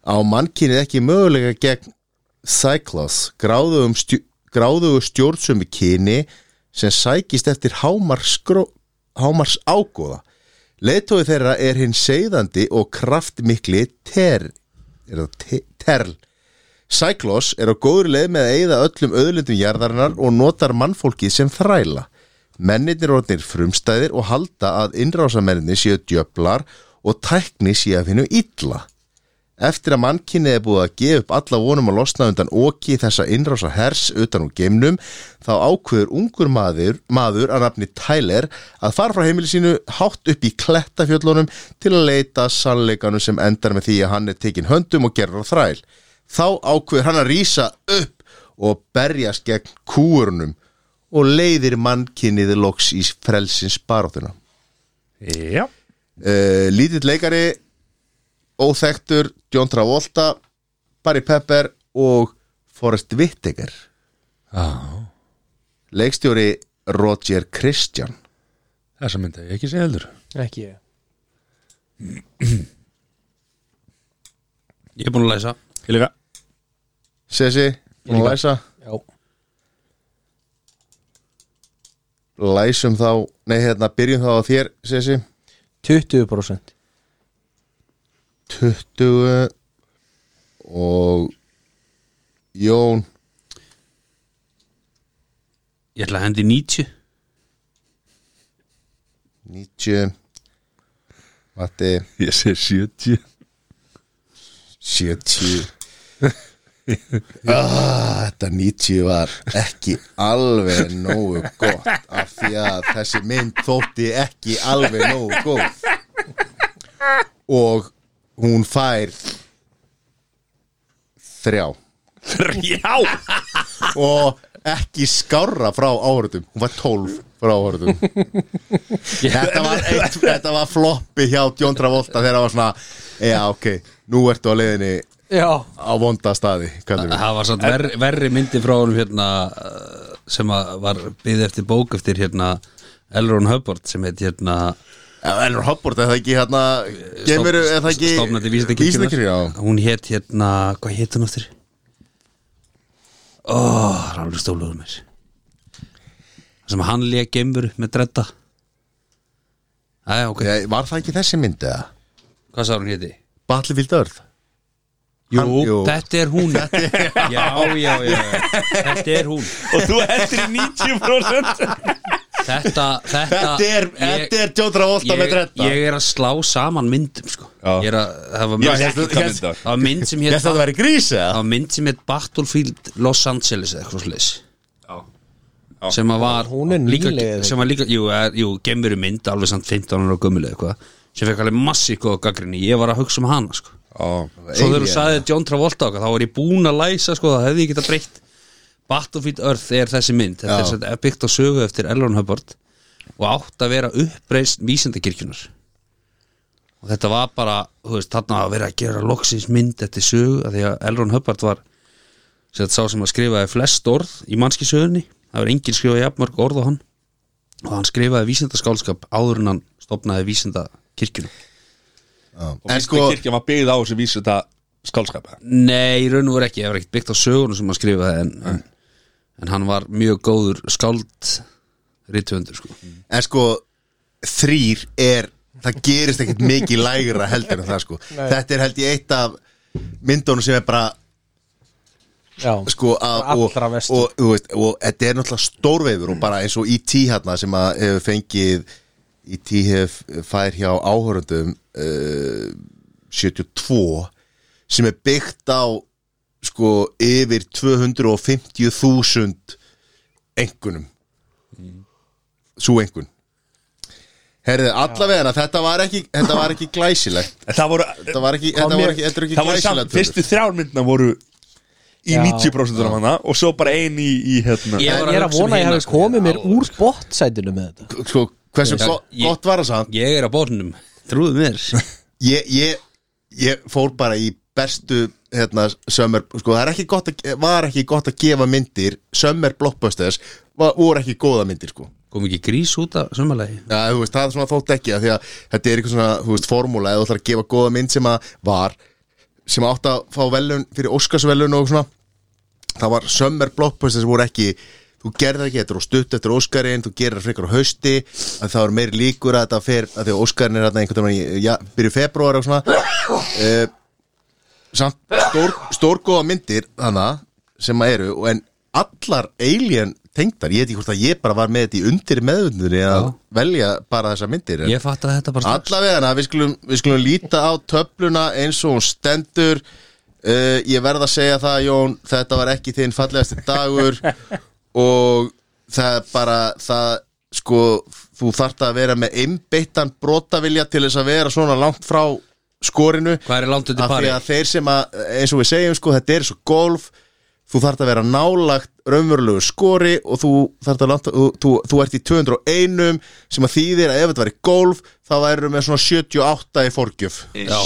Speaker 4: á mannkynið ekki mögulega gegn Cyclops, gráðugum stjó, gráðugu stjórnsömi kyni sem sækist eftir hámars, hámars ágóða leitói þeirra er hinn seiðandi og kraftmikli ter, er það te, terl Cyclops er á góður leið með að eyða öllum auðlindum jarðarinnar og notar mannfólkið sem þræla. Mennirnir orðnir frumstæðir og halda að innrásamenninni séu djöflar og tækni séu að finnum illa. Eftir að mannkynnið er búið að gefa upp alla vonum að losna undan oki þessa innrása hers utan úr geimnum, þá ákveður ungur maður, maður að nafni Tyler að fara frá heimili sínu hátt upp í klettafjöllunum til að leita að sannleikanum sem endar með því að hann er tekin höndum og gerur á þræl þá ákveður hann að rýsa upp og berjast gegn kúurnum og leiðir mannkinniði loks í frelsins baróttuna.
Speaker 1: Já
Speaker 4: Uh, lítill leikari, óþektur, John Travolta, Barry Pepper og Forrest Whitaker.
Speaker 1: Á,
Speaker 4: Leikstjóri Roger Christian.
Speaker 1: Þessa myndi ég ekki segja heldur
Speaker 2: Ekki ég
Speaker 3: Ég er búin að lesa
Speaker 1: Ég lega
Speaker 4: Sessi, búin að læsa?
Speaker 2: Já,
Speaker 4: Læsum þá, nei hérna, byrjum þá á þér, Sessi.
Speaker 2: 20%
Speaker 4: 20 og Jón
Speaker 3: Ég ætla að hendi í 90
Speaker 4: 90 Matti
Speaker 1: Ég segi 70
Speaker 4: 70 ah, Þetta 90 var ekki alveg nógu gott af því að þessi mynd þótti ekki alveg nógu góð og hún fær þrjá
Speaker 1: Já
Speaker 4: og ekki skárra frá áhörðum hún var 12 frá áhörðum þetta var, eitt, þetta var floppi hjá John Travolta þegar það var svona já ok, nú ertu á leiðinni
Speaker 2: Já,
Speaker 4: á vonda staði kallum við
Speaker 3: Það var samt verri, verri myndi frá honum hérna uh, sem að var byggð eftir bók eftir hérna Elron Hubbard sem heit hérna
Speaker 4: Elnur Hopport, er það ekki hérna gemur, er það ekki
Speaker 3: stofnandi vísindakirkjunar
Speaker 4: Vísindakirkju, já.
Speaker 3: hún hétt hérna, hvað hétt hún aftur? ó, það er alveg stóluður mér Það sem hann lék geimur með dredda aðja, ok,
Speaker 4: Já, var það ekki þessi mynd eða?
Speaker 3: hvað sá hún hétti?
Speaker 4: Battlefield Earth
Speaker 3: Jú,
Speaker 4: Hann- jú.
Speaker 3: þetta er hún já, já, já, já. þetta er hún
Speaker 1: Og þú heldur í 90%
Speaker 3: Þetta, þetta
Speaker 4: Þetta er, þetta er Jóndra Volta með
Speaker 3: ég,
Speaker 4: þetta
Speaker 3: ég er að slá saman myndum sko.
Speaker 4: Já.
Speaker 3: Ég er að, það var
Speaker 4: Já, hérna- ég-
Speaker 3: mynd,
Speaker 4: ég-
Speaker 3: það var mynd sem
Speaker 4: Ég
Speaker 3: hér
Speaker 4: ætti að það væri grís eða?
Speaker 3: það var mynd sem hér Battlefield Los Angeles eða eitthvað slis sem að var
Speaker 2: Hún er nýleg,
Speaker 3: líka,
Speaker 2: eða
Speaker 3: sem var líka, jú, er, jú gemur mynd alveg samt 15 ára gömul eða eitthvað sem fekk alveg massi góða gaggrinni ég var að hugsa um hana sko. svo þegar þú sagði John Travolta okkar, þá var ég búin að læsa sko, það hefði ég geta breytt Battlefield Earth er þessi mynd þetta
Speaker 4: Já.
Speaker 3: er sem sagt byggt á sögu eftir Elron Hubbard og átt að vera uppreist vísindakirkjunar og þetta var bara, þú veist, þarna að vera að gera loksins mynd eftir sögu af því að Elron Hubbard var sem þetta sá sem að skrifaði flest orð í mannski sögunni það var enginn skrifaði jafnmörg orð á hann og hann skrifaði vísindaskálskap áður en hann stopnaði vísindakirkjuna
Speaker 1: og
Speaker 4: En
Speaker 1: fyrsta
Speaker 4: sko,
Speaker 1: kirkja var byggð á sem vísa þetta skálskapa
Speaker 3: Nei, í raun og veru ekki, það var ekkert byggt á sögunum sem hann skrifaði en, en, en hann var mjög góður skáld rítvöndur sko
Speaker 2: Mm.
Speaker 4: en sko Þrýr er Það gerist ekkert mikið lægra heldur en það sko Þetta er held ég eitt af myndunum sem er bara
Speaker 2: já,
Speaker 4: sko að,
Speaker 2: Bara
Speaker 4: og,
Speaker 2: allra
Speaker 4: og,
Speaker 2: vestur.
Speaker 4: þú veist, og þetta er náttúrulega stórveifur og bara eins og IT hérna sem að hefur fengið IT hefur fær hjá áhörundum uh, 72 sem er byggt á sko yfir 250.000 engunum svo engun Herðu, allavega þetta var ekki, þetta var ekki glæsilegt
Speaker 1: En það voru,
Speaker 4: Þetta var ekki, þetta var ekki, þetta er ekki
Speaker 1: það voru samt,
Speaker 4: glæsilegt
Speaker 1: fyrstu þrjár myndina voru í
Speaker 2: Já.
Speaker 1: 90% af hana og svo bara ein í, í hérna
Speaker 3: Ég var
Speaker 2: Ég er að
Speaker 3: hugsa um
Speaker 2: vona að ég
Speaker 3: hina,
Speaker 2: hafi
Speaker 3: sko,
Speaker 2: komið mér
Speaker 3: alveg,
Speaker 2: úr
Speaker 3: sko.
Speaker 2: bottsætinu með þetta
Speaker 4: Sko, hversu
Speaker 3: Já,
Speaker 4: gott,
Speaker 3: ég-
Speaker 4: gott var það samt
Speaker 3: Ég er að bórnum, trúðu mér
Speaker 4: ég, ég, ég fór bara í bestu hérna, sömmer, sko það er ekki gott að, var ekki gott að gefa myndir sömmer blockbusters var, voru ekki góða myndir sko
Speaker 3: Kom ekki grís út af sömmalagi
Speaker 4: ja, veist, það er svona þótt ekki að því að þetta er eitthvað svona þú veist, formúla eða þú ætlar að gefa góða mynd sem að var sem átt að fá velun fyrir Óskarsvelun og svona það var sömmer blockbusters voru ekki þú gerðar ekki þetta og stutt eftir Óskarinn þú gerir það frekar á hausti að það er meiri líkur að þetta fer að því að Óskarinn er þarna einhvern veginn í- ja, byrju februar og svona uh, samt stór, stórgóða myndir þannig sem að eru og en allar alien tengdar, ég veit ekki hvort að ég bara var með þetta í undir meðvöndunni að
Speaker 3: Já.
Speaker 4: velja bara þessa myndir en
Speaker 3: Ég fatt að þetta bara
Speaker 4: allavega við skulum, við skulum líta á töfluna eins og hún stendur uh, ég verð að segja það Jón þetta var ekki þinn fallegasti dagur og það er bara það sko þú þart að vera með einbeittan brotavilja til þess að vera svona langt frá skorinu
Speaker 3: Hvað er langt undir
Speaker 4: af því
Speaker 3: pari?
Speaker 4: að þeir sem að eins og við segjum sko, þetta er svo golf þú þarft að vera nálagt raunverulegu skori og þú þarft að landa þú, þú, þú ert í 201 sem að þýðir að ef þetta væri golf þá væri með svona 78 í forgjöf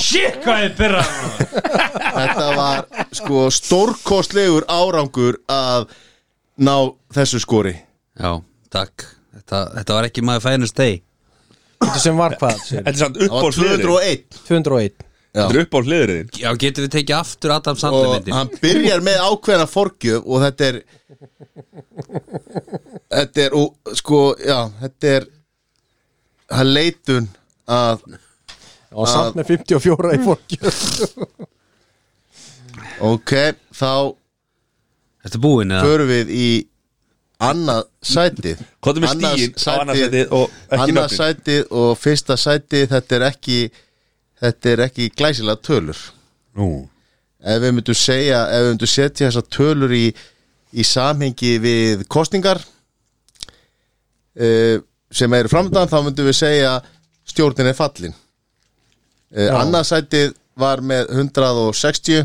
Speaker 5: Shit, hvað ég byrra
Speaker 4: þetta var sko stórkostlegur árangur að ná þessu skori
Speaker 3: Já, takk Þetta, þetta var ekki maður fænust deg
Speaker 2: Þetta sem var hvað, segir?
Speaker 1: Þetta er samt
Speaker 4: það var
Speaker 1: uppáhalds hliðurinn
Speaker 4: 201
Speaker 2: 201
Speaker 1: Þetta er uppáhalds hliðurinn
Speaker 3: Já, getum við tekið aftur Adam Sandler
Speaker 4: og
Speaker 3: myndin
Speaker 4: hann byrjar með ákveðna forgjöf og þetta er þetta er og, sko, já, þetta er hann leitun að
Speaker 2: og samt með 54 í fólkjörn
Speaker 4: ok, þá
Speaker 3: Þetta er búin eða?
Speaker 4: förum við í annað sætið
Speaker 1: Hvað er með stíin á annarsætið og ekki
Speaker 4: annað
Speaker 1: nöfnin?
Speaker 4: sætið og fyrsta sætið þetta er ekki þetta er ekki glæsilega tölur
Speaker 1: Nú,
Speaker 4: ef við myndum segja, ef við myndum setja þessar tölur í, í samhengi við kostningar uh, sem eru framdann þá myndum við segja stjórnin er fallin uh, annað sætið var með 160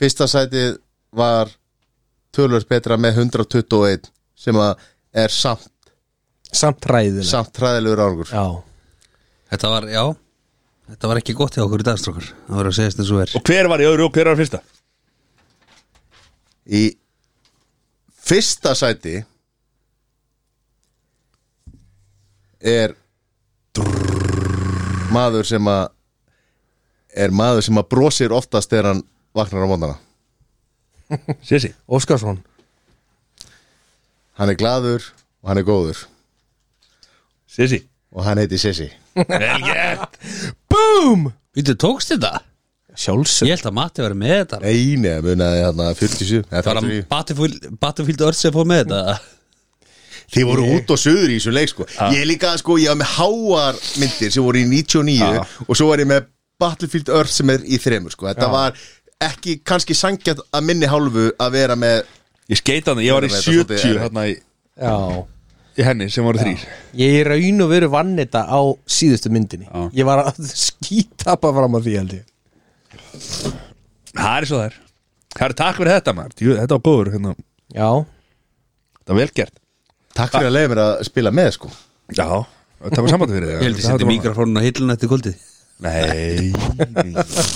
Speaker 4: fyrsta sætið var tölur betra með 121 sem að er samt,
Speaker 2: samt ræðilega
Speaker 4: samt træðilegur árgur
Speaker 2: já,
Speaker 3: Þetta var, já Þetta var ekki gott hjá okkur í dagstrókar Það voru að segja þetta svo er
Speaker 1: og hver var í öðru og hver var í fyrsta?
Speaker 4: í fyrsta sæti er maður sem að er maður sem að brosir oftast þegar hann vaknar á mótana
Speaker 1: Sissi
Speaker 2: Óskarsson
Speaker 4: hann er gladur og hann er góður
Speaker 1: Sissi
Speaker 4: og hann heiti Sissi
Speaker 1: Vel gert
Speaker 2: BOOM
Speaker 3: Vítu, tókst þetta?
Speaker 2: sjálfsög
Speaker 3: Ég held að Matti var með þetta
Speaker 4: eini að munaði hann að 47 eða
Speaker 3: Það var
Speaker 4: 49.
Speaker 3: að Battlefield, Battlefield Earth sem fór með þetta
Speaker 4: Þið voru út og söður í þessum leik sko Ég líka sko, ég var með háar myndir sem voru í 99
Speaker 1: Ja.
Speaker 4: og svo var ég með Battlefield Earth sem er í þremur sko Þetta var ekki kannski sangjað að minni hálfu að vera með
Speaker 1: Ég skeita hann, ég var í
Speaker 4: Ég veit að
Speaker 1: 70
Speaker 4: svolítið er-
Speaker 1: hérna í,
Speaker 2: Já
Speaker 1: í henni sem voru þrýr
Speaker 2: Ég er raun og veru vann þetta á síðustu myndinni Ég var að skítapa fram að því held ég
Speaker 1: Það er svo þær Það er takk fyrir þetta maður, Jú, þetta var góður hérna.
Speaker 2: Já,
Speaker 1: Þetta var vel gert
Speaker 4: Takk fyrir að leiða mér að spila með sko
Speaker 1: Já, það var sambandi fyrir þig
Speaker 3: Ég held ég seti mikrofónun á hillun eftir kvöldið
Speaker 1: Nei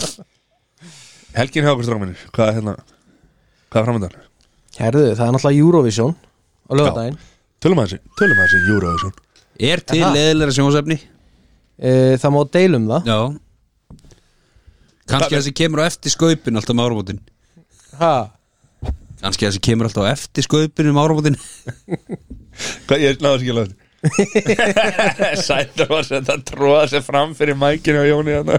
Speaker 1: Helgin hjá okkur stráminir Hvað er hérna Hvað er framöndan?
Speaker 2: herðu, það er náttúrulega Eurovision á lögadaginn
Speaker 1: Tölum að þessi Tölum að þessi Eurovision
Speaker 3: Er til
Speaker 2: Aha.
Speaker 3: leðilega sjónsefni?
Speaker 2: e, Það má deilum það
Speaker 3: Já Kannski það sem kemur á eftir skaupin alltaf með áramótin
Speaker 2: ha,
Speaker 3: Kannski það sem kemur alltaf á eftir skaupin um áramótin
Speaker 1: Hvað ég náðu ekki að lögðu Sættur var sem þetta tróða sér fram fyrir mækinu og Jóni hérna.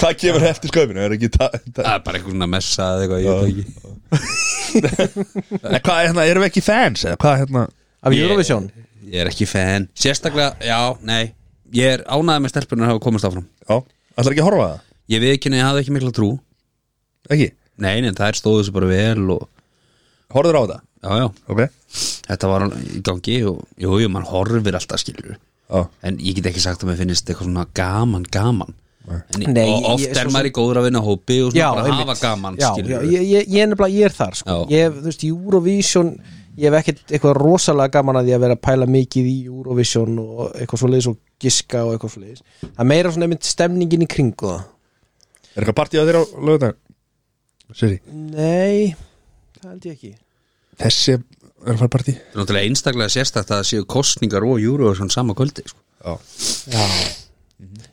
Speaker 1: Hvað kemur eftir sköpinu? Er ekki ta- ta-
Speaker 3: Það er bara eitthvað svona messa eða eitthvað ég veit ekki
Speaker 1: En Hvað er hérna, erum við ekki fans? Eða hvað hérna
Speaker 2: Af
Speaker 3: Ég-
Speaker 2: Eurovision
Speaker 3: Ég er ekki fan Sérstaklega, já, nei Ég er ánæði með stelpunar að hafa komast áfram
Speaker 1: Já, ætlar ekki að horfa á það?
Speaker 3: Ég við ekki, ég hafði ekki mikla trú
Speaker 1: Ekki?
Speaker 3: Nei, nei, það er stóðu þessu bara vel og
Speaker 1: Horður á það?
Speaker 3: Já, já,
Speaker 1: Ok
Speaker 3: þetta var alveg í gangi og jú, jú, mann horfir alltaf skilur
Speaker 1: Já
Speaker 3: En ég get ekki sagt að mér finnist eitthvað svona gaman, gaman en,
Speaker 2: Nei,
Speaker 3: Og oft
Speaker 2: ég- ég-
Speaker 3: er
Speaker 2: svo
Speaker 3: maður í góður að vinna hópi og svona
Speaker 2: Já,
Speaker 3: bara hafa
Speaker 2: einmitt.
Speaker 3: gaman
Speaker 2: já,
Speaker 3: skilur
Speaker 2: já, ég, ég, ég, er nefnilega, ég er þar sko.
Speaker 3: Já.
Speaker 2: ég, þú veist, Eurovision ég hef ekkert eitthvað rosalega gaman að því að vera að pæla mikið í Eurovision og eitthvað svoleiðis og giska og eitthvað svoleiðis það er meira svona einmitt stemningin í kringu það
Speaker 1: Er eitthvað partíð á þér á lögðan? Siri
Speaker 2: nei, það held ég ekki
Speaker 1: Þessi er að fara partí
Speaker 3: Það er náttúrulega einstaklega sérstakt að það séu kostningar og júru og svona sama kvöldi sko.
Speaker 1: Já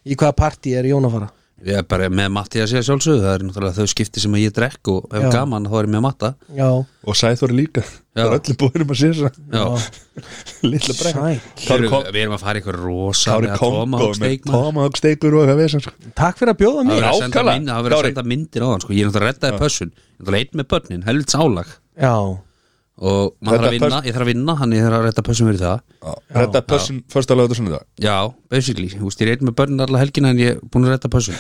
Speaker 2: í hvaða partí er Jón að fara?
Speaker 3: Ég er bara með Matti að segja sjálfsögðu Það er náttúrulega þau skipti sem að ég drekk og ef
Speaker 2: Já.
Speaker 3: gaman þá er ég með Matta
Speaker 2: já,
Speaker 1: Og Sæþóri líka
Speaker 3: Já.
Speaker 1: Það er öllu búinum að sé þess
Speaker 3: Já,
Speaker 1: að Lilla brekka
Speaker 2: sæl
Speaker 3: Við
Speaker 1: Kári
Speaker 3: erum,
Speaker 1: Kom-
Speaker 3: við erum að fara í eitthvað rosa
Speaker 1: Kári
Speaker 3: með að
Speaker 1: Kongo
Speaker 3: Tomahawk
Speaker 1: með
Speaker 3: steik, maður.
Speaker 1: Tomahawk steikur og eitthvað vesen, sko.
Speaker 2: takk fyrir að bjóða
Speaker 3: Það
Speaker 2: mér
Speaker 3: var verið að senda
Speaker 1: Nákvæmlega,
Speaker 3: mynd- það var verið að
Speaker 1: Kári.
Speaker 3: senda myndir á hann sko. Ég er náttúrulega að reddaði pössun Ég er náttúrulega einn með börnin, helvits álag
Speaker 2: já,
Speaker 3: Og maður þarf að
Speaker 1: Reddaði
Speaker 3: vinna, ég þarf að vinna Hann ég þarf að redda pössun fyrir það
Speaker 1: Já. Þetta pössun Första lögðu svona dag
Speaker 3: Já, basically, þú veist, ég er einn með börnin alla helgina En ég er búin að redda pössun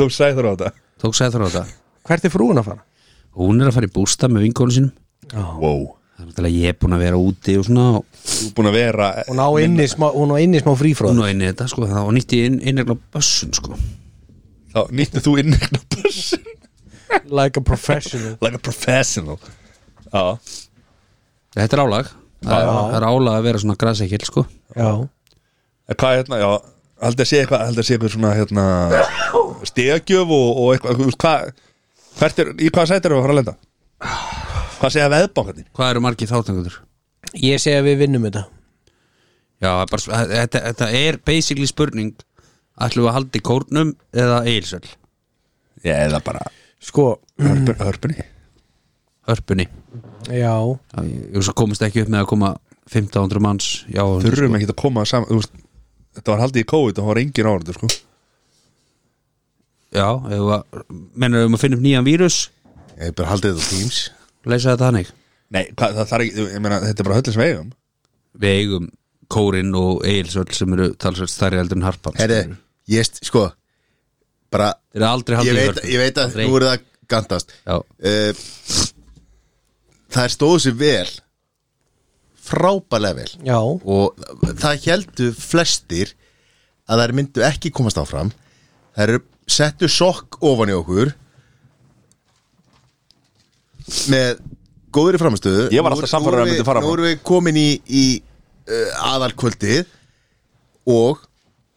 Speaker 1: Tók Sæþóri á þetta
Speaker 3: Tók sæður á þetta
Speaker 2: hvert er frúin að fara?
Speaker 3: Hún er að fara í bústa með vinkonu sínum
Speaker 1: Wow
Speaker 3: Það er náttúrulega ég er búin að vera úti og svona og
Speaker 1: Þú er búin að vera
Speaker 2: hún á inni smá, hún á inni smá frífróð
Speaker 3: Hún og einni þetta, sko, það var nýtti inn, innegla bössun, sko
Speaker 1: Þá nýttir þú innegna pössun
Speaker 2: like a professional
Speaker 1: Like a professional Já
Speaker 3: Þetta er álag, það er, það er álag að vera svona græsekil, sko
Speaker 2: já,
Speaker 1: En Hvað er hérna, já Haldið að sé eitthvað, haldið að sé eitthvað svona hérna Stegjöf og, og eitthvað þú veist, Hvað, hvert er, í hvað sættir eru að fara að lenda? Hvað segja veðbankarnir?
Speaker 3: Hvað eru margir þáttangundur?
Speaker 2: ég segi að við vinnum þetta
Speaker 3: Já, það er bara, sp- þetta, þetta er basically spurning Ætlum við að halda í kórnum eða eilsöl
Speaker 1: Ég eða bara
Speaker 2: sko,
Speaker 1: hörpun, Hörpunni
Speaker 3: Hörpunni
Speaker 2: já,
Speaker 3: Já, Ég, ég svo komist ekki upp með að koma 1500 manns Já,
Speaker 1: Þurfum ekki að koma saman þú veist, Þetta var haldið í COVID og það var engin árið sko.
Speaker 3: já ef að, mennur um að finna upp nýjan vírus
Speaker 4: Ég bara haldið þetta á Teams
Speaker 3: Leysa þetta hannig
Speaker 1: Nei, hvað, það þarf ekki, ég meina, þetta er bara höllins vegum
Speaker 3: Við eigum kórinn og eilsöl sem eru talsvöld stærri eldur en harpan
Speaker 4: Herri, ég st- sko bara,
Speaker 3: Þeir eru aldrei
Speaker 4: ég
Speaker 3: haldið í
Speaker 4: veit,
Speaker 3: Hörpu.
Speaker 4: ég veit að
Speaker 3: Aldrei.
Speaker 4: nú er það gantast
Speaker 3: Já,
Speaker 4: Eh, Það er stóðu sér vel frábælega vel
Speaker 2: já
Speaker 4: og það heldu flestir að þær myndu ekki komast áfram þær eru settu sokk ofan í okkur með góðri framistöðu
Speaker 1: Ég var alltaf samferður að þær myndu fara áfram.
Speaker 4: Nú erum við komin í, í uh, aðalkvöldið og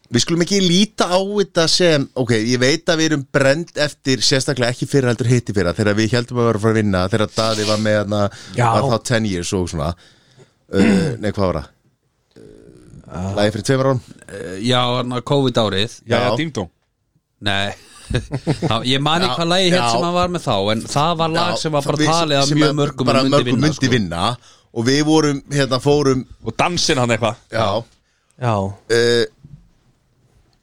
Speaker 4: við skulum ekki líta á þetta sem ok, ég veit að við erum brend eftir sérstaklega ekki fyrir heldur hitti fyrir þegar við heldum að vera að fara að vinna þegar Daði var með hana,
Speaker 2: Já.
Speaker 4: var þá 10 years og svona uh, nei, hvað var það? Uh, Læði fyrir tveimur án
Speaker 3: já hann COVID árið
Speaker 1: Já, já,
Speaker 4: Já.
Speaker 1: dingdóng
Speaker 3: Nei Þá- Ég man ekki hvað lagi hér
Speaker 4: Já.
Speaker 3: sem hann var með þá En það var lag sem var bara talið að
Speaker 4: sem
Speaker 3: mjög mörgum
Speaker 4: bara
Speaker 3: að
Speaker 4: mörgum myndi,
Speaker 3: sko.
Speaker 4: vinna og við vorum, hérna fórum
Speaker 1: Og dansinn hann eitthvað
Speaker 4: já,
Speaker 2: já,
Speaker 4: uh,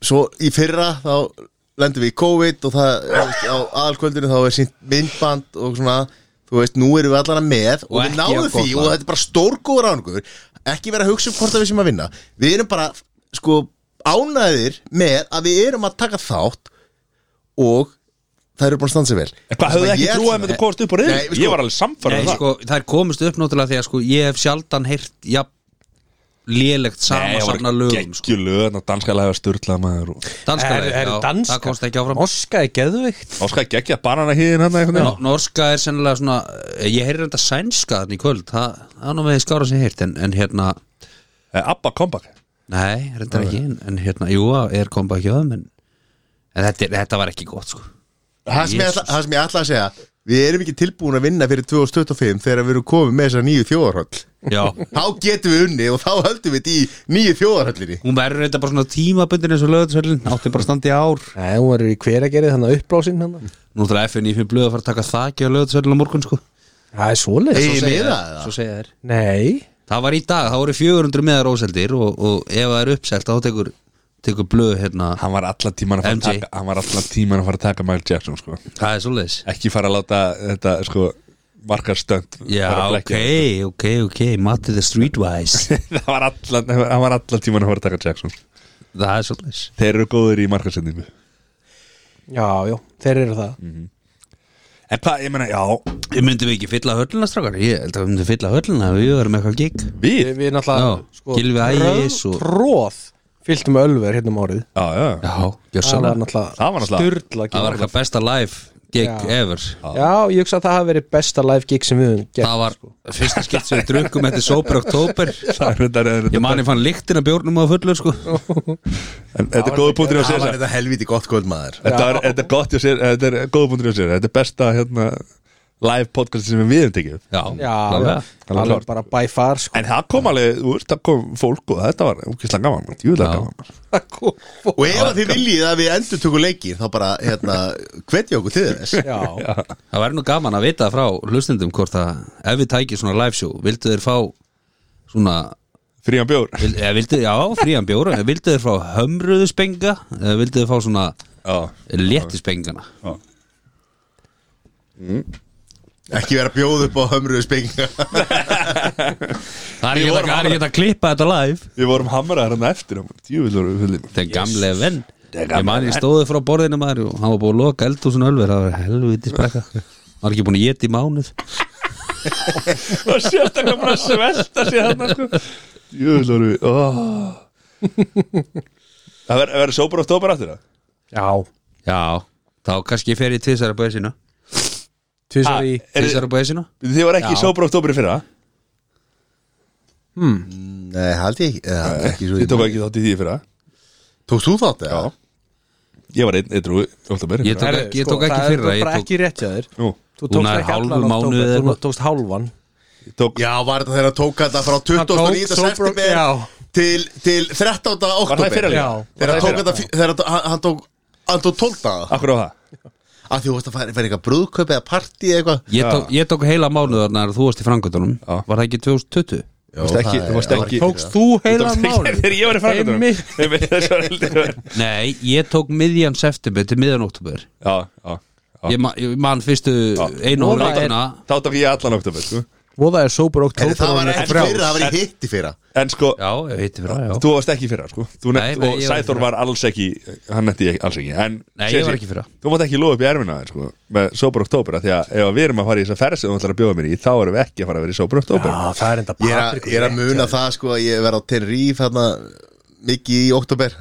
Speaker 4: svo í fyrra þá lendum við í COVID og það þú veist, á aðalkvöldinu þá er sínt myndband og svona þú þú veist, nú erum við allan að með og,
Speaker 3: Og
Speaker 4: við
Speaker 3: ekki
Speaker 4: náðum
Speaker 3: að
Speaker 4: því
Speaker 3: kotna.
Speaker 4: og þetta er bara stórgóður ánugur ekki vera að hugsa um hvort að við sem að vinna við erum bara, sko, ánæðir með að við erum að taka þátt og það eru búin að standa sig vel
Speaker 1: En Hvað höfðu
Speaker 4: Þannig að
Speaker 1: ekki
Speaker 4: ég
Speaker 1: trúið
Speaker 4: ætla-
Speaker 1: að myndu komast upp á reyðin?
Speaker 4: Nei, sko,
Speaker 1: ég var alveg samfarað
Speaker 3: Nei,
Speaker 1: það
Speaker 3: sko, þær komist upp náttúrulega því að sko, ég hef sjaldan heyrt jafn lélegt sama samna lögum sko.
Speaker 1: geggjulögum og danskalega hefur styrlað maður og
Speaker 3: Danska
Speaker 2: Er-
Speaker 3: leið,
Speaker 2: er
Speaker 3: já,
Speaker 2: danska?
Speaker 3: það komst ekki áfram
Speaker 2: Norska er geðveikt
Speaker 1: áskæði geggja hérna bananahýðin hann eitthvað
Speaker 3: Nó- Norska er sennilega svona eh, ég heyri þetta sænska þannig í kvöld það það er nú með því skára sem ég heyrt en, en hérna,
Speaker 1: Eh, Abba comeback
Speaker 3: nei, reyndar ekki en, en hérna, jú, er kom bara ekki á þeim en, en þetta, er- þetta var ekki gott sko.
Speaker 4: það sem, ég ætla,
Speaker 3: Jesus.
Speaker 4: það sem ég ætla að segja við erum ekki tilbúin að vinna fyrir 2025 þegar við erum komið með þessar nýju þjóðarhöll
Speaker 3: já,
Speaker 4: þá getum við unni og þá höldum við þetta í nýju þjóðarhöllinni
Speaker 3: hún verður þetta bara svona tímabundin eins og lögðsvöldin átti bara að standa í ár
Speaker 2: Nei, hún verður í hver að gera þannig uppblásin hann
Speaker 3: nú þarf FNF blöð að fara að taka þakki á lögðsvöldin á morgun sko.
Speaker 2: Það er svoleiðis
Speaker 4: Í
Speaker 3: Svo segja
Speaker 4: miða,
Speaker 3: þeir-
Speaker 4: eða?
Speaker 3: svo segja þér
Speaker 2: Nei,
Speaker 3: Það var í dag, það voru 400 meðar óseldir og, og ef það er uppselt þá tekur, tekur blöð hérna
Speaker 1: hann var allan tíman að fara að
Speaker 3: MJ.
Speaker 1: taka hann var allan tíman að fara að taka Michael Jackson sko.
Speaker 3: Það er svoleiðis
Speaker 1: ekki fara að láta þetta sko markarstönd
Speaker 3: Já, ok, ok, ok, matið er streetwise
Speaker 1: það var allan hann var allan tíman að fara að taka Jackson
Speaker 3: Það er svoleiðis
Speaker 1: þeir eru góður í markarsendingu
Speaker 2: já, já, þeir eru það
Speaker 3: Mm.
Speaker 1: en hvað, ég meina, já
Speaker 3: Við myndum ekki fylla höllina strákar Ég held að við myndum fylla höllina ef Við verðum eitthvað gig
Speaker 1: við,
Speaker 2: Við erum náttúrulega
Speaker 3: Já, Gylfi Ægis og-
Speaker 2: Tróð fyllt með ölver hérna um árið
Speaker 1: já, já,
Speaker 3: Já,
Speaker 2: Það var
Speaker 3: gjössalega
Speaker 1: Það var
Speaker 2: náttúrulega
Speaker 1: náttúrulega-
Speaker 2: styrla
Speaker 3: Það var eitthvað besta live gig
Speaker 2: Já.
Speaker 3: ever
Speaker 2: Já, ég hugsa að það hafi verið besta live gig sem við höfum gert
Speaker 3: Það var fyrsta skipt sem við drukkum Þetta er sober oktober
Speaker 1: það er þetta er
Speaker 3: Ég
Speaker 1: þetta
Speaker 3: mani fann lyktina bjórnum á fullu sko
Speaker 1: en þetta er góður punktur í að
Speaker 4: það
Speaker 1: segja
Speaker 4: var þetta helviti gott kvöld maður
Speaker 1: þetta er- þetta er gott í að segja þetta er góður punktur í að segja þetta er besta hérna live podcast sem við hefum tekið
Speaker 3: Já,
Speaker 2: Já,
Speaker 3: klárlega.
Speaker 1: Alveg
Speaker 2: alveg
Speaker 1: klárt.
Speaker 2: bara by far sko
Speaker 1: en það kom alveg, þú veist, það kom fólk og þetta var úkislega gaman, maður, djúðlega
Speaker 3: Já.
Speaker 1: gaman maður.
Speaker 4: og ef að þið viljið að við endur tökum leiki þá bara, hérna, hvetja okkur til þess
Speaker 2: Já,
Speaker 3: Það væri nú gaman að vita frá hlustendum hvort að ef við tækið svona live show vildu þeir fá svona
Speaker 1: frían bjór
Speaker 3: vil, eða, vildu, já, frían bjóra vildu þeir fá hömruðu spenga eða vildu þeir fá svona
Speaker 1: já,
Speaker 3: léttu spengana
Speaker 4: ekki vera að bjóða upp á hömruðu spenginga
Speaker 3: Það er ekki hægt að- það er ekki hægt að klippa þetta live
Speaker 1: við vorum hamraðar hann eftir djúðlega við fylgum
Speaker 3: Það er gamle venn
Speaker 1: er
Speaker 3: Ég
Speaker 1: gamle
Speaker 3: man ég stóði frá borðinu maður og hann var búið að loka eldhúsinu ölver það var helviti sprekka Það var ekki búin að geta í mánuð
Speaker 1: og sérstaklega bara að svelta sér hann sko. djúðlega við oh. það verður ver, sópar og stópar aftur það
Speaker 2: já
Speaker 3: Já, þá kannski fer ég tvisar á bæðisínu
Speaker 2: Tvisar í
Speaker 1: Er-
Speaker 3: Tvisar á bæðisínu
Speaker 1: þið voru ekki sópar og stópar í fyrra
Speaker 4: nei, haldi ég ekki, eða, ekki svo
Speaker 1: þið tók ekki þátt í því í fyrra
Speaker 4: tókst þú þátt eða?
Speaker 1: ég var einn, eitthvað, oktober
Speaker 3: Ég tók
Speaker 2: Herri,
Speaker 3: ekki, ég tók ekki
Speaker 2: sko, það er
Speaker 3: fyrra ég
Speaker 2: bara
Speaker 3: tók,
Speaker 2: ekki rétt hjá þér
Speaker 1: Nú,
Speaker 2: Þú
Speaker 3: Hún
Speaker 2: tókst
Speaker 3: er
Speaker 2: ekki
Speaker 3: hálfur
Speaker 2: allan
Speaker 3: mánuð
Speaker 2: október,
Speaker 3: eða
Speaker 2: Þú
Speaker 3: eitthvað.
Speaker 2: tókst hálfan
Speaker 1: ég tók,
Speaker 4: já, var þetta þegar hann tók þetta frá
Speaker 2: tók
Speaker 4: 29.
Speaker 2: Sober-
Speaker 4: september
Speaker 2: já.
Speaker 4: til, til 13.
Speaker 1: var það í
Speaker 4: oktober
Speaker 1: fyrra
Speaker 2: Já.
Speaker 1: líka? Var
Speaker 4: þegar
Speaker 1: það í
Speaker 4: hann tók
Speaker 1: fyrra? Ah.
Speaker 4: þetta fyr- þegar hann- hann tók hann tók 12 daga
Speaker 1: Akkur á það
Speaker 4: af því þú veist að fara fara í eitthvað brúðköp eða partí eða eitthvað
Speaker 3: Ég tók, ég tók heila mánuðar þegar þú varst í frangöndunum
Speaker 1: Já.
Speaker 3: Var það ekki 2020?
Speaker 4: Jó,
Speaker 1: Þú varst ekki-
Speaker 4: það
Speaker 1: þú varst
Speaker 4: er-
Speaker 1: ekki-
Speaker 4: það var
Speaker 2: Tókst þú heilan mánuð
Speaker 1: Þegar ég var í
Speaker 2: Einmitt.
Speaker 1: frækundunum
Speaker 3: Nei, ég tók miðjan september til miðjan oktober
Speaker 1: Já, já, já
Speaker 3: Ég, man, ég man fyrstu einu og
Speaker 2: Núna er-
Speaker 3: hlutina
Speaker 1: Þá tók ég allan oktober sko.
Speaker 2: Voða er sober
Speaker 4: Heyrðu,
Speaker 2: oktober
Speaker 4: það var
Speaker 2: og
Speaker 4: ekki
Speaker 2: frjáls.
Speaker 4: fyrra, það var í hitti fyrra
Speaker 1: En sko,
Speaker 3: Já, ég heiti fyrir það, já
Speaker 1: þú varst ekki í fyrra sko. Þú
Speaker 3: Nei,
Speaker 1: nefnt, Og
Speaker 3: nei, ég var í
Speaker 1: Sæþór
Speaker 3: fyrra.
Speaker 1: var alls ekki Hann nefndi ég alls ekki en,
Speaker 3: Nei,
Speaker 1: sé-
Speaker 3: ég var
Speaker 1: sé-
Speaker 3: ekki í fyrra.
Speaker 1: Þú mátt ekki lofa upp í erfina þér, sko, Með sober oktober Því að ef við erum að fara í þess að ferð sem þú ætlar að bjóða mér í Þá erum við ekki að fara að vera í sober oktober
Speaker 2: Já, það er enda
Speaker 4: Ég er, að,
Speaker 2: Patrik
Speaker 4: ég er að muna það sko að ég verð á Tenerife þarna mikið í oktober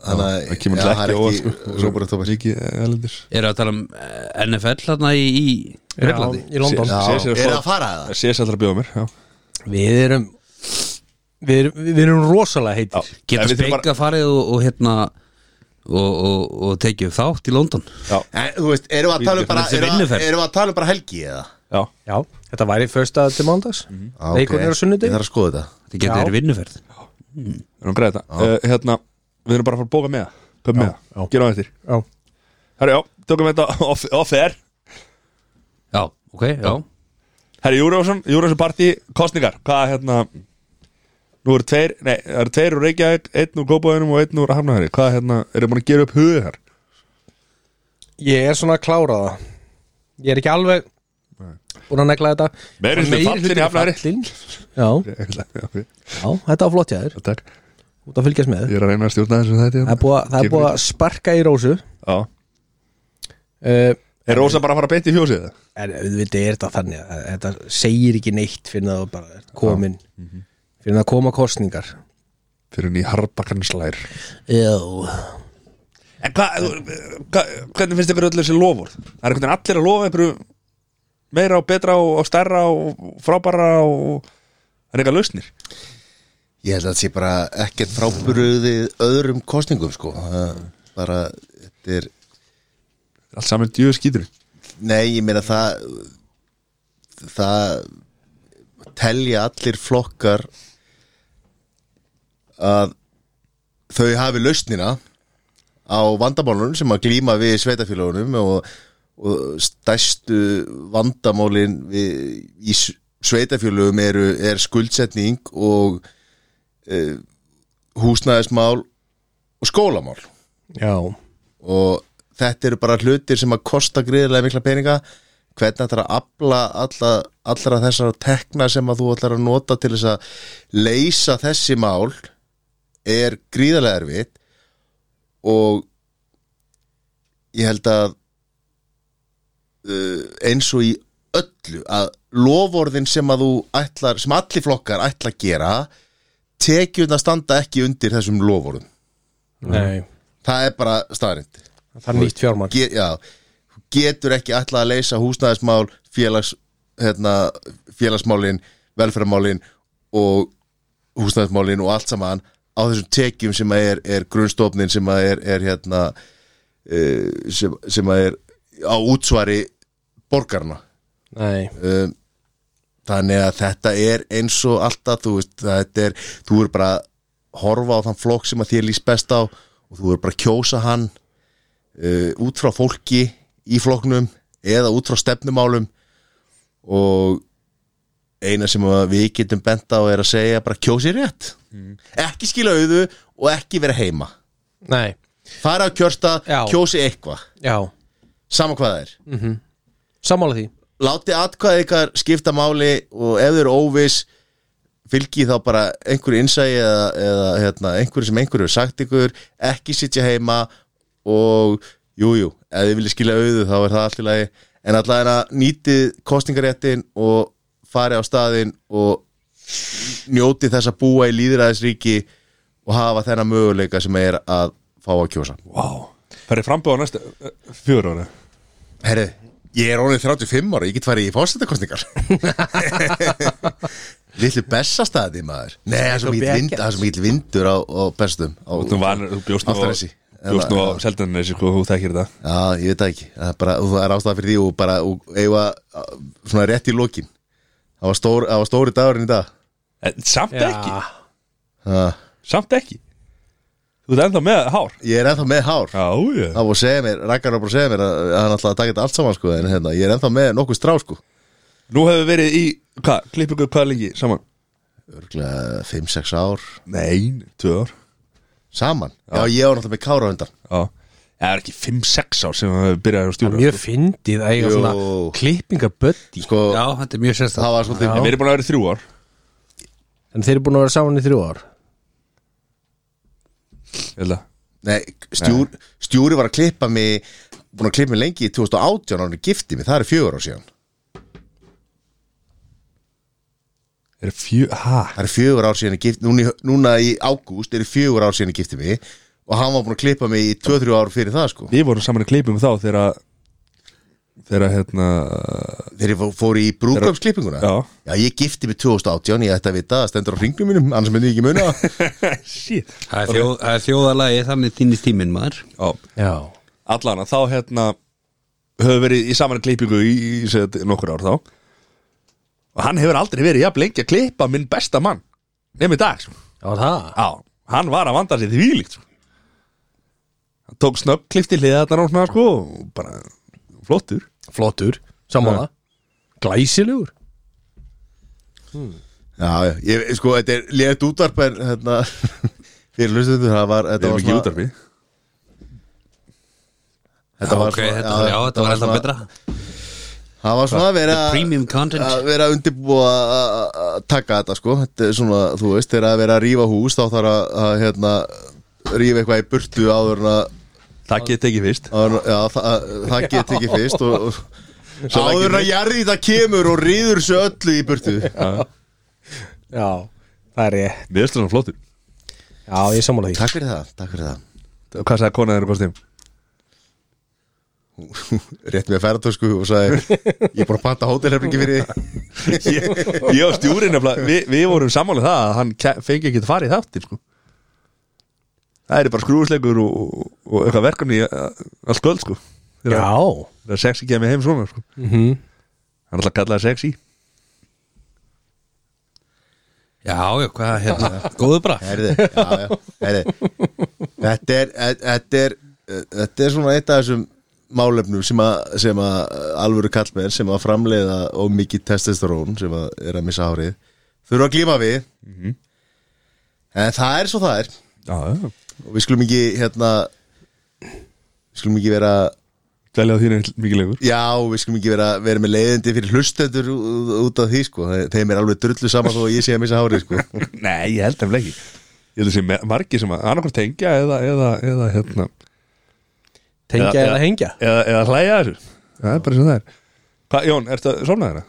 Speaker 4: Þannig að
Speaker 1: Það kemur
Speaker 4: já,
Speaker 1: alltaf
Speaker 4: er
Speaker 1: ekki óvart sko. eh,
Speaker 4: Róbert oktober
Speaker 1: Mikið elendis
Speaker 3: Er það að tala um eh, NFL hérna í, í Reglandi?
Speaker 2: Í London
Speaker 4: Já,
Speaker 1: Sé- sé-
Speaker 4: er að fara það?
Speaker 1: Sér sem ætlar að bjóða mér já.
Speaker 2: Við erum Við erum, við erum rosalega
Speaker 1: Já.
Speaker 2: heitir
Speaker 1: En
Speaker 3: Geta
Speaker 1: við þurfum bara-
Speaker 3: spekka farið og, og hérna og, og, og tekið upp þátt í London
Speaker 4: En, Þú veist, erum við að tala um bara
Speaker 3: Þetta er
Speaker 4: erum við að-
Speaker 3: vinnuferð.
Speaker 4: erum við að tala um bara helgi eða?
Speaker 1: Já,
Speaker 2: Já, þetta væri fyrsta til mándags
Speaker 4: Ah,
Speaker 2: Leikurinn er á sunnudegi.
Speaker 4: Ég þarf að skoða þetta
Speaker 3: Það getur
Speaker 2: Já.
Speaker 3: verið vinnuferð
Speaker 1: erum greið þetta uh, Hérna, við erum bara að fara að bóka með það Köp með
Speaker 2: já.
Speaker 1: það, gerum við eftir
Speaker 2: Já,
Speaker 1: Herra, já, tökum þetta off- off-air
Speaker 3: Já, ok, já
Speaker 1: Herri, Júrósson, Júrósson partí, kostningar Hvað er hérna Nú eru tveir, nei, það eru tveir úr Reykjavík Einn úr Kópaðinum og einn úr Hafnahæri Hvað er hérna, eru búin að gera upp hugið þar?
Speaker 2: Ég er svona að klára það Ég er ekki alveg búin að negla þetta
Speaker 1: Meiri hlutinn
Speaker 2: Meiri
Speaker 1: fallinn í
Speaker 2: hlutinn
Speaker 1: Hafnarfirði.
Speaker 2: fallinn. Já, já, þetta var flott hjá þér
Speaker 1: Takk,
Speaker 2: út að fylgjast með
Speaker 1: ég er að reyna að stjórna þessu hérna. þetta
Speaker 2: Það er búið, að- það er búið að sparka í rósu
Speaker 1: Já,
Speaker 2: uh,
Speaker 1: er Rósa bara að fara að beint í fjósið það?
Speaker 2: En auðvitað er þetta þannig að þetta segir ekki neitt fyrir það bara ert komin fyrir það koma kostningar
Speaker 1: Fyrir henni í harbakanslær
Speaker 2: Já
Speaker 1: En hvað, hva, hvernig finnst ykkur öllu þessi lofur? Það er einhvern veginn allir að lofa einhverju meira og betra og, og stærra og frábara og það er eitthvað lausnir
Speaker 4: Ég held að þetta sé bara ekkert frábruðið öðrum kostningum sko Það- bara, þetta er
Speaker 1: Allt saman djöðu skýtur
Speaker 4: nei, ég meina það það telja allir flokkar að þau hafi lausnina á vandamálunum sem að glíma við sveitafélagunum og, og stæstu vandamálin við, í s- sveitafélagum eru, er skuldsetning og e, húsnæðismál og skólamál
Speaker 2: Já
Speaker 4: og þetta eru bara hlutir sem að kosta gríðarlega mikla peninga hvernig ætlar að afla alla, allra þessara tekna sem að þú ætlar að nota til þess að leysa þessi mál er gríðarlega erfitt og ég held að uh, eins og í öllu að lovorðin sem að þú ætlar, sem allir flokkar ætla að gera tekjum að standa ekki undir þessum lovorðum
Speaker 2: Nei
Speaker 4: það er bara staðrind
Speaker 2: Það er nýtt fjármagn
Speaker 4: get, já, þú getur ekki alltaf að leysa húsnæðismál félags, hérna, félagsmálin velferðmálin og húsnæðismálin og allt saman á þessum tekjum sem að er, er grunnstofnin sem að er, er hérna eh, sem, sem að er á útsvari borgarna
Speaker 2: Nei
Speaker 4: um, þannig að þetta er eins og alltaf þú veist, þetta er, þú er bara að horfa á þann flokk sem að þér líst best á og þú er bara að kjósa hann uh, út frá fólki í flokknum eða út frá stefnumálum og eina sem að við getum bent á er að segja bara kjósi rétt ekki skila auðu og ekki vera heima
Speaker 2: Nei
Speaker 4: fara á kjörsta,
Speaker 2: Já.
Speaker 4: kjósi eitthvað
Speaker 2: Já
Speaker 4: sama hvað það er
Speaker 2: Sammála því
Speaker 4: láti atkvæði ykkar skipta máli og ef þau eru óviss fylgi þá bara einhverju innsægi eða, eða hérna, einhverju sem einhverju hefur sagt ykkur, ekki sitja heima og jújú jú, ef þið viljið skilja auðu þá er það allt í lagi en allavega nýtið kostningaréttin og farið á staðinn og njótið þess að búa í líðræðisríki og hafa þennan möguleika sem er að fá að kjósa
Speaker 1: Vá, það er frambúð á næsta fjóra ára
Speaker 4: Herri, ég er orðið 35 ára, ég get farið í fórsetakostningar Lillu bessastæði maður Nei, það er svo mikill vind- það er svo mikill vindur á, á bestum á,
Speaker 1: Þú vanur, þú bjóst nú á,
Speaker 4: Álftanesi.
Speaker 1: bjóst nú á seldanessi, sko, þú þekkir það
Speaker 4: Já, ég veit það ekki Það er, bara, það er ástæða fyrir því og bara og eiga svona rétt í lokin Það var, stór, það var stóri dagurinn í dag
Speaker 1: en, Samt ekki,
Speaker 4: það,
Speaker 1: samt ekki Þú ert ennþá með hár
Speaker 4: Ég er ennþá með hár
Speaker 1: Já, ég
Speaker 4: Það var að segja mér, Ragnar var bara að segja mér að, að hann ætlaði að taka þetta allt saman sko en hérna, ég er ennþá með nokkuð strá sko
Speaker 1: Nú hefur við verið í, hvað, klipp ykkur hvað lengi saman?
Speaker 4: Örglega 5-6 ár
Speaker 1: Nei, tvö ár
Speaker 4: saman Já, ég var náttúrulega með kára á undan
Speaker 1: Já, það er ekki 5-6 ár sem við hefur byrjað að stjúra
Speaker 2: Mjög fyndið að eiga
Speaker 4: Jú.
Speaker 2: svona klippingabötti
Speaker 4: Sko,
Speaker 3: Já, þetta er mjög sérstæð
Speaker 4: það var svolítið
Speaker 1: Við erum búin að vera í þrjú ár
Speaker 2: En þeir eru búin að vera saman í þrjú ár
Speaker 1: Ég held að
Speaker 4: Nei, stjúr, stjúri var að klippa mig búin að klippa mig lengi í 2018 og hann er giftið mig, það er fjögur ár síðan
Speaker 1: Er fjö, hæ?
Speaker 4: það er fjögur ár síðan ég giftið, núna, í- núna í ágúst er fjögur ár síðan ég giftið mig og hann var búin að klippa mig í 2-3 ár fyrir það sko
Speaker 1: Við vorum saman í klippum þá þegar að- þegar að, hérna
Speaker 4: þegar ég fó- fór í brúkvöpsklippinguna
Speaker 1: Já.
Speaker 4: ég giftið mig 2018, ég ætti að vita það stendur á hringnum mínum, annars myndi ég ekki muna
Speaker 1: Shit
Speaker 3: Það er þjóð- það er þjóðalagi þannig týnist tíminn maður
Speaker 1: Já,
Speaker 2: Já
Speaker 1: allan að þá hérna höfum verið í saman í klippingu í, í set, nokkur ár þá og hann hefur aldrei verið jafn lengi að klippa minn besta mann nefn í dag sko.
Speaker 2: Já það
Speaker 1: Já, hann var að vanda sér því líkt sko. Hann tók snögg klippt í hliða þarna og svona sko og bara flottur
Speaker 2: Flottur Sammála Glæsilegur
Speaker 4: já, já, ég, sko, þetta er létt útvarp en hérna, fyrir hlustundu það var,
Speaker 1: Við
Speaker 4: þetta
Speaker 1: erum ekki
Speaker 4: var
Speaker 1: í
Speaker 4: svona-
Speaker 1: útarpi
Speaker 4: þetta
Speaker 3: Já,
Speaker 4: var
Speaker 3: ok,
Speaker 4: svona-
Speaker 3: þetta- já, þetta var ennþá
Speaker 4: svona-
Speaker 3: betra
Speaker 4: Það var svona að vera
Speaker 3: The premium content.
Speaker 4: að vera undirbúa að- að- að taka þetta sko þetta er svona, þú veist, þegar að vera að rífa hús þá þarf að, að hérna rífa eitthvað í burtu áður en að
Speaker 1: Það getið ekki fyrst
Speaker 4: áður, en- já, það, það get ekki fyrst og, og áður en að jarði þetta kemur og ríður svo öllu í burtu
Speaker 2: já, það er ég
Speaker 1: Mér finnst það flottur
Speaker 2: já, ég er sammála því
Speaker 4: Takk fyrir það, takk fyrir það
Speaker 1: Hvað sagði konan þeirra kostum?
Speaker 4: Rétt með ferðartösku og sagði Ég er búin að panta hótelherfingi fyrir þig."
Speaker 1: Ég, ég og stjúrin við, við vorum sammálið það að hann ke- fengi ekki að fara í þáttir sko. Það er bara skrúðslegur og, og, og eitthvað verkefni í, uh, allt kvöld sko.
Speaker 2: já,
Speaker 1: Það er sexy kemur heim svona sko. mm -hmm.
Speaker 3: Mhm.
Speaker 1: Hann alltaf kallaði sexy
Speaker 3: Já, já, hvað, hérna, góðu bra
Speaker 4: Herði, já, já, herði Þetta er, e, þetta er e, Þetta er svona eitt af þessum málefnum sem að, sem að alvöru kallmenn sem að framleiða og mikið testosterón sem að er að missa hárið þurfa að glíma við en það er svo það er
Speaker 1: Já, já
Speaker 4: og við skulum ekki hérna við skulum ekki vera
Speaker 1: Dælja á þínu mikið legur
Speaker 4: já, við skulum ekki vera, vera með leiðindi fyrir hlustendur ú- út af því sko Þe- þeim er alveg drullu saman þó að ég sé að missa hárið sko
Speaker 1: Nei, ég held eflega ekki Ég held að sé me- margir sem að annarkvæmt tengja eða, eða, eða, hérna,
Speaker 2: tengja
Speaker 1: Já,
Speaker 2: eða
Speaker 1: já.
Speaker 2: hengja
Speaker 1: eða, eða hlæja að þessu Það er bara sem það er Hva, Jón, ertu að sofna þeirra?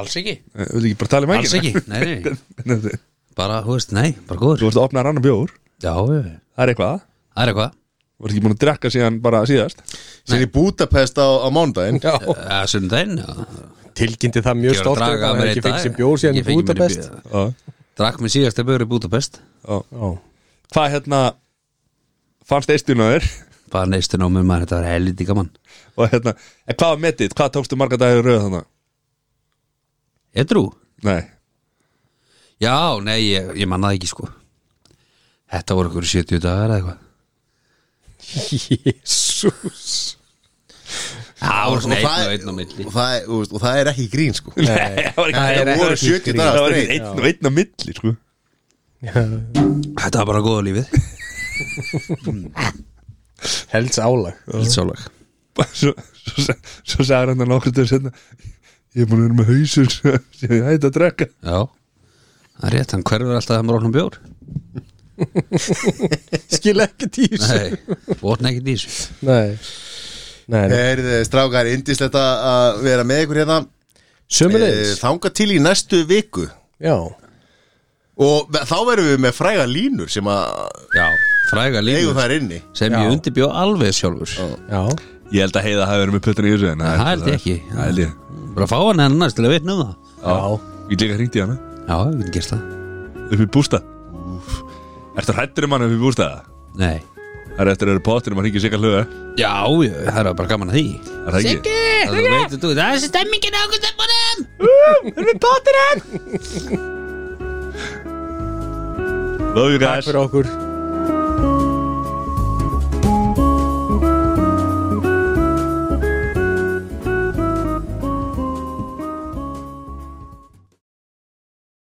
Speaker 3: Alls ekki
Speaker 1: Þú ekki bara tala um
Speaker 3: Alls ekki, nei, nei,
Speaker 1: ekki
Speaker 3: bara, hú veist, nei, bara góður
Speaker 1: Þú
Speaker 3: Já,
Speaker 1: varst að opna rannar bjór
Speaker 3: já, já.
Speaker 1: Það er eitthvað
Speaker 3: það er eitthvað
Speaker 1: Þú varst ekki búin að drekka síðan bara síðast
Speaker 4: sem í Budapest á, á mándaginn
Speaker 2: já,
Speaker 3: Já, sunnudaginn, já
Speaker 2: tilkynnti það mjög
Speaker 3: Ég var að
Speaker 2: stolt að
Speaker 3: draga
Speaker 2: hann
Speaker 3: að mér
Speaker 2: hefði ekki
Speaker 3: í dag.
Speaker 2: fengið sem bjór síðan
Speaker 3: Ég
Speaker 2: í
Speaker 3: fengi mér
Speaker 2: Budapest
Speaker 3: bjór.
Speaker 1: Já,
Speaker 3: Drakk mér síðast að bjóri Budapest
Speaker 1: já
Speaker 2: já,
Speaker 1: Hvað hérna Fannst eistun á þér
Speaker 3: Bara neistun á mér maður, þetta var helviti gaman
Speaker 1: Og hérna En hvað var metið? Hvað tókstu marga dagir í röð þannig?
Speaker 3: Edrú?
Speaker 1: Nei
Speaker 3: Já, nei, ég, ég manna það ekki sko Þetta voru ykkur 70 dagar eða eitthvað
Speaker 2: jésús
Speaker 3: Já, það voru
Speaker 4: Og
Speaker 3: svona einn
Speaker 4: það-
Speaker 3: og einn á milli
Speaker 4: og það, er- þú veist, og það er ekki grín sko
Speaker 1: Nei, það var ekki-
Speaker 4: Það
Speaker 1: það
Speaker 4: voru
Speaker 1: voru
Speaker 4: 70
Speaker 1: 70
Speaker 4: dagar
Speaker 1: dagar
Speaker 4: straight.
Speaker 1: Einn og einn á milli sko
Speaker 3: Þetta var bara góða lífið
Speaker 2: helds álag
Speaker 3: Lítsálag
Speaker 1: svo, svo, sa- svo sagði hann að nokkur til setna ég er búin að vera með hausur sem ég hætti að drekka
Speaker 3: Já, það er rétt, hann hverfur alltaf þegar maður ofnum bjór
Speaker 2: skil ekki tís nei,
Speaker 3: Nei, votna ekki dísu
Speaker 2: nei,
Speaker 3: Eh,
Speaker 2: nei.
Speaker 4: Heyrðu, strákar, indislegt að- að vera með ykkur hérna
Speaker 2: sömulegis
Speaker 4: Þanga til í næstu viku
Speaker 3: eh,
Speaker 2: já,
Speaker 4: Og þá verðum við með fræga línur sem að
Speaker 3: Já, fræga
Speaker 4: eigum
Speaker 3: lífið
Speaker 4: þær inni
Speaker 3: sem
Speaker 2: Já.
Speaker 3: ég undirbjó alveg sjálfur
Speaker 2: já,
Speaker 1: ég held að heiða hafi verið með pötun í þessu en
Speaker 3: Það held ég ekki
Speaker 1: það held ég
Speaker 3: Bara fá hann hennar til að vitna um það
Speaker 2: já.
Speaker 1: ég líka hringdi í hana
Speaker 3: Já, við getum gert það
Speaker 1: upp í bústa ertu hrættur um hana upp í bústa
Speaker 3: Nei
Speaker 1: það er eftir að eru pottir um að hringi sig að hluga
Speaker 3: Já, já, það er bara gaman að því
Speaker 1: það er það ekki
Speaker 3: Það veitir þú, það er þessi stemmingin á okkur stefnum
Speaker 1: love you
Speaker 2: takk
Speaker 1: guys
Speaker 2: fyrir okkur